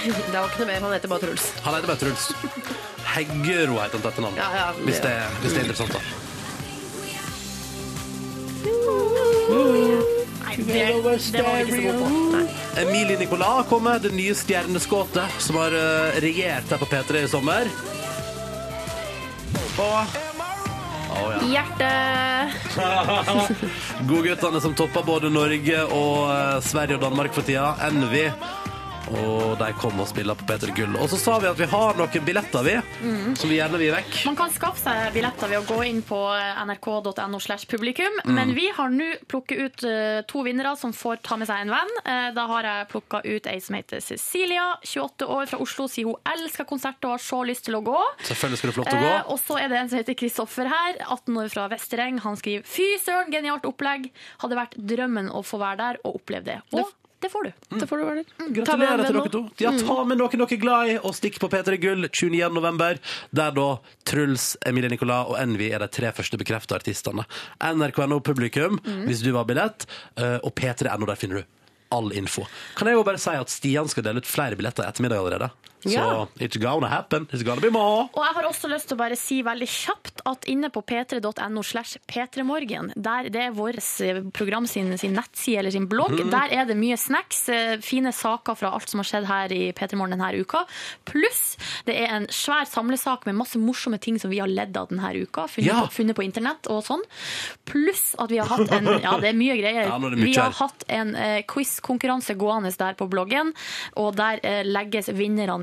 [SPEAKER 8] Det var ikke noe mer. Han heter bare Truls.
[SPEAKER 2] Han heter bare Truls. Heggero heter han til etternavn.
[SPEAKER 8] Ja, ja, det-
[SPEAKER 2] hvis, det er- hvis det er interessant, da.
[SPEAKER 4] Nei, det, det var vi ikke så gode på.
[SPEAKER 2] Emilie Nicolas kommer, det nye stjerneskåtet som har eh, regjert her på P3 i sommer. Og Å, ja.
[SPEAKER 8] Hjertet.
[SPEAKER 2] Godguttene som topper både Norge og eh, Sverige og Danmark for tida. Envy. Og de kom og spiller på P3 Gull. Og så sa vi at vi har noen billetter, vi.
[SPEAKER 4] Mm.
[SPEAKER 2] Som vi gjerne vil vekk.
[SPEAKER 4] Man kan skaffe seg billetter ved å gå inn på eh, nrk.no slash publikum,
[SPEAKER 2] Mm.
[SPEAKER 4] men vi har nå plukket ut eh, to vinnere som får ta med seg en venn. Eh, Da har jeg plukka ut ei som heter Cecilia, 28 år fra Oslo, sier hun elsker konserter og har så lyst til å gå.
[SPEAKER 2] Selvfølgelig skal du få lov til å gå.
[SPEAKER 4] Eh, og så er det en som heter Kristoffer her, 18 år fra Vestereng. Han skriver Fy søren, genialt opplegg. Hadde vært drømmen å få være der og oppleve det. Og Det får du.
[SPEAKER 6] Det får du, Werner.
[SPEAKER 2] Gratulerer til dere to. Ja, ta med noen dere er glad i, og stikk på P3 Gull 29. november, der da Truls, Emilie Nicolas og Envy er de tre første bekrefta artistene. NRK.no publikum, hvis du vil ha billett, eh, og P3.no, der finner du all info. Kan jeg jo bare si at Stian skal dele ut flere billetter i ettermiddag allerede.
[SPEAKER 4] Ja.
[SPEAKER 2] Så it's gonna happen. It's gonna be more.
[SPEAKER 4] Og jeg har også lyst til å bare si veldig kjapt at inne på p3.no slash p3morgen, der det er vår eh, program sin, sin nettside eller sin blogg,
[SPEAKER 14] Mhm.
[SPEAKER 4] der er det mye snacks, eh, fine saker fra alt som har skjedd her i P3morgen denne uka. Pluss det er en svær samlesak med masse morsomme ting som vi har ledd av denne uka, funnet,
[SPEAKER 2] Ja.
[SPEAKER 4] på, funnet på internett og sånn. Pluss at vi har hatt en Ja, det er mye greier.
[SPEAKER 2] Ja, nå er det mye
[SPEAKER 4] vi har
[SPEAKER 2] her.
[SPEAKER 4] hatt en eh, quiz-konkurranse gående der på bloggen, og der eh, legges vinnerne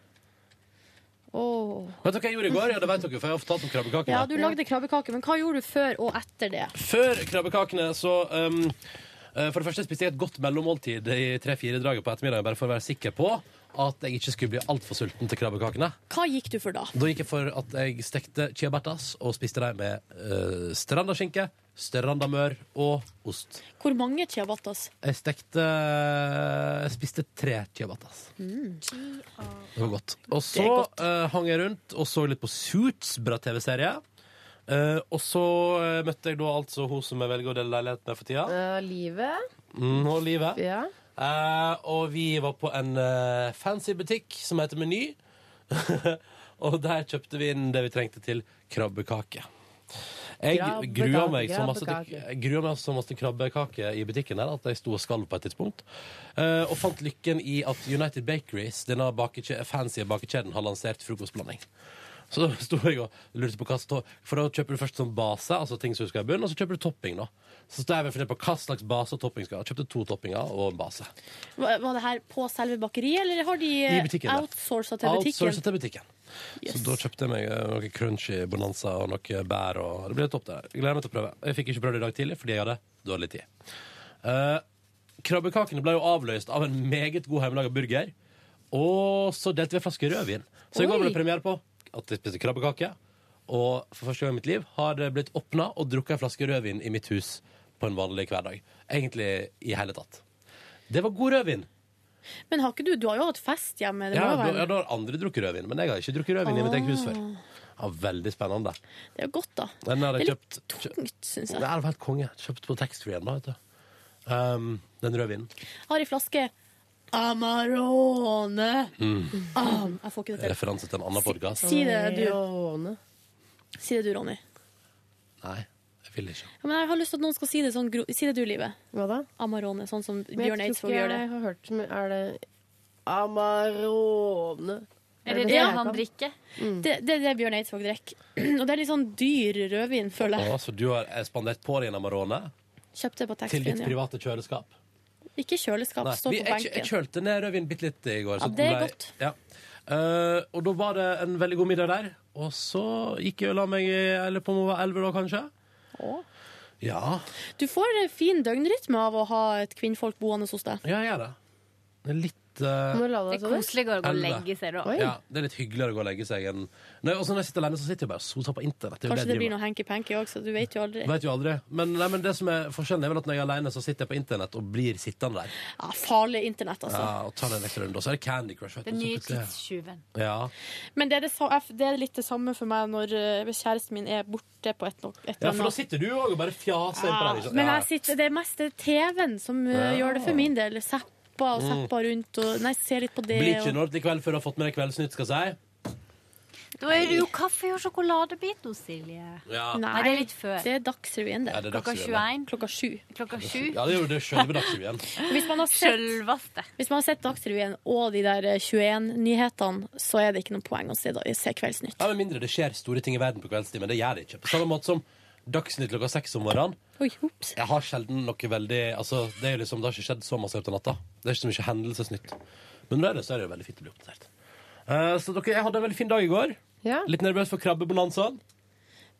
[SPEAKER 7] Åh.
[SPEAKER 2] Vet dere hva jeg gjorde i går? Ja, det vet dere, for jeg har fortalt om krabbekakene.
[SPEAKER 7] Ja, du lagde krabbekake, men hva gjorde du før og etter det?
[SPEAKER 2] Før krabbekakene så um, eh, For det første spiste jeg et godt mellommåltid i tre-fire draget på ettermiddagen, bare for å være sikker på at jeg ikke skulle bli altfor sulten til krabbekakene.
[SPEAKER 7] Hva gikk du for da?
[SPEAKER 2] Da gikk jeg for at jeg stekte chiabertas og spiste dem med uh, strandaskinke, strandamør og ost.
[SPEAKER 7] Hvor mange ciabattas?
[SPEAKER 2] Jeg stekte eh, Jeg spiste tre chiabertas. Mm. Det var godt. Og så eh, hang jeg rundt og så litt på Suits, bra TV-serie. Eh, og så eh, møtte jeg da altså hun som jeg velger å dele leilighet med for tida.
[SPEAKER 8] Eh, livet?
[SPEAKER 2] Mm, og livet.
[SPEAKER 8] Ja.
[SPEAKER 2] Eh, og vi var på en eh, fancy butikk som heter Meny. og der kjøpte vi inn det vi trengte til krabbekake. Jeg
[SPEAKER 15] Krabbekake,
[SPEAKER 2] grua meg så masse til,
[SPEAKER 15] krabbekake.
[SPEAKER 2] jeg grua meg så masse til krabbekake i butikken der at jeg sto og skalv på et tidspunkt. Eh, og fant lykken i at United Bakeries, denne bakekje, fancy bakekjeden, har lansert frokostblanding. Så da sto jeg og lurte på hva som to- For da kjøper du først sånn base, altså ting som du skal ha i bunnen, og så kjøper du topping, da. Så står jeg og fordeler på hva slags base og topping skal jeg ha. Kjøpte to toppinger og en base.
[SPEAKER 7] Var var det her på selve bakeriet, eller har de
[SPEAKER 2] I butikken, ja.
[SPEAKER 7] outsourca til butikken?
[SPEAKER 2] Outsourcet til butikken. Så da kjøpte jeg meg eh, noe crunchy bonanza og noe bær. Og det ble topp der. Jeg gleder meg til å prøve. Jeg fikk ikke prøvd det i dag tidlig fordi jeg hadde dårlig tid. Eh, krabbekakene ble jo avløst av en meget god hjemmelaga burger. Og så delte vi en flaske rødvin. Så i går
[SPEAKER 15] Oi.
[SPEAKER 2] ble det premiere på at jeg spiste krabbekake. Og for første gang i mitt liv har det blitt åpna og drukket en flaske rødvin i mitt hus på en vanlig hverdag. Egentlig i hele tatt. Det var god rødvin.
[SPEAKER 7] Men har ikke du, du har jo hatt fest hjemme. Det,
[SPEAKER 2] Ja,
[SPEAKER 7] må jo
[SPEAKER 2] da,
[SPEAKER 7] være-
[SPEAKER 2] ja, da har andre drukket rødvin, men jeg har ikke drukket rødvin i mitt eget hus før. Ja, veldig spennende.
[SPEAKER 7] det er jo godt, da.
[SPEAKER 2] Den har
[SPEAKER 7] Det
[SPEAKER 2] jeg
[SPEAKER 7] er
[SPEAKER 2] kjøpt, kjøpt
[SPEAKER 7] Tungt, synes
[SPEAKER 2] Det
[SPEAKER 7] jeg.
[SPEAKER 2] er helt konge. Kjøpt på taxfree-en, da, vet du. Um, den rødvinen.
[SPEAKER 7] Har ei flaske Amarone.
[SPEAKER 2] Mm.
[SPEAKER 7] Am. Jeg får ikke det til.
[SPEAKER 2] Referanse til en annen podkast.
[SPEAKER 7] Si det, du. Si det du, Ronny.
[SPEAKER 2] Nei, jeg vil ikke.
[SPEAKER 7] Ja, men jeg har lyst til at noen skal si det sånn. gro- Si det du, Livet.
[SPEAKER 8] Hva da?
[SPEAKER 7] Amarone, sånn som
[SPEAKER 8] Men jeg
[SPEAKER 7] Bjørn
[SPEAKER 8] tror
[SPEAKER 7] Eidsvåg
[SPEAKER 8] ikke
[SPEAKER 7] gjør det.
[SPEAKER 8] Jeg har hørt så mye Er det Amarone?
[SPEAKER 7] Er det det han drikker?
[SPEAKER 8] Mm.
[SPEAKER 7] Det, det er det Bjørn Eidsvåg drikker. Og det er litt sånn dyr rødvin, føler
[SPEAKER 2] Å,
[SPEAKER 7] jeg.
[SPEAKER 2] så du har eh, spandert på deg en Amarone
[SPEAKER 7] Kjøpte på
[SPEAKER 2] til ditt
[SPEAKER 7] taxfree. Ja.
[SPEAKER 2] private kjøleskap?
[SPEAKER 7] Ikke kjøleskap,
[SPEAKER 2] Nei,
[SPEAKER 7] stå
[SPEAKER 2] vi-
[SPEAKER 7] på
[SPEAKER 2] jeg, jeg
[SPEAKER 7] benken.
[SPEAKER 2] kjølte ned rødvin bitte litt i
[SPEAKER 7] Ja,
[SPEAKER 2] går. så
[SPEAKER 7] det er
[SPEAKER 2] ble-
[SPEAKER 7] godt.
[SPEAKER 2] Ja. Eh, og da var det en veldig god middag der. Og så gikk jeg og la meg i eller på om jeg var elleve, da kanskje.
[SPEAKER 7] Å.
[SPEAKER 2] Ja,
[SPEAKER 7] Du får en fin døgnrytme av å ha et kvinnfolk boende hos deg.
[SPEAKER 2] ja, jeg gjør det. Det er litt eh,
[SPEAKER 8] Det er
[SPEAKER 7] koseligere
[SPEAKER 2] å gå og legge
[SPEAKER 7] seg
[SPEAKER 2] Ja, det er litt hyggeligere å gå og legge seg enn Nei, også når jeg sitter alene, så sitter jeg bare og soser på internett.
[SPEAKER 7] Kanskje det blir noe hanky-panky òg, så du vet jo aldri.
[SPEAKER 2] Vet jo aldri. Men, nei, men det som er forskjellen, er vel at når jeg er alene, så sitter jeg på internett og blir sittende der.
[SPEAKER 7] Ja, farlig internett, altså.
[SPEAKER 2] Ja, og tar en ekstra runde. Og så er det Candy Crush. vet du, så plutselig- Ja.
[SPEAKER 7] Men det er, det, sa- jeg- det er litt det samme for meg når eh, hvis kjæresten min er borte på et, no- et eller
[SPEAKER 2] ja, for da
[SPEAKER 7] annet.
[SPEAKER 2] sitter du òg og bare fjaser inn på
[SPEAKER 7] Ja,
[SPEAKER 2] der. ikke sant?
[SPEAKER 7] men
[SPEAKER 2] Ja.
[SPEAKER 7] jeg sitter, det er mest det er TV-en som eh,
[SPEAKER 2] Ja.
[SPEAKER 7] gjør det for min del. Zappa og
[SPEAKER 2] Mm.
[SPEAKER 7] zappa rundt og Nei, ser litt på det.
[SPEAKER 2] Blir ikke
[SPEAKER 7] og-
[SPEAKER 2] nådd likevel før du har fått med deg Kveldsnytt, skal jeg si.
[SPEAKER 20] Da er det jo kaffe og sjokoladebit hos Silje.
[SPEAKER 2] Ja.
[SPEAKER 20] Nei, det er litt før.
[SPEAKER 7] Det er Dagsrevyen, det.
[SPEAKER 2] Ja, det er
[SPEAKER 20] Klokka
[SPEAKER 2] Dagsrevyen,
[SPEAKER 20] 21.
[SPEAKER 7] Klokka 7.
[SPEAKER 20] Klokka 7.
[SPEAKER 2] Ja, det er jo det sjølve Dagsrevyen.
[SPEAKER 7] Hvis man har sett, hvis man har sett Dagsrevyen og de der eh, 21-nyhetene, så er det ikke noe poeng å se, da- se Kveldsnytt.
[SPEAKER 2] Ja, med mindre det skjer store ting i verden på kveldstid, men det gjør det ikke. På samme måte som Dagsnytt klokka seks om morgenen.
[SPEAKER 7] Oi, ops.
[SPEAKER 2] Jeg har sjelden noe veldig altså, det, er jo liksom, det har ikke skjedd så masse i løpet av natta. Det er ikke så mye hendelsesnytt. Men når det er det, så er det jo veldig fint å bli oppdatert. Eh, så dere, jeg hadde en veldig fin dag i går. Litt nervøs for krabbebonanzaen.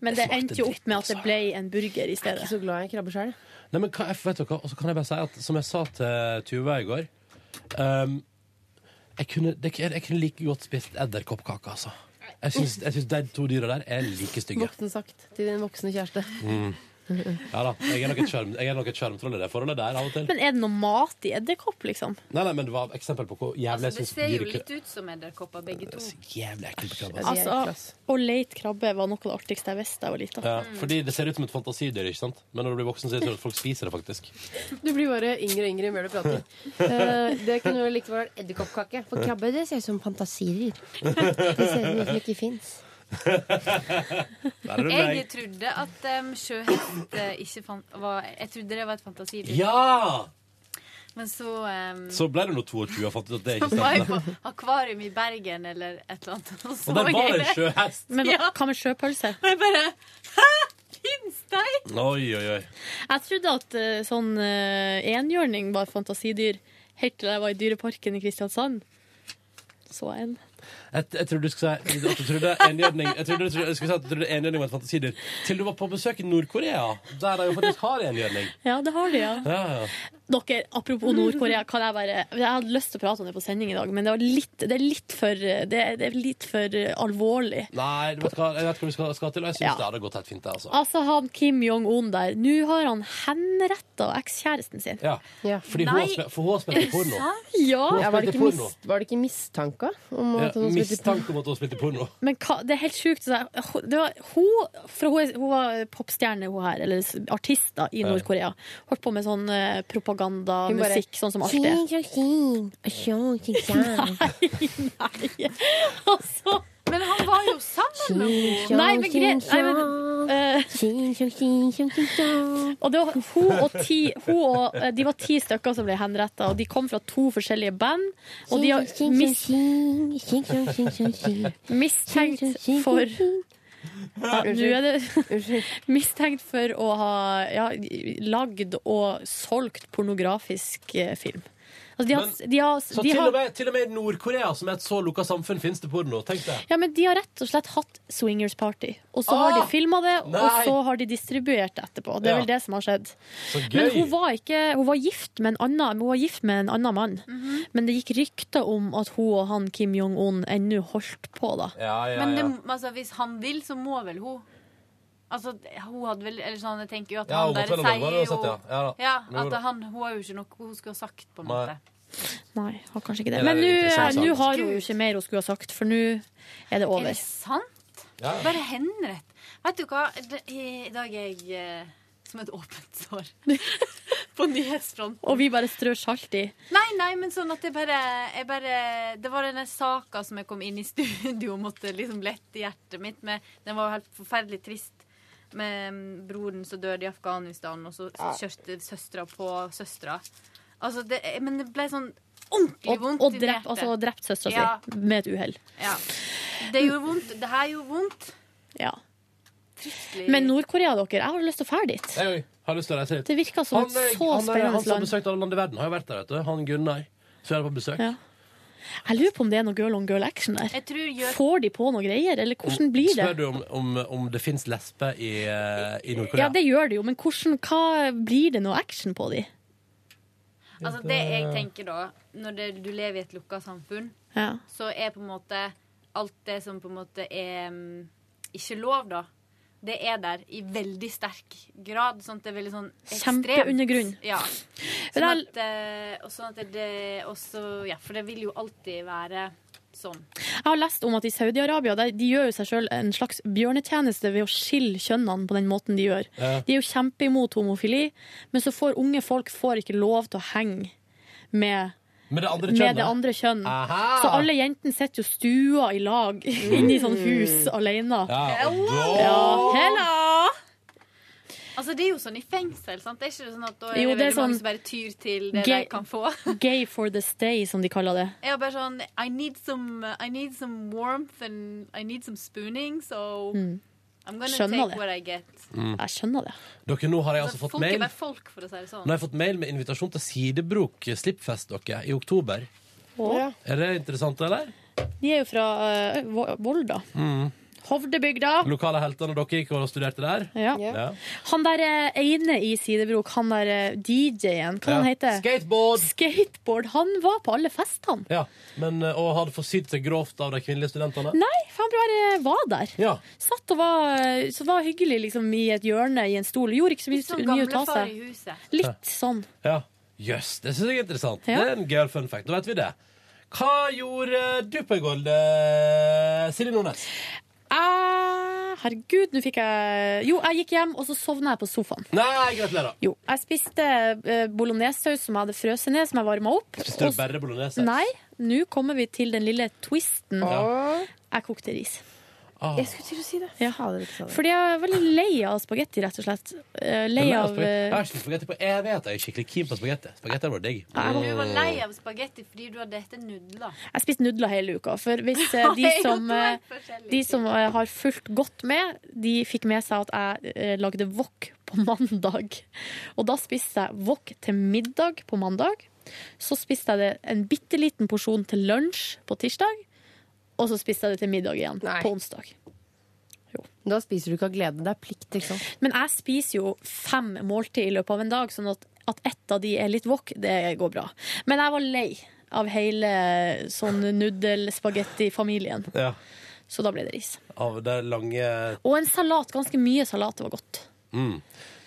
[SPEAKER 4] Men det
[SPEAKER 2] smakte
[SPEAKER 4] endte jo opp med at det ble en burger i stedet. Jeg er ikke
[SPEAKER 11] så glad i krabbe sjøl.
[SPEAKER 2] Nei, men hva, jeg- vet dere, hva, og så kan jeg bare si at som jeg sa til Tuva i går ehm, jeg, kunne, det, jeg, jeg kunne like godt spist edderkoppkake, altså. Jeg syns, jeg syns de to dyra der er like stygge.
[SPEAKER 11] Voksen sagt til din voksne kjæreste.
[SPEAKER 2] Mm. Ja da. Jeg er nok et skjerm- jeg er nok et sjarmtroll i det forholdet der av og til.
[SPEAKER 4] Men er det noe mat i edderkopp, liksom?
[SPEAKER 2] Nei, nei, men det var et eksempel på hvor jævlig jeg
[SPEAKER 20] Altså, Det
[SPEAKER 2] syns
[SPEAKER 20] ser jo
[SPEAKER 2] dyrekø-
[SPEAKER 20] litt ut som edderkopper, begge to.
[SPEAKER 2] Jævlig ekkelt på krabbe.
[SPEAKER 4] Altså, å leite krabbe var noe av det artigste jeg visste da jeg var lita.
[SPEAKER 2] Ja,
[SPEAKER 20] Mm.
[SPEAKER 2] fordi det ser ut som et fantasidyr, ikke sant? Men når du blir voksen, ser det ut som at folk spiser det, faktisk.
[SPEAKER 11] Du blir bare yngre og yngre jo mer du prater. Eh, det kunne jo likevel vært edderkoppkake. For krabbe det ser ut som fantasier. Det ser ut som ikke fins.
[SPEAKER 2] Der er du
[SPEAKER 20] Jeg
[SPEAKER 2] meg.
[SPEAKER 20] trodde at um, sjøhest eh, ikke fan var Jeg trodde det var et fantasidyr.
[SPEAKER 2] Ja!
[SPEAKER 20] Men så, um,
[SPEAKER 2] Så ble det nå 22 og fant ut at det
[SPEAKER 20] så
[SPEAKER 2] ikke
[SPEAKER 20] var jeg på
[SPEAKER 2] stemte.
[SPEAKER 20] akvarium i Bergen eller et eller annet. Og, så
[SPEAKER 2] Og der
[SPEAKER 20] jeg
[SPEAKER 2] var det en sjøhest.
[SPEAKER 4] Men hva- hva med sjøpølse?
[SPEAKER 20] Jeg bare Hæ? Fins de?
[SPEAKER 2] Oi, oi, oi.
[SPEAKER 4] Jeg trodde at eh, sånn eh, enhjørning var fantasidyr, helt til jeg var i Dyreparken i Kristiansand. Så jeg en.
[SPEAKER 2] Jeg, jeg trodde du skulle si at du trodde enhjørning Jeg trodde du jeg skulle si at du trodde enhjørning var et fantasidyr. Til du var på besøk i Nord-Korea, der de jo faktisk har enhjørning.
[SPEAKER 4] Ja, det har de, ja.
[SPEAKER 2] Ja, ja.
[SPEAKER 4] Dere, apropos Nord-Korea, kan jeg bare Jeg hadde lyst til å prate om det på sending i dag, men det, var litt, det er litt for, det er, det er litt for eh, alvorlig.
[SPEAKER 2] Nei, du vet hva, jeg vet hva du skal, skal til, og jeg syns
[SPEAKER 4] Ja.
[SPEAKER 2] det hadde gått helt fint, det, altså.
[SPEAKER 4] Altså han Kim Jong-un der, nå har han henretta ekskjæresten sin.
[SPEAKER 20] Ah.
[SPEAKER 2] Ja. Fordi hun har spilt- for hun har spilt i porno.
[SPEAKER 4] Ja.
[SPEAKER 2] Hun har
[SPEAKER 11] Ja, var,
[SPEAKER 2] spilt i
[SPEAKER 11] det ikke
[SPEAKER 2] porno.
[SPEAKER 11] mis, var det ikke mistanke om
[SPEAKER 2] Ja,
[SPEAKER 11] at hun spilte
[SPEAKER 2] mistanke om at hun spilte porno.
[SPEAKER 4] Men hva, det er helt sjukt. Så jeg- ho- Det var, hun, for hun, er- hun var popstjerne, hun her, eller s- artist da, i
[SPEAKER 11] Ja.
[SPEAKER 4] Nord-Korea. Holdt på med sånn eh,
[SPEAKER 11] Hun bare,
[SPEAKER 4] propagandamusikk, sånn som alt det.
[SPEAKER 20] Men han var jo sammen med henne!
[SPEAKER 4] Altså. Nei, men greit. Nei, men, eh, og det var hun og ti hun og, eh, De var ti stykker som ble henretta, og de kom fra to forskjellige band. Og de har mis, mistenkt for ja, Nå er det mistenkt for å ha ja, lagd og solgt pornografisk eh, film. Altså, de har,
[SPEAKER 2] Men-
[SPEAKER 4] de har,
[SPEAKER 2] Så
[SPEAKER 4] de
[SPEAKER 2] til og
[SPEAKER 4] har,
[SPEAKER 2] med, til og med i Nord-Korea, som er et så lukka samfunn, fins det porno. Tenk det.
[SPEAKER 4] ja, men de har rett og slett hatt swingers party, og så har de
[SPEAKER 2] Ah!
[SPEAKER 4] filma det, og
[SPEAKER 2] Nei!
[SPEAKER 4] så har de distribuert det etterpå. Det er
[SPEAKER 2] Ja.
[SPEAKER 4] vel det som har skjedd.
[SPEAKER 2] Så
[SPEAKER 4] Men
[SPEAKER 2] gøy.
[SPEAKER 4] hun var, ikke, hun var gift med en annen, hun var gift med en annen mann.
[SPEAKER 2] Mhm.
[SPEAKER 4] Men det gikk rykter om at hun og han Kim Jong-un ennå holdt på, da.
[SPEAKER 20] Men det, altså, hvis han vil, så må vel hun? Altså, hun hadde vel Eller sånn, jeg tenker jo at
[SPEAKER 2] Ja,
[SPEAKER 20] han
[SPEAKER 2] hun måtte
[SPEAKER 20] bare
[SPEAKER 2] vel ha lov,
[SPEAKER 20] sier jo
[SPEAKER 2] uansett, ja. Ja da. Jo
[SPEAKER 20] at
[SPEAKER 2] da.
[SPEAKER 20] han, hun har jo ikke noe hun skulle ha sagt, på en
[SPEAKER 2] Nei.
[SPEAKER 20] måte.
[SPEAKER 4] Nei, har kanskje ikke det.
[SPEAKER 2] Det er
[SPEAKER 4] Men
[SPEAKER 2] en
[SPEAKER 4] nå
[SPEAKER 2] interessant sak.
[SPEAKER 4] nå har hun jo ikke mer hun skulle ha sagt, for nå er det
[SPEAKER 20] Er
[SPEAKER 4] over.
[SPEAKER 20] det sant?
[SPEAKER 2] Ja.
[SPEAKER 20] Bare henrett. Vet du hva, Det- i dag er jeg eh, som et åpent sår på nyhetsfronten.
[SPEAKER 4] Og vi bare strør salt i.
[SPEAKER 20] Nei, nei, men sånn at jeg bare, jeg bare Det var denne saka som jeg kom inn i studio og måtte liksom lette hjertet mitt med. Den var jo helt forferdelig trist. Med mm, broren som døde i Afghanistan, og så
[SPEAKER 4] Ja.
[SPEAKER 20] kjørte søstera på søstera. Altså, det, men det ble sånn ordentlig
[SPEAKER 4] Og,
[SPEAKER 20] vondt
[SPEAKER 4] og
[SPEAKER 20] i
[SPEAKER 4] drept,
[SPEAKER 20] hjertet.
[SPEAKER 4] altså, og drept søstera
[SPEAKER 20] Ja.
[SPEAKER 4] si med et uhell.
[SPEAKER 20] Ja. Det gjorde vondt. Det her gjorde vondt.
[SPEAKER 4] Ja. Men Nord-Korea, dere, jeg har lyst til å dra dit.
[SPEAKER 2] Jeg òg har lyst til å reise dit.
[SPEAKER 4] Det virker som et
[SPEAKER 2] er-
[SPEAKER 4] så
[SPEAKER 2] han, er-
[SPEAKER 4] spennende
[SPEAKER 2] Han som har
[SPEAKER 4] land.
[SPEAKER 2] besøkt alle land i verden, har jo vært der, vet du. Han Gunnar. Så er det på besøk.
[SPEAKER 4] Ja. Jeg lurer på om det er noe girl on girl action der.
[SPEAKER 20] Jeg tror gjør-
[SPEAKER 4] Får de på noe greier, eller hvordan blir det?
[SPEAKER 2] Mm, Spør du om, om, om det fins lesber i, eh, i Nord-Korea?
[SPEAKER 4] Ja, det gjør de jo, men hvordan, hva blir det noe action på de?
[SPEAKER 20] Altså, det jeg tenker da, når det, du lever i et lukka samfunn,
[SPEAKER 4] Ja.
[SPEAKER 20] så er på en måte alt det som på en måte er mm, ikke lov, da, det er der i veldig sterk grad. Sånn at det er veldig sånn ekstremt.
[SPEAKER 4] Kjempeundergrunn.
[SPEAKER 20] Ja.
[SPEAKER 4] Men
[SPEAKER 20] Sånn at, eh, og sånn at det også Ja, for det vil jo alltid være sånn.
[SPEAKER 4] Jeg har lest om at i Saudi-Arabia der- de gjør jo seg selv en slags bjørnetjeneste ved å skille kjønnene på den måten de gjør.
[SPEAKER 20] Ja.
[SPEAKER 4] De er jo kjempeimot homofili, men så får unge folk får ikke lov til å henge med
[SPEAKER 2] Med det andre
[SPEAKER 4] med
[SPEAKER 2] kjønnet?
[SPEAKER 4] det andre kjønn.
[SPEAKER 2] Aha!
[SPEAKER 20] Ah.
[SPEAKER 4] Så alle jentene sitter jo stua i lag inne i sånn
[SPEAKER 20] Mm.
[SPEAKER 4] hus alene.
[SPEAKER 2] Ja, og da-
[SPEAKER 4] Ja, hello!
[SPEAKER 20] Altså, det er jo sånn i fengsel, sant? Det er ikke sånn at da er
[SPEAKER 4] Jo,
[SPEAKER 20] det
[SPEAKER 4] det er
[SPEAKER 20] veldig mange
[SPEAKER 4] sånn-
[SPEAKER 20] som bare tyr til det
[SPEAKER 4] Gay-
[SPEAKER 20] de kan få.
[SPEAKER 4] Gay for the stay, som de kaller det.
[SPEAKER 20] Jeg var bare sånn I need some, I need some warmth and I need some spooning, so
[SPEAKER 4] Mm.
[SPEAKER 20] I'm gonna
[SPEAKER 4] Skjønner
[SPEAKER 20] take
[SPEAKER 4] det.
[SPEAKER 20] what I get.
[SPEAKER 2] Mm.
[SPEAKER 4] Jeg skjønner det.
[SPEAKER 2] Dere, nå har jeg altså
[SPEAKER 20] Så
[SPEAKER 2] fått
[SPEAKER 20] folk er
[SPEAKER 2] mail.
[SPEAKER 20] bare folk, for å si det sånn.
[SPEAKER 2] Nå har jeg fått mail med invitasjon til Sidebrok eh, slippfest, dere, i oktober.
[SPEAKER 4] Og
[SPEAKER 2] Er det interessant, eller? Mm.
[SPEAKER 4] de er jo fra eh, Vo- Volda. Hovdebygda.
[SPEAKER 2] Lokale helter når dere gikk og studerte der?
[SPEAKER 4] Ja. Han der eh, ene i Sidebrok, han der eh, DJ-en, hva
[SPEAKER 2] Ja.
[SPEAKER 4] han heter han?
[SPEAKER 2] Skateboard!
[SPEAKER 4] Skateboard! Han var på alle festene.
[SPEAKER 2] Ja, men, eh, Og hadde forsynt seg grovt av de kvinnelige studentene?
[SPEAKER 4] Nei, for han bare var der.
[SPEAKER 2] Ja.
[SPEAKER 4] Satt og var, eh, så var hyggelig liksom, i et hjørne i en stol. Gjorde ikke så mye,
[SPEAKER 20] Sånn
[SPEAKER 4] mye ut av
[SPEAKER 20] gamlefar
[SPEAKER 4] seg.
[SPEAKER 20] i huset.
[SPEAKER 4] Litt sånn.
[SPEAKER 2] Ja. Jøss, det syns jeg er interessant.
[SPEAKER 4] Ja.
[SPEAKER 2] Det er en gøy fun fact. Da vet vi det. Hva gjorde du på i går, eh, Silje Nordnes?
[SPEAKER 4] Eh, herregud, nå fikk jeg Jo, jeg gikk hjem, og så sovna jeg på sofaen.
[SPEAKER 2] Nei, gratulerer.
[SPEAKER 4] Jo, jeg spiste eh, bolognesaus som jeg hadde frøset ned, som jeg varma opp.
[SPEAKER 2] Spiste du bare bolognese?
[SPEAKER 4] Nei, nå kommer vi til den lille twisten.
[SPEAKER 2] Ja.
[SPEAKER 4] Jeg kokte ris.
[SPEAKER 2] Ah.
[SPEAKER 4] Jeg
[SPEAKER 6] skulle til å si det.
[SPEAKER 4] Fordi jeg er veldig lei av spagetti, rett og slett. Eh, Lei
[SPEAKER 2] Jeg
[SPEAKER 4] av
[SPEAKER 2] har
[SPEAKER 4] eh,
[SPEAKER 2] spist spagetti på evighet. Jeg er skikkelig keen på spagetti. Spagetti hadde vært digg.
[SPEAKER 20] Du var lei av spagetti fordi du hadde hette nudler.
[SPEAKER 4] Jeg spiste nudler hele uka. For hvis eh, de som, eh, de som eh, har fulgt godt med, de fikk med seg at jeg eh, lagde wok på mandag. Og da spiste jeg wok til middag på mandag. Så spiste jeg det en bitte liten porsjon til lunsj på tirsdag. Og så spiste jeg det til middag igjen på onsdag.
[SPEAKER 6] Da spiser du ikke av glede. Det er plikt, ikke sant.
[SPEAKER 4] Men jeg spiser jo fem måltid i løpet av en dag, sånn at, at ett av de er litt wok, det går bra. Men jeg var lei av hele sånn nudelspagetti-familien,
[SPEAKER 2] Ja.
[SPEAKER 4] så da ble det ris.
[SPEAKER 2] Av det lange
[SPEAKER 4] Og en salat. Ganske mye salat. Det var godt.
[SPEAKER 2] mm.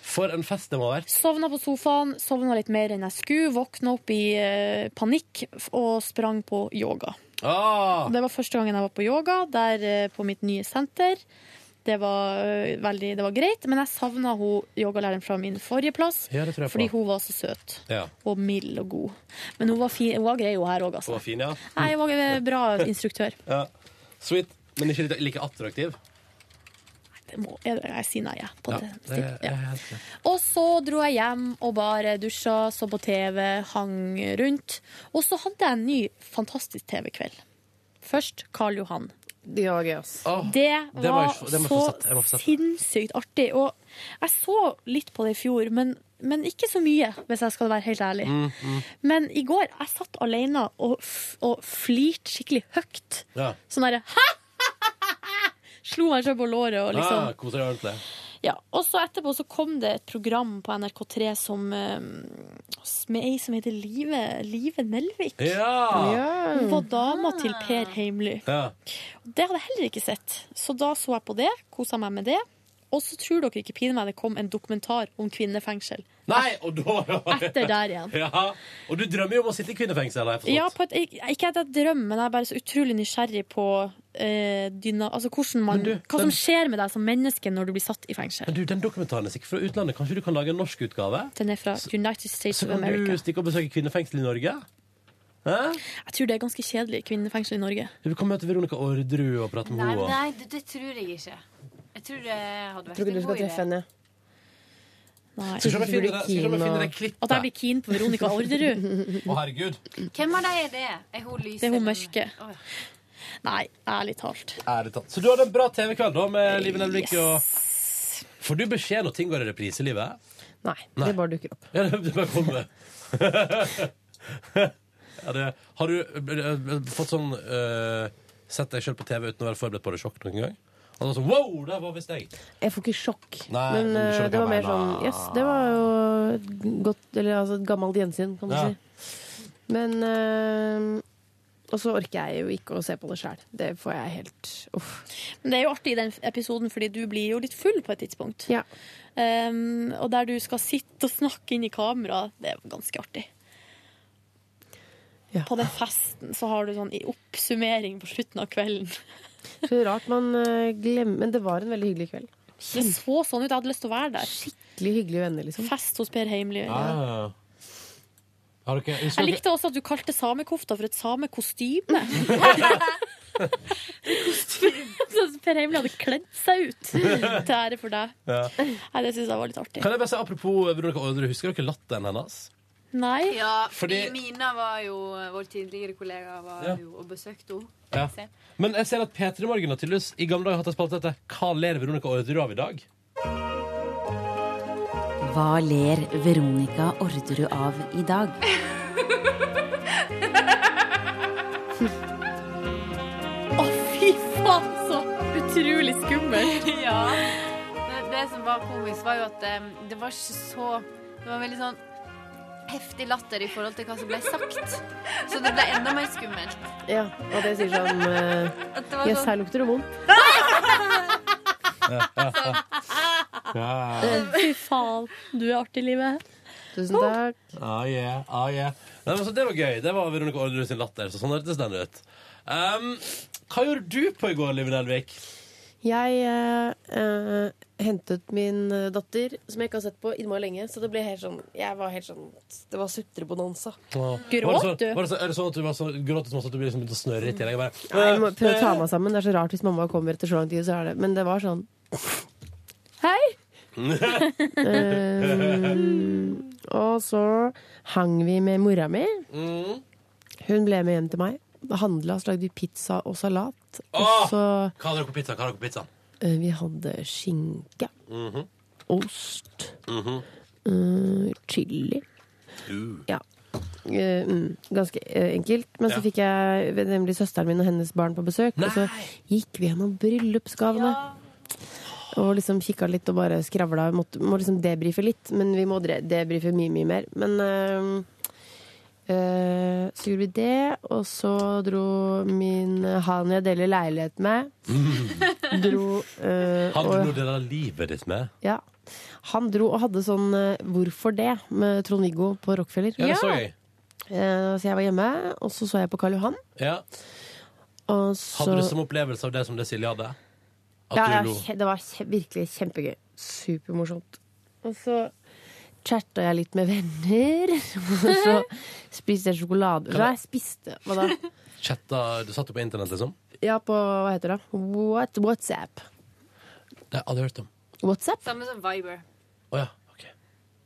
[SPEAKER 2] For en fest det må ha vært.
[SPEAKER 4] Sovna på sofaen, sovna litt mer enn jeg skulle. Våkna opp i eh, panikk f- og sprang på yoga.
[SPEAKER 2] Ah.
[SPEAKER 4] Det var første gangen jeg var på yoga, der eh, på mitt nye senter. Det var, eh, veldig, det var greit, men jeg savna hun yogalæreren fra min forrige plass.
[SPEAKER 2] Ja, det tror jeg på.
[SPEAKER 4] fordi hun var så søt
[SPEAKER 2] Ja.
[SPEAKER 4] og mild og god. Men hun var, fin, hun var grei, hun her òg,
[SPEAKER 2] Det
[SPEAKER 4] altså.
[SPEAKER 2] var fin, ja.
[SPEAKER 4] Nei, hun var en bra instruktør.
[SPEAKER 2] ja. Sweet. Men ikke like- like attraktiv?
[SPEAKER 4] Det må, jeg, jeg sier nei, jeg. På
[SPEAKER 2] Ja,
[SPEAKER 4] det.
[SPEAKER 2] det er- jeg er helt enig.
[SPEAKER 4] Og så dro jeg hjem og bare dusja, så på TV, hang rundt. Og så hadde jeg en ny fantastisk TV-kveld. Først Karl Johan.
[SPEAKER 6] Det var gøy, ass.
[SPEAKER 4] Det
[SPEAKER 6] det må jeg
[SPEAKER 4] var
[SPEAKER 6] få- det må jeg få sett, jeg må få
[SPEAKER 4] så
[SPEAKER 6] sett.
[SPEAKER 4] sinnssykt artig. Og jeg så litt på det i fjor, men, men ikke så mye, hvis jeg skal være helt ærlig.
[SPEAKER 2] Mm, mm.
[SPEAKER 4] Men i går, jeg satt alene og, f- og flirte skikkelig høyt.
[SPEAKER 2] Ja.
[SPEAKER 4] Sånn derre Slo meg sjøl på låret og liksom
[SPEAKER 2] Ah, Koser deg ordentlig.
[SPEAKER 4] ja, og så etterpå så kom det et program på NRK3 som, eh, med ei som heter Live, Live Nelvik.
[SPEAKER 2] Ja! Ja.
[SPEAKER 4] Hun var dama til Per Heimly.
[SPEAKER 2] Ja.
[SPEAKER 4] Og Det hadde jeg heller ikke sett. Så da så jeg på det, kosa meg med det. Og så tror dere ikke pine meg det kom en dokumentar om kvinnefengsel.
[SPEAKER 2] Nei, og da
[SPEAKER 4] Etter der igjen.
[SPEAKER 2] Ja. Og du drømmer jo om å sitte i kvinnefengsel. har jeg forstått.
[SPEAKER 4] Ja, på et, ikke at jeg drømmer, men jeg er bare så utrolig nysgjerrig på eh, dyna, altså hvordan man,
[SPEAKER 2] Men du,
[SPEAKER 4] hva
[SPEAKER 2] den-
[SPEAKER 4] som skjer med deg som menneske når du blir satt i fengsel.
[SPEAKER 2] Men du, Den dokumentaren er sikkert fra utlandet. Kanskje du kan lage en norsk utgave?
[SPEAKER 4] Den er fra United States
[SPEAKER 2] Så
[SPEAKER 4] of
[SPEAKER 2] kan
[SPEAKER 4] America.
[SPEAKER 2] du stikke og besøke kvinnefengsel i Norge? Hæ?
[SPEAKER 4] Jeg tror det er ganske kjedelig kvinnefengsel i Norge.
[SPEAKER 2] Du kan møte Veronica Orderud og prate med
[SPEAKER 20] Nei,
[SPEAKER 2] henne.
[SPEAKER 20] men
[SPEAKER 2] og-
[SPEAKER 20] nei det, det tror jeg ikke. Jeg tror det hadde vært
[SPEAKER 6] Tror ikke du
[SPEAKER 20] en
[SPEAKER 6] skal
[SPEAKER 20] god idé.
[SPEAKER 6] treffe henne.
[SPEAKER 4] Nei.
[SPEAKER 6] Skal vi se om jeg finner det- skal vi se om jeg finner det
[SPEAKER 2] klippet?
[SPEAKER 4] At jeg blir keen på Veronica Orderud.
[SPEAKER 2] Å, herregud.
[SPEAKER 20] Hvem av dem er det? Er hun lyse?
[SPEAKER 4] Det er hun
[SPEAKER 20] eller-
[SPEAKER 4] mørke. Nei, ærlig talt.
[SPEAKER 2] Ærlig talt. Så du hadde en bra TV-kveld da med Live Nelvik og Får du beskjed når ting går i reprise, Livet?
[SPEAKER 6] Nei,
[SPEAKER 2] Nei.
[SPEAKER 6] det bare dukker opp.
[SPEAKER 2] Ja, det det bare kommer. ja, det, har du eh, fått sånn eh, Sett deg sjøl på TV uten å være forberedt på det sjokk noen gang? Og sånn, wow, der var visst jeg!
[SPEAKER 6] Jeg får ikke sjokk.
[SPEAKER 2] Nei,
[SPEAKER 6] men
[SPEAKER 2] men du
[SPEAKER 6] eh,
[SPEAKER 2] skjønner
[SPEAKER 6] det
[SPEAKER 2] hva
[SPEAKER 6] var
[SPEAKER 2] jeg
[SPEAKER 6] mer sånn
[SPEAKER 2] mener.
[SPEAKER 6] Jøss, det var jo et godt, eller altså et gammelt gjensyn, kan du
[SPEAKER 2] Ja.
[SPEAKER 6] si. Men eh, Og så orker jeg jo ikke å se på det sjæl. Det får jeg helt Uff.
[SPEAKER 4] Men det er jo artig i den episoden, fordi du blir jo litt full på et tidspunkt.
[SPEAKER 6] Ja.
[SPEAKER 4] Um, og der du skal sitte og snakke inn i kamera, det er ganske artig. På den festen så har du sånn i oppsummering på slutten av kvelden.
[SPEAKER 6] Så rart man eh, glemmer Men det var en veldig hyggelig kveld.
[SPEAKER 4] Det så sånn ut, jeg hadde lyst til å være der.
[SPEAKER 6] Skikkelig hyggelige venner, liksom.
[SPEAKER 4] Fest hos Per Heimly.
[SPEAKER 2] Ah. Har dere,
[SPEAKER 4] Jeg likte også at du kalte samekofta for et samekostyme. Så per Heimly hadde kledd seg ut til ære for deg.
[SPEAKER 2] Ja.
[SPEAKER 4] Nei, det syns jeg var litt artig.
[SPEAKER 2] Kan jeg bare si apropos Veronica Orderud, husker dere latteren hennes?
[SPEAKER 4] Nei.
[SPEAKER 20] Ja,
[SPEAKER 2] Fordi-
[SPEAKER 20] Mina var jo Vår tidligere kollega var
[SPEAKER 2] Ja.
[SPEAKER 20] jo og besøkte henne.
[SPEAKER 2] Ja.
[SPEAKER 20] Se.
[SPEAKER 2] Men jeg ser at P3 Morgen har tydeligvis i gamle dager hatt en spalte etter Hva ler Veronica Orderud av i dag?
[SPEAKER 14] Hva ler Veronica Orderud av i dag?
[SPEAKER 4] Å, fy faen, så utrolig jo litt skummelt.
[SPEAKER 14] ja. Det, det som var komisk, var jo at em, det var ikke så Det var veldig sånn heftig latter i forhold til hva som ble sagt. Så det ble enda mer skummelt.
[SPEAKER 6] Ja, og det sier sånn eh,
[SPEAKER 14] At det var
[SPEAKER 6] Jøss,
[SPEAKER 14] sånn-
[SPEAKER 6] her lukter det vondt.
[SPEAKER 4] Fy faen, du er artig i livet.
[SPEAKER 6] Tusen takk.
[SPEAKER 2] Ah, yeah, ah, yeah. Nei, men så det var gøy. Det var Veronica Orderud sin latter. Så sånn hørtes den ut. Um, hva gjorde du på i går, Liv Nelvik?
[SPEAKER 6] Jeg eh, eh, hentet min eh, datter, som jeg ikke har sett på innmari lenge, så det ble helt sånn Jeg var helt sånn Det var sutrebonanza.
[SPEAKER 2] Åh.
[SPEAKER 6] Gråt
[SPEAKER 2] Var det så-
[SPEAKER 6] du?
[SPEAKER 2] Var det så, er det sånn at du var så, gråt du sånn at du liksom begynte å snørre i tillegg? Jeg bare,
[SPEAKER 6] Nei, jeg må prøve å ta meg sammen. Det er så rart hvis mamma kommer etter så lang tid, så er det Men det var sånn Hei! Ehm, og så hang vi med mora mi.
[SPEAKER 2] Mm.
[SPEAKER 6] Hun ble med hjem til meg. Handla, så lagde vi pizza og salat. Og
[SPEAKER 2] Åh!
[SPEAKER 6] så
[SPEAKER 2] Hva hadde dere på pizzaen? Hva hadde dere på pizzaen?
[SPEAKER 6] eh, Vi hadde skinke,
[SPEAKER 2] Mhm.
[SPEAKER 6] ost,
[SPEAKER 2] Mhm.
[SPEAKER 6] eh, chili. Ja. Eh, mm, ganske eh, enkelt. Men så fikk jeg nemlig søsteren min og hennes barn på besøk. Og så gikk vi gjennom bryllupsgavene. Og liksom kikka litt og bare skravla. Vi måtte- må liksom debrife litt, men vi må dre- debrife mye, mye mer. Men eh, eh, så gjorde vi det, og så dro min han jeg deler leilighet med, dro eh,
[SPEAKER 2] Hadde du
[SPEAKER 6] og-
[SPEAKER 2] noe del av livet ditt med?
[SPEAKER 6] ja. Han dro og hadde sånn eh, 'Hvorfor det?' med Trond-Viggo på Rockefeller.
[SPEAKER 2] Ja, det så jeg.
[SPEAKER 6] Eh, Så jeg var hjemme, og så så jeg på Karl Johan.
[SPEAKER 2] Ja.
[SPEAKER 6] Og så
[SPEAKER 2] Hadde du som opplevelse av det som det Silje hadde? At
[SPEAKER 6] ja, ja,
[SPEAKER 2] du lo?
[SPEAKER 6] kje- Det var kje- virkelig kjempegøy. Supermorsomt. Og så chatta jeg litt med venner, og så spiste jeg sjokolade.
[SPEAKER 2] Kan
[SPEAKER 6] Så
[SPEAKER 2] jeg-
[SPEAKER 6] jeg spiste Hva da?
[SPEAKER 2] Chatta, du satt jo på internett, liksom?
[SPEAKER 6] Ja, på hva heter det? What, WhatsApp.
[SPEAKER 2] Det har jeg aldri hørt om.
[SPEAKER 6] WhatsApp?
[SPEAKER 14] Samme
[SPEAKER 20] sånn
[SPEAKER 14] som Viber.
[SPEAKER 2] Å ja.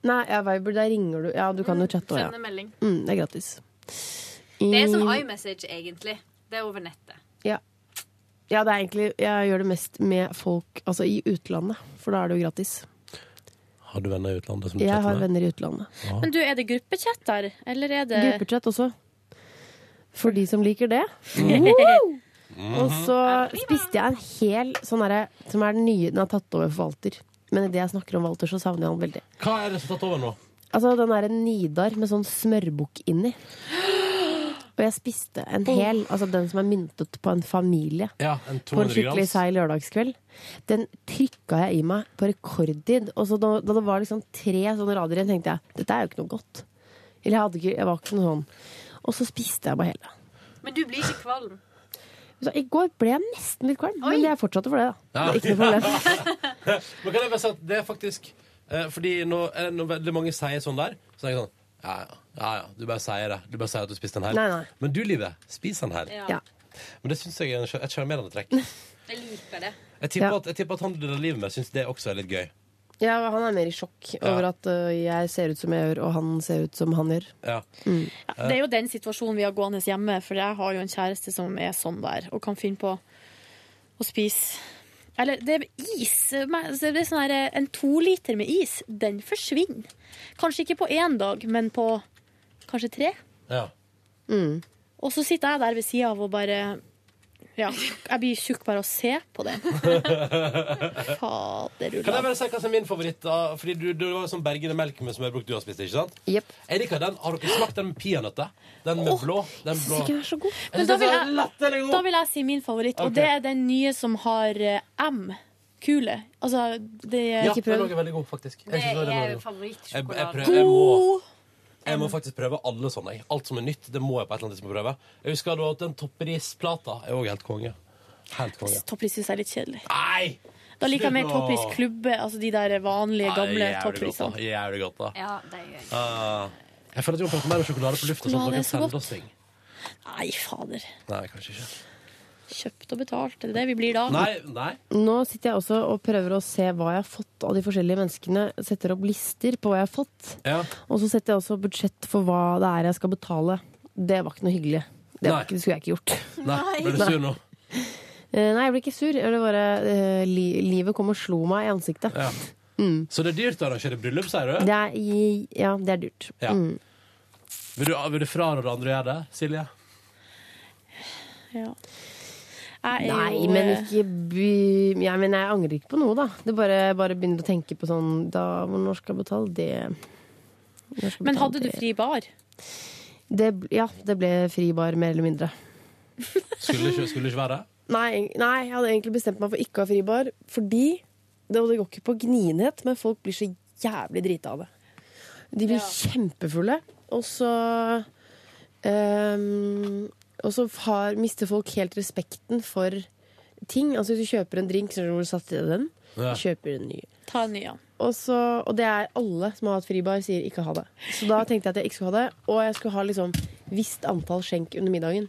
[SPEAKER 6] Nei, ja, Viber, der ringer du. Ja, du kan jo chatte òg, ja.
[SPEAKER 14] Sende melding.
[SPEAKER 6] Mm, det er gratis.
[SPEAKER 14] Det
[SPEAKER 20] sånn
[SPEAKER 14] er som
[SPEAKER 6] I-
[SPEAKER 14] iMessage, egentlig. Det er over nettet.
[SPEAKER 6] Ja. ja, det er egentlig Jeg gjør det mest med folk altså i utlandet, for da er det jo gratis.
[SPEAKER 2] Har du venner i utlandet som du
[SPEAKER 6] Jeg
[SPEAKER 2] chatter
[SPEAKER 6] har
[SPEAKER 2] med?
[SPEAKER 6] venner i utlandet.
[SPEAKER 2] Ja.
[SPEAKER 4] Men du, er det gruppechat der, eller er det
[SPEAKER 6] Gruppechat også. For de som liker det. Og så spiste jeg en hel sånn derre som er den nye Den har tatt over for Walter. Men idet jeg snakker om Walter, så savner jeg han veldig.
[SPEAKER 2] Hva er det som har tatt over nå?
[SPEAKER 6] Altså den derre Nidar med sånn smørbukk inni. Og jeg spiste en hel, altså den som er myntet på en familie.
[SPEAKER 2] Ja, en
[SPEAKER 6] på en
[SPEAKER 2] 200
[SPEAKER 6] skikkelig
[SPEAKER 2] grams.
[SPEAKER 6] seig lørdagskveld. Den trykka jeg i meg på rekordtid. Og så da, da det var liksom tre sånne rader igjen, tenkte jeg dette er jo ikke noe godt. Eller jeg, hadde ikke, jeg var ikke noe sånn. Og så spiste jeg bare hele.
[SPEAKER 14] Men du blir ikke kvalm.
[SPEAKER 6] Så I går ble jeg nesten litt kvalm, men jeg fortsatte for det, da.
[SPEAKER 2] Ja.
[SPEAKER 6] Det er ikke noe problem.
[SPEAKER 2] Men kan jeg bare si at det er faktisk eh, Fordi når, eh, når veldig mange sier sånn der, så er jeg sånn ja, ja, ja, ja, du bare sier det. Du bare sier at du spiste en her.
[SPEAKER 6] Nei, nei.
[SPEAKER 2] Men du, Live, spis en her.
[SPEAKER 14] Ja. Ja.
[SPEAKER 2] Men det syns jeg er en sjar- et sjarmerende trekk.
[SPEAKER 14] Jeg liker det.
[SPEAKER 2] Jeg tipper, at, jeg tipper at han du deler livet med, syns det også er litt gøy.
[SPEAKER 6] Ja, han er mer i sjokk over at ø, jeg ser ut som jeg gjør, og han ser ut som han gjør.
[SPEAKER 2] Ja.
[SPEAKER 6] Mm.
[SPEAKER 4] Det er jo den situasjonen vi har gående hjemme, for jeg har jo en kjæreste som er sånn der, og kan finne på å spise Eller det er is. men så Det er sånn her, en toliter med is, den forsvinner. Kanskje ikke på én dag, men på kanskje tre.
[SPEAKER 2] Ja.
[SPEAKER 4] Og så sitter jeg der ved sida av og bare Ja, jeg blir tjukk bare av å se på det. Faderullan.
[SPEAKER 2] Kan jeg bare si hva som er min favoritt? da? Fordi du, du var jo sånn bergende melk med smørbrok du har spist, ikke sant?
[SPEAKER 6] Yep.
[SPEAKER 2] Jeg liker den. Har dere smakt den med peanøtter? Den med blå? Den blå.
[SPEAKER 6] Ikke vær så god.
[SPEAKER 2] Jeg
[SPEAKER 4] Men
[SPEAKER 2] synes
[SPEAKER 4] da
[SPEAKER 2] den
[SPEAKER 4] vil,
[SPEAKER 2] er latterlig
[SPEAKER 4] jeg,
[SPEAKER 2] god.
[SPEAKER 4] da vil jeg si min favoritt,
[SPEAKER 2] Ok.
[SPEAKER 4] og det er den nye som har eh, M. Kule. Altså, det
[SPEAKER 2] Ja, den også er veldig god, faktisk. Jeg synes også den var veldig god. Jeg, jeg, prøver, jeg,
[SPEAKER 4] God!
[SPEAKER 2] må, jeg må faktisk prøve alle sånne. jeg. Alt som er nytt, det må jeg på et eller annet tidspunkt prøve. Jeg husker da at den topperisplata er òg helt konge. Helt konge.
[SPEAKER 4] Toppris syns jeg er litt kjedelig.
[SPEAKER 2] Nei!
[SPEAKER 4] Da liker jeg mer
[SPEAKER 2] Slutt nå!
[SPEAKER 4] Toppris klubbe, altså de der vanlige, gamle topprisene.
[SPEAKER 2] Jævlig godt, da.
[SPEAKER 4] Ja, det er gøy.
[SPEAKER 2] Ah, jeg føler at vi må prate mer om sjokolade på lufta. Sånn at dere
[SPEAKER 4] Sjokolade er
[SPEAKER 2] kan
[SPEAKER 4] så
[SPEAKER 2] sende
[SPEAKER 4] godt.
[SPEAKER 2] oss ting.
[SPEAKER 4] Nei, fader.
[SPEAKER 2] Nei, kanskje ikke.
[SPEAKER 4] Kjøpt og betalt. Det er det vi blir da.
[SPEAKER 2] Nei, nei.
[SPEAKER 6] Nå sitter jeg også og prøver å se hva jeg har fått av de forskjellige menneskene. Setter opp lister på hva jeg har fått.
[SPEAKER 2] Ja.
[SPEAKER 6] Og så setter jeg også budsjett for hva det er jeg skal betale. Det var ikke noe hyggelig. Det,
[SPEAKER 2] Nei.
[SPEAKER 6] var ikke, det skulle jeg ikke gjort.
[SPEAKER 2] Nei, Ble du sur nå?
[SPEAKER 6] Eh, Nei, jeg ble ikke sur. Jeg ble bare, eh, li, livet kom og slo meg i ansiktet.
[SPEAKER 2] Ja. Så det er dyrt å arrangere bryllup, sier du?
[SPEAKER 6] Mm. Det er, i- ja, det er dyrt.
[SPEAKER 2] Ja. ah,
[SPEAKER 6] Mm.
[SPEAKER 2] Vil du, vil du fraråde andre å gjøre det, Silje?
[SPEAKER 4] Ja. Jeg er
[SPEAKER 6] Nei,
[SPEAKER 4] jo,
[SPEAKER 6] men
[SPEAKER 4] eh,
[SPEAKER 6] ikke by... Ja, men jeg angrer ikke på noe, da. Det bare, bare begynner å tenke på sånn da, Når skal jeg betale det? Når skal jeg
[SPEAKER 4] Men
[SPEAKER 6] betale
[SPEAKER 4] hadde du
[SPEAKER 6] det?
[SPEAKER 4] fri bar?
[SPEAKER 6] Det, ja, det ble fri bar, mer eller mindre.
[SPEAKER 2] Skulle ikke, skulle ikke være det?
[SPEAKER 6] Nei, nei, jeg hadde egentlig bestemt meg for ikke å ha fri bar, fordi det, og det går ikke på gnienhet, men folk blir så jævlig drita av det. De blir kjempefulle, og så ehm, Og så har, mister folk helt respekten for ting. Altså Hvis du kjøper en drink, så er det hvor du satte i deg den.
[SPEAKER 4] Ja.
[SPEAKER 6] Kjøper en ny.
[SPEAKER 4] Ta en ny, ja.
[SPEAKER 6] Og, så, og det er alle som har hatt fribar, sier ikke ha det. Så da tenkte jeg at jeg ikke skulle ha det. Og jeg skulle ha liksom visst antall skjenk under middagen.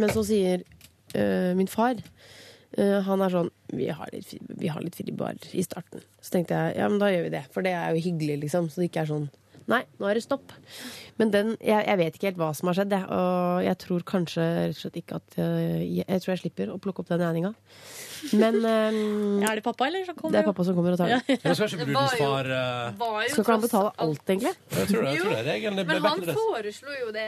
[SPEAKER 6] Men så sier øh, min far øh, Han er sånn vi har, litt, fri- vi har litt fribar i starten. Så tenkte jeg ja, men da gjør vi det. For det er jo hyggelig, liksom. Så det ikke er sånn Nei, nå er det stopp. Men den, jeg, jeg vet ikke helt hva som har skjedd. Jeg, og jeg tror kanskje rett og slett ikke at øh, jeg, jeg tror jeg slipper å plukke opp den regninga. Men øh,
[SPEAKER 4] Er det pappa, eller? Som kommer
[SPEAKER 6] det er pappa som kommer og tar den.
[SPEAKER 2] Men da skal ikke brudens far eh,
[SPEAKER 14] Var jo
[SPEAKER 6] Skal ikke han
[SPEAKER 14] tross-
[SPEAKER 6] betale alt, egentlig?
[SPEAKER 2] Jeg tror det, jeg tror det. Regelen det ble
[SPEAKER 14] Men
[SPEAKER 2] back in
[SPEAKER 14] han
[SPEAKER 2] the days.
[SPEAKER 14] foreslo jo det.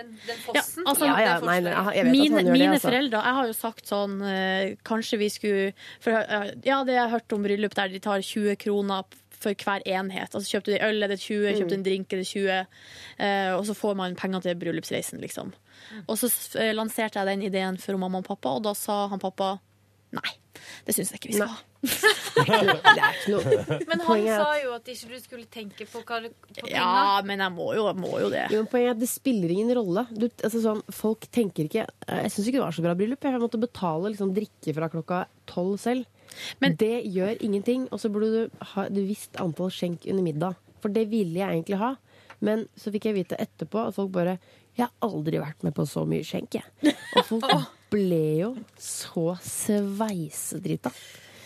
[SPEAKER 14] Den, den fossen.
[SPEAKER 6] altså, Ja, ja, nei, nei, jeg vet at han
[SPEAKER 4] mine
[SPEAKER 6] gjør det,
[SPEAKER 4] mine
[SPEAKER 6] altså.
[SPEAKER 4] foreldre Jeg har jo sagt sånn eh, Kanskje vi skulle for, eh, Ja, det jeg har hørt om bryllup der de tar 20 kroner for hver enhet. Altså Kjøpte du en øl er det 20,
[SPEAKER 14] Mm.
[SPEAKER 4] kjøpte du en drink er det 20, eh, og så får man penger til bryllupsreisen, liksom.
[SPEAKER 6] Mm.
[SPEAKER 4] Og så eh, lanserte jeg den ideen for mamma og pappa, og da sa han pappa nei, det syns jeg ikke vi skal ha.
[SPEAKER 14] Men han sa jo at ikke du skulle tenke på hva du på
[SPEAKER 4] Ja,
[SPEAKER 14] penger.
[SPEAKER 4] men jeg må jo, må jo det.
[SPEAKER 6] Jo, men poenget er at det spiller ingen rolle. Du, altså, sånn, folk tenker ikke eh, Jeg syns ikke det var så bra bryllup. Jeg måtte betale liksom, drikke fra klokka tolv selv. Men det gjør ingenting. Og så burde du ha et visst antall skjenk under middag. For det ville jeg egentlig ha. Men så fikk jeg vite etterpå at folk bare Jeg har aldri vært med på så mye skjenk, jeg. Og folk ble jo så sveisedrita.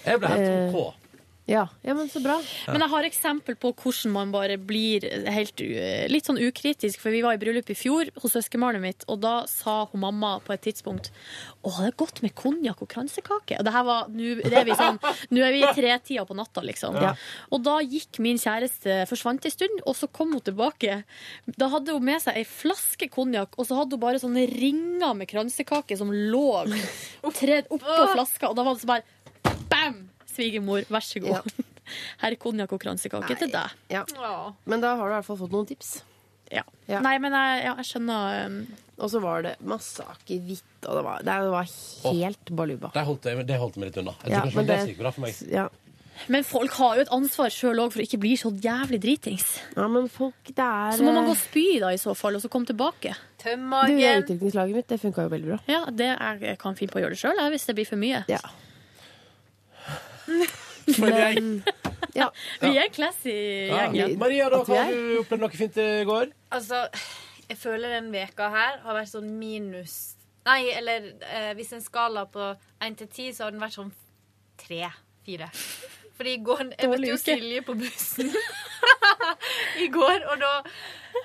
[SPEAKER 2] Jeg ble helt
[SPEAKER 6] Eh,
[SPEAKER 2] OK.
[SPEAKER 6] Ja, ja, men så bra.
[SPEAKER 2] Ja.
[SPEAKER 4] Men jeg har eksempel på hvordan man bare blir helt, u- litt sånn ukritisk. For vi var i bryllup i fjor hos søskenbarnet mitt, og da sa hun mamma på et tidspunkt Å, det er godt med konjakk og kransekake. Og det her var, nå det er vi sånn, nå er vi i tretida på natta, liksom.
[SPEAKER 6] Ja.
[SPEAKER 4] Og da gikk min kjæreste, forsvant en stund, og så kom hun tilbake. Da hadde hun med seg ei flaske konjakk, og så hadde hun bare sånne ringer med kransekake som lå tredd oppå flaska, og da var det så bare bam! Svigermor, vær så god. Her er konjakk og kransekake til deg.
[SPEAKER 6] Men da har du i hvert fall fått noen tips.
[SPEAKER 4] Ja. Nei, men jeg, ja, jeg skjønner um,
[SPEAKER 6] Og så var det masse akevitt, og det var, det var helt baluba.
[SPEAKER 2] Det holdt, jeg- det holdt meg litt unna. Jeg tror
[SPEAKER 6] Ja,
[SPEAKER 2] kanskje
[SPEAKER 6] men
[SPEAKER 2] det,
[SPEAKER 6] det-
[SPEAKER 2] gikk bra for meg.
[SPEAKER 6] Ja.
[SPEAKER 4] Men folk har jo et ansvar sjøl òg for å ikke bli så jævlig dritings.
[SPEAKER 6] Ja, men folk, det er eh,
[SPEAKER 4] Så må man gå og spy da i så fall, og så komme tilbake.
[SPEAKER 14] Tøm
[SPEAKER 6] Du, det utdrikningslaget mitt, det funka jo veldig bra.
[SPEAKER 4] Ja, det er, jeg kan finne på å gjøre det sjøl hvis det blir for mye.
[SPEAKER 6] Ja.
[SPEAKER 2] Men-
[SPEAKER 6] ja.
[SPEAKER 4] Vi er classy
[SPEAKER 2] Ja.
[SPEAKER 4] gjeng.
[SPEAKER 2] Maria, da, har du opplevd noe fint i går?
[SPEAKER 14] Altså, jeg føler den veka her har vært sånn minus Nei, eller eh, hvis en skala på 1 til 10, så har den vært sånn 3-4. Fordi i går Jeg møtte
[SPEAKER 4] Dårlig
[SPEAKER 14] jo
[SPEAKER 4] uke.
[SPEAKER 14] Silje på bussen i går, og da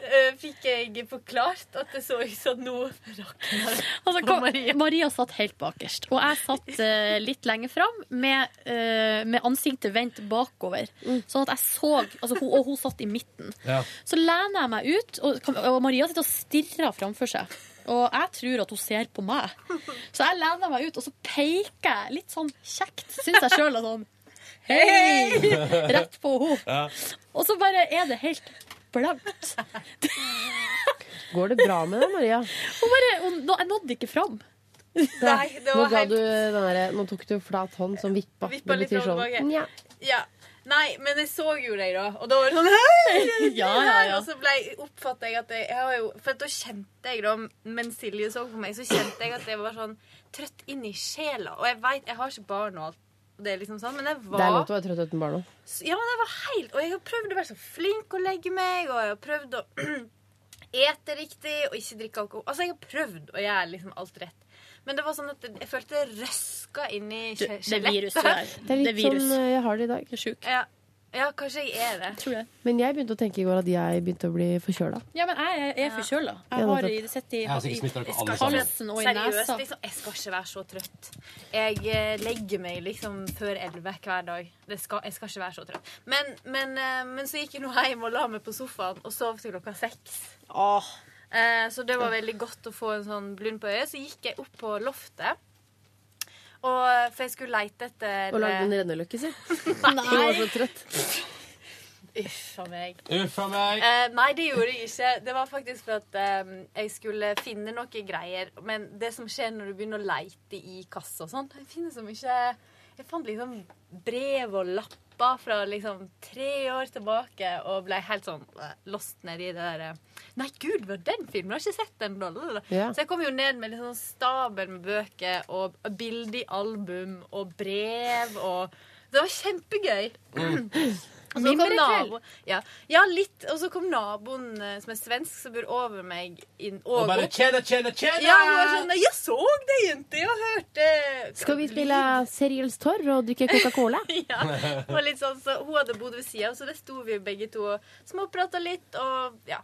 [SPEAKER 14] eh, fikk jeg forklart at det så ut som at nå rakner det.
[SPEAKER 4] Altså, hva- Maria. satt helt bakerst, og jeg satt eh, litt lenger fram med, eh, med ansiktet vendt bakover. Sånn at jeg så altså, hun, Og hun satt i midten. Så lener jeg meg ut, og, kan- og Maria sitter og stirrer framfor seg. Og jeg tror at hun ser på meg. Så jeg lener meg ut, og så peker jeg litt sånn kjekt, syns jeg sjøl, sånn Hei! Rett på henne.
[SPEAKER 2] Ja.
[SPEAKER 4] Og så bare er det helt blankt.
[SPEAKER 6] Går det bra med deg, Maria?
[SPEAKER 4] Hun bare, hun, Jeg nådde ikke fram. Nei, det var
[SPEAKER 6] nå, ga
[SPEAKER 14] helt-
[SPEAKER 6] du den derre- nå tok du flat hånd som vippa.
[SPEAKER 14] Vippa litt
[SPEAKER 6] betyr
[SPEAKER 14] fram og
[SPEAKER 6] sånn,
[SPEAKER 14] tilbake.
[SPEAKER 6] nja.
[SPEAKER 14] Ja. Nei, men jeg så jo deg, da. Og da var det sånn Hei!
[SPEAKER 4] Ja, ja, ja.
[SPEAKER 14] Og så ble, oppfattet jeg at jeg, jeg har jo For da kjente jeg, da, mens Silje så på meg, så kjente jeg at jeg var sånn trøtt inn i sjela. Og jeg vet, jeg har ikke barn og alt, og det er liksom sånn, men jeg
[SPEAKER 6] Det er lov
[SPEAKER 14] var
[SPEAKER 6] til å være trøtt uten barn nå.
[SPEAKER 14] Ja, men jeg var helt Og jeg har prøvd å være så flink å legge meg, og jeg har prøvd å ete riktig og ikke drikke alkohol. Altså, jeg har prøvd å gjøre liksom alt rett. Men det var sånn at jeg følte det røska inni
[SPEAKER 4] Det-
[SPEAKER 14] skje-
[SPEAKER 4] det viruset der.
[SPEAKER 14] skjelettet.
[SPEAKER 6] Det er litt sånn eh, jeg har det i dag.
[SPEAKER 14] Ja. ja, kanskje jeg er det.
[SPEAKER 6] Men jeg begynte å tenke i går at jeg begynte å bli forkjøla.
[SPEAKER 4] Ja, men jeg er- er forkjøla.
[SPEAKER 6] Ja,
[SPEAKER 4] Jeg har
[SPEAKER 6] nettopp.
[SPEAKER 4] i- sett i,
[SPEAKER 6] Jeg har sikkert smittet dere
[SPEAKER 4] i
[SPEAKER 6] alle sammen.
[SPEAKER 4] halsen og i
[SPEAKER 14] Seriøst,
[SPEAKER 4] nesa.
[SPEAKER 14] liksom, jeg skal ikke være så trøtt. Jeg eh, legger meg liksom før elleve hver dag. Det skal, jeg skal ikke være så trøtt. Men, men, eh, men så gikk jeg nå hjem og la meg på sofaen og sov til klokka seks. Eh, så det var veldig godt å få en sånn blund på øyet. Så gikk jeg opp på loftet eh,
[SPEAKER 4] Og, for jeg skulle leite etter
[SPEAKER 6] Og lagde en
[SPEAKER 4] eh,
[SPEAKER 6] renneløkke, si.
[SPEAKER 4] Nei.
[SPEAKER 6] Hun var så trøtt.
[SPEAKER 4] Uff a meg.
[SPEAKER 2] Uff a meg.
[SPEAKER 4] Eh, nei, det gjorde jeg ikke. Det var faktisk for at eh, jeg skulle finne noen greier. Men det som skjer når du begynner å leite i kassa og sånt Jeg finner så mye Jeg fant liksom brev og lapper fra liksom tre år tilbake og ble helt sånn eh, lost nedi det der eh, Nei, gud, var den filmen? Jeg har ikke sett den. Da, da, da.
[SPEAKER 6] Ja.
[SPEAKER 4] Så jeg kom jo ned med liksom stabel med bøker og bilde i album og brev og Det var kjempegøy. Og så kom
[SPEAKER 21] Mimrekveld.
[SPEAKER 4] nabo, ja. ja, litt. Og så kom naboen eh, som er svensk, som bor over meg inn,
[SPEAKER 2] Og bare
[SPEAKER 4] opp.
[SPEAKER 2] tjena, tjena, tjena!
[SPEAKER 4] Ja, hun var sånn, jeg så det, jente! Jeg hørte
[SPEAKER 6] Skal vi spille Serials Torr og drikke Coca-Cola?
[SPEAKER 4] ja, og litt sånn, så Hun hadde bodd ved sida, så der sto vi begge to og småprata litt og ja,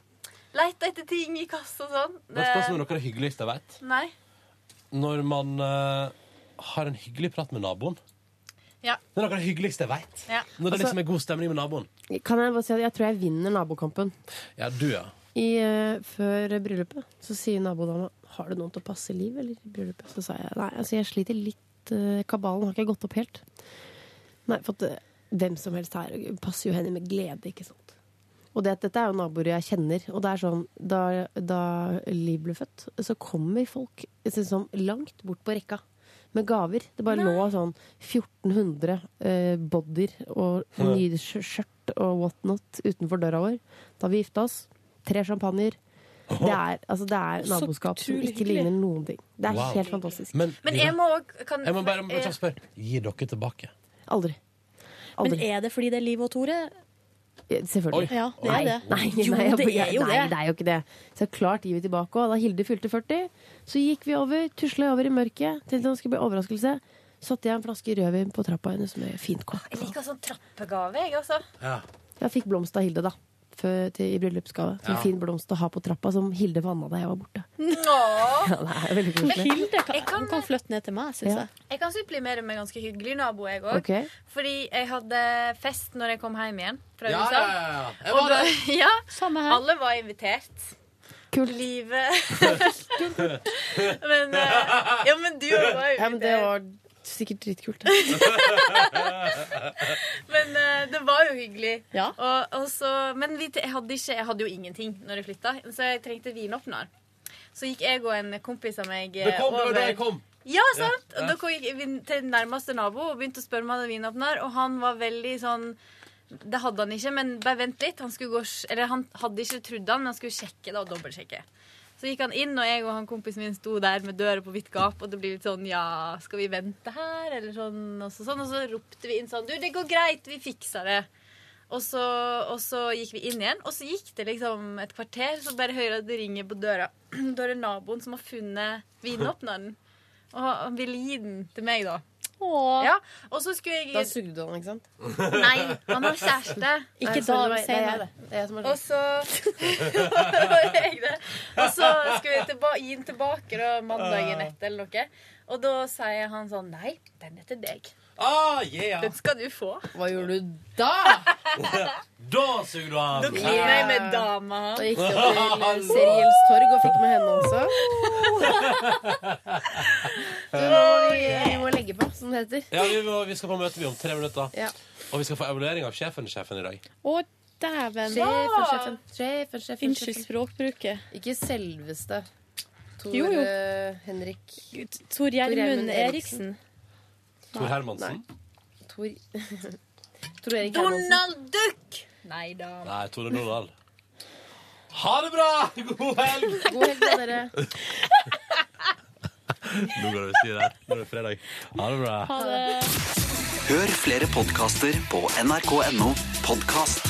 [SPEAKER 4] leita etter ting i kassa og sånn. Eh,
[SPEAKER 2] Vet du hva som er noe av det hyggeligste jeg vet?
[SPEAKER 4] Nei.
[SPEAKER 2] Når man eh, har en hyggelig prat med naboen.
[SPEAKER 4] Ja.
[SPEAKER 2] Det er noe av det hyggeligste jeg vet.
[SPEAKER 4] Ja.
[SPEAKER 2] Når det
[SPEAKER 6] Altså-
[SPEAKER 2] liksom er god stemning med naboen.
[SPEAKER 6] Kan jeg bare si at jeg tror jeg vinner nabokampen.
[SPEAKER 2] Ja, du, ja.
[SPEAKER 6] I, eh, før bryllupet så sier nabodama Har du noen til å passe liv eller i bryllupet? Så sa jeg nei, altså jeg sliter litt. eh, Kabalen har ikke gått opp helt. Nei, for at eh, hvem som helst her eh, passer jo henne med glede, ikke sant. Og det, at dette er jo naboer jeg kjenner. Og det er sånn, da, da Liv ble født, så kommer folk jeg synes sånn, langt bort på rekka med gaver. Det bare lå sånn 1400 eh, bodyer og
[SPEAKER 22] Ja.
[SPEAKER 6] nye skj- skjørt og whatnot utenfor døra vår. Da vi gifta oss. Tre sjampanjer. Det er, altså, det er
[SPEAKER 2] Så
[SPEAKER 6] naboskap som
[SPEAKER 2] utrolig
[SPEAKER 6] ikke
[SPEAKER 2] hyggelig.
[SPEAKER 6] ligner noen ting. Det er
[SPEAKER 2] Wow.
[SPEAKER 6] helt fantastisk.
[SPEAKER 2] Men,
[SPEAKER 4] Men
[SPEAKER 2] Ida,
[SPEAKER 4] jeg må òg kan-
[SPEAKER 2] jeg må bare,
[SPEAKER 4] eh,
[SPEAKER 2] bare spørre. Gir dere tilbake?
[SPEAKER 6] Aldri. Aldri.
[SPEAKER 21] Men er det fordi det er Liv og Tore?
[SPEAKER 6] Eh, Selvfølgelig.
[SPEAKER 21] Oi. Ja, det er
[SPEAKER 6] nei,
[SPEAKER 21] det.
[SPEAKER 6] Nei, nei,
[SPEAKER 21] Jo,
[SPEAKER 6] jeg-
[SPEAKER 21] det er jo
[SPEAKER 6] nei,
[SPEAKER 21] det.
[SPEAKER 6] det er jo ikke det. Så klart gir vi tilbake òg. Da Hilde fylte 40, så gikk vi over, tusla over i mørket, tenkte det skulle bli overraskelse. Satte jeg en flaske rødvin på trappa hennes med fint kopp.
[SPEAKER 4] Jeg liker sånn trappegave, jeg, altså.
[SPEAKER 6] Jeg fikk blomst av Hilde, da. Før, til, I bryllupsgave. Så
[SPEAKER 4] Ja.
[SPEAKER 6] En fin blomst å ha på trappa, som Hilde vanna da jeg var borte.
[SPEAKER 4] Åh.
[SPEAKER 6] Ja, det er veldig koselig.
[SPEAKER 21] Hilde kan, hun kan flytte ned til meg, syns
[SPEAKER 6] Ja.
[SPEAKER 21] jeg.
[SPEAKER 4] Jeg kan supplimere med ganske hyggelig nabo, jeg òg.
[SPEAKER 6] Ok.
[SPEAKER 4] Fordi jeg hadde fest når jeg kom hjem igjen fra
[SPEAKER 2] Ja,
[SPEAKER 4] USA.
[SPEAKER 2] ja, ja, ja. Jeg
[SPEAKER 4] Og
[SPEAKER 2] var
[SPEAKER 4] da-
[SPEAKER 2] der.
[SPEAKER 4] ja, Alle var invitert. Livet Men eh, Ja, men du var jo
[SPEAKER 6] Ja, men det var sikkert dritkult.
[SPEAKER 4] Men eh, det var jo hyggelig. Og, og så, men vi, jeg, hadde ikke, jeg hadde jo ingenting når jeg flytta, så jeg trengte vinåpner. Så gikk jeg og en kompis av meg eh,
[SPEAKER 2] Det kom, det var
[SPEAKER 4] over
[SPEAKER 2] da jeg kom.
[SPEAKER 4] Ja, sant?
[SPEAKER 2] Ja, ja.
[SPEAKER 4] Og da gikk vi til nærmeste nabo og begynte å spørre om han hadde vinåpner, og han var veldig sånn det hadde han ikke, men bare vent litt. Han, skulle gå, og sj- eller han hadde ikke trodd han, men han skulle sjekke da, og dobbeltsjekke. Så gikk han inn, og jeg og han kompisen min sto der med døra på vidt gap. Og det blir litt sånn Ja, skal vi vente her? Eller sånn. Og så, sånn, og så ropte vi inn sånn Du, det går greit. Vi fikser det. Og så, og så gikk vi inn igjen, og så gikk det liksom et kvarter, så bare hører jeg at det ringer på døra. Da er det naboen som har funnet vinåpneren. Og han ville gi den til meg, da. Ja, og så skulle jeg
[SPEAKER 6] Da sugde han, ikke sant?
[SPEAKER 4] Nei, han har kjæreste.
[SPEAKER 6] Ikke
[SPEAKER 4] Nei,
[SPEAKER 6] da,
[SPEAKER 4] sorry, det
[SPEAKER 6] men
[SPEAKER 4] var-
[SPEAKER 6] senere.
[SPEAKER 4] det er jeg som er sånn. Og så Det var jeg det. Og så skulle jeg tilba gi den tilbake da, mandagen etter eller noe. Og da sier han sånn Nei, den er til deg.
[SPEAKER 2] Ah, yeah.
[SPEAKER 4] Den skal du få.
[SPEAKER 6] Hva gjorde du da?
[SPEAKER 2] Da suger du av!
[SPEAKER 4] Da kliner jeg med dama.
[SPEAKER 6] Da gikk det til Seriels Torg og fikk med henne også. Du må, vi, vi må legge på, som det heter.
[SPEAKER 2] Ja, vi, må, vi skal på møte vi om tre minutter.
[SPEAKER 6] Ja.
[SPEAKER 2] Og vi skal få evaluering av sjefen sjefen i dag.
[SPEAKER 21] Å, dæven.
[SPEAKER 6] Sjefen, sjefen, sjefen, sjefen.
[SPEAKER 21] Unnskyld språkbruket.
[SPEAKER 6] Ikke selveste Tor
[SPEAKER 21] Jo, jo.
[SPEAKER 6] eh, Henrik
[SPEAKER 21] Tor Gjermund
[SPEAKER 6] Gjermund
[SPEAKER 21] Eriksen.
[SPEAKER 2] Tor Hermansen.
[SPEAKER 6] Tor, Tor Erik Hermansen.
[SPEAKER 4] Donald Duck! Nei da.
[SPEAKER 2] Nei, Tore Donald. Ha det bra! God helg!
[SPEAKER 6] God helg med dere.
[SPEAKER 2] Nå går det over styr her. Nå er det fredag. Ha det bra.
[SPEAKER 23] Hør flere podkaster på nrk.no podkast.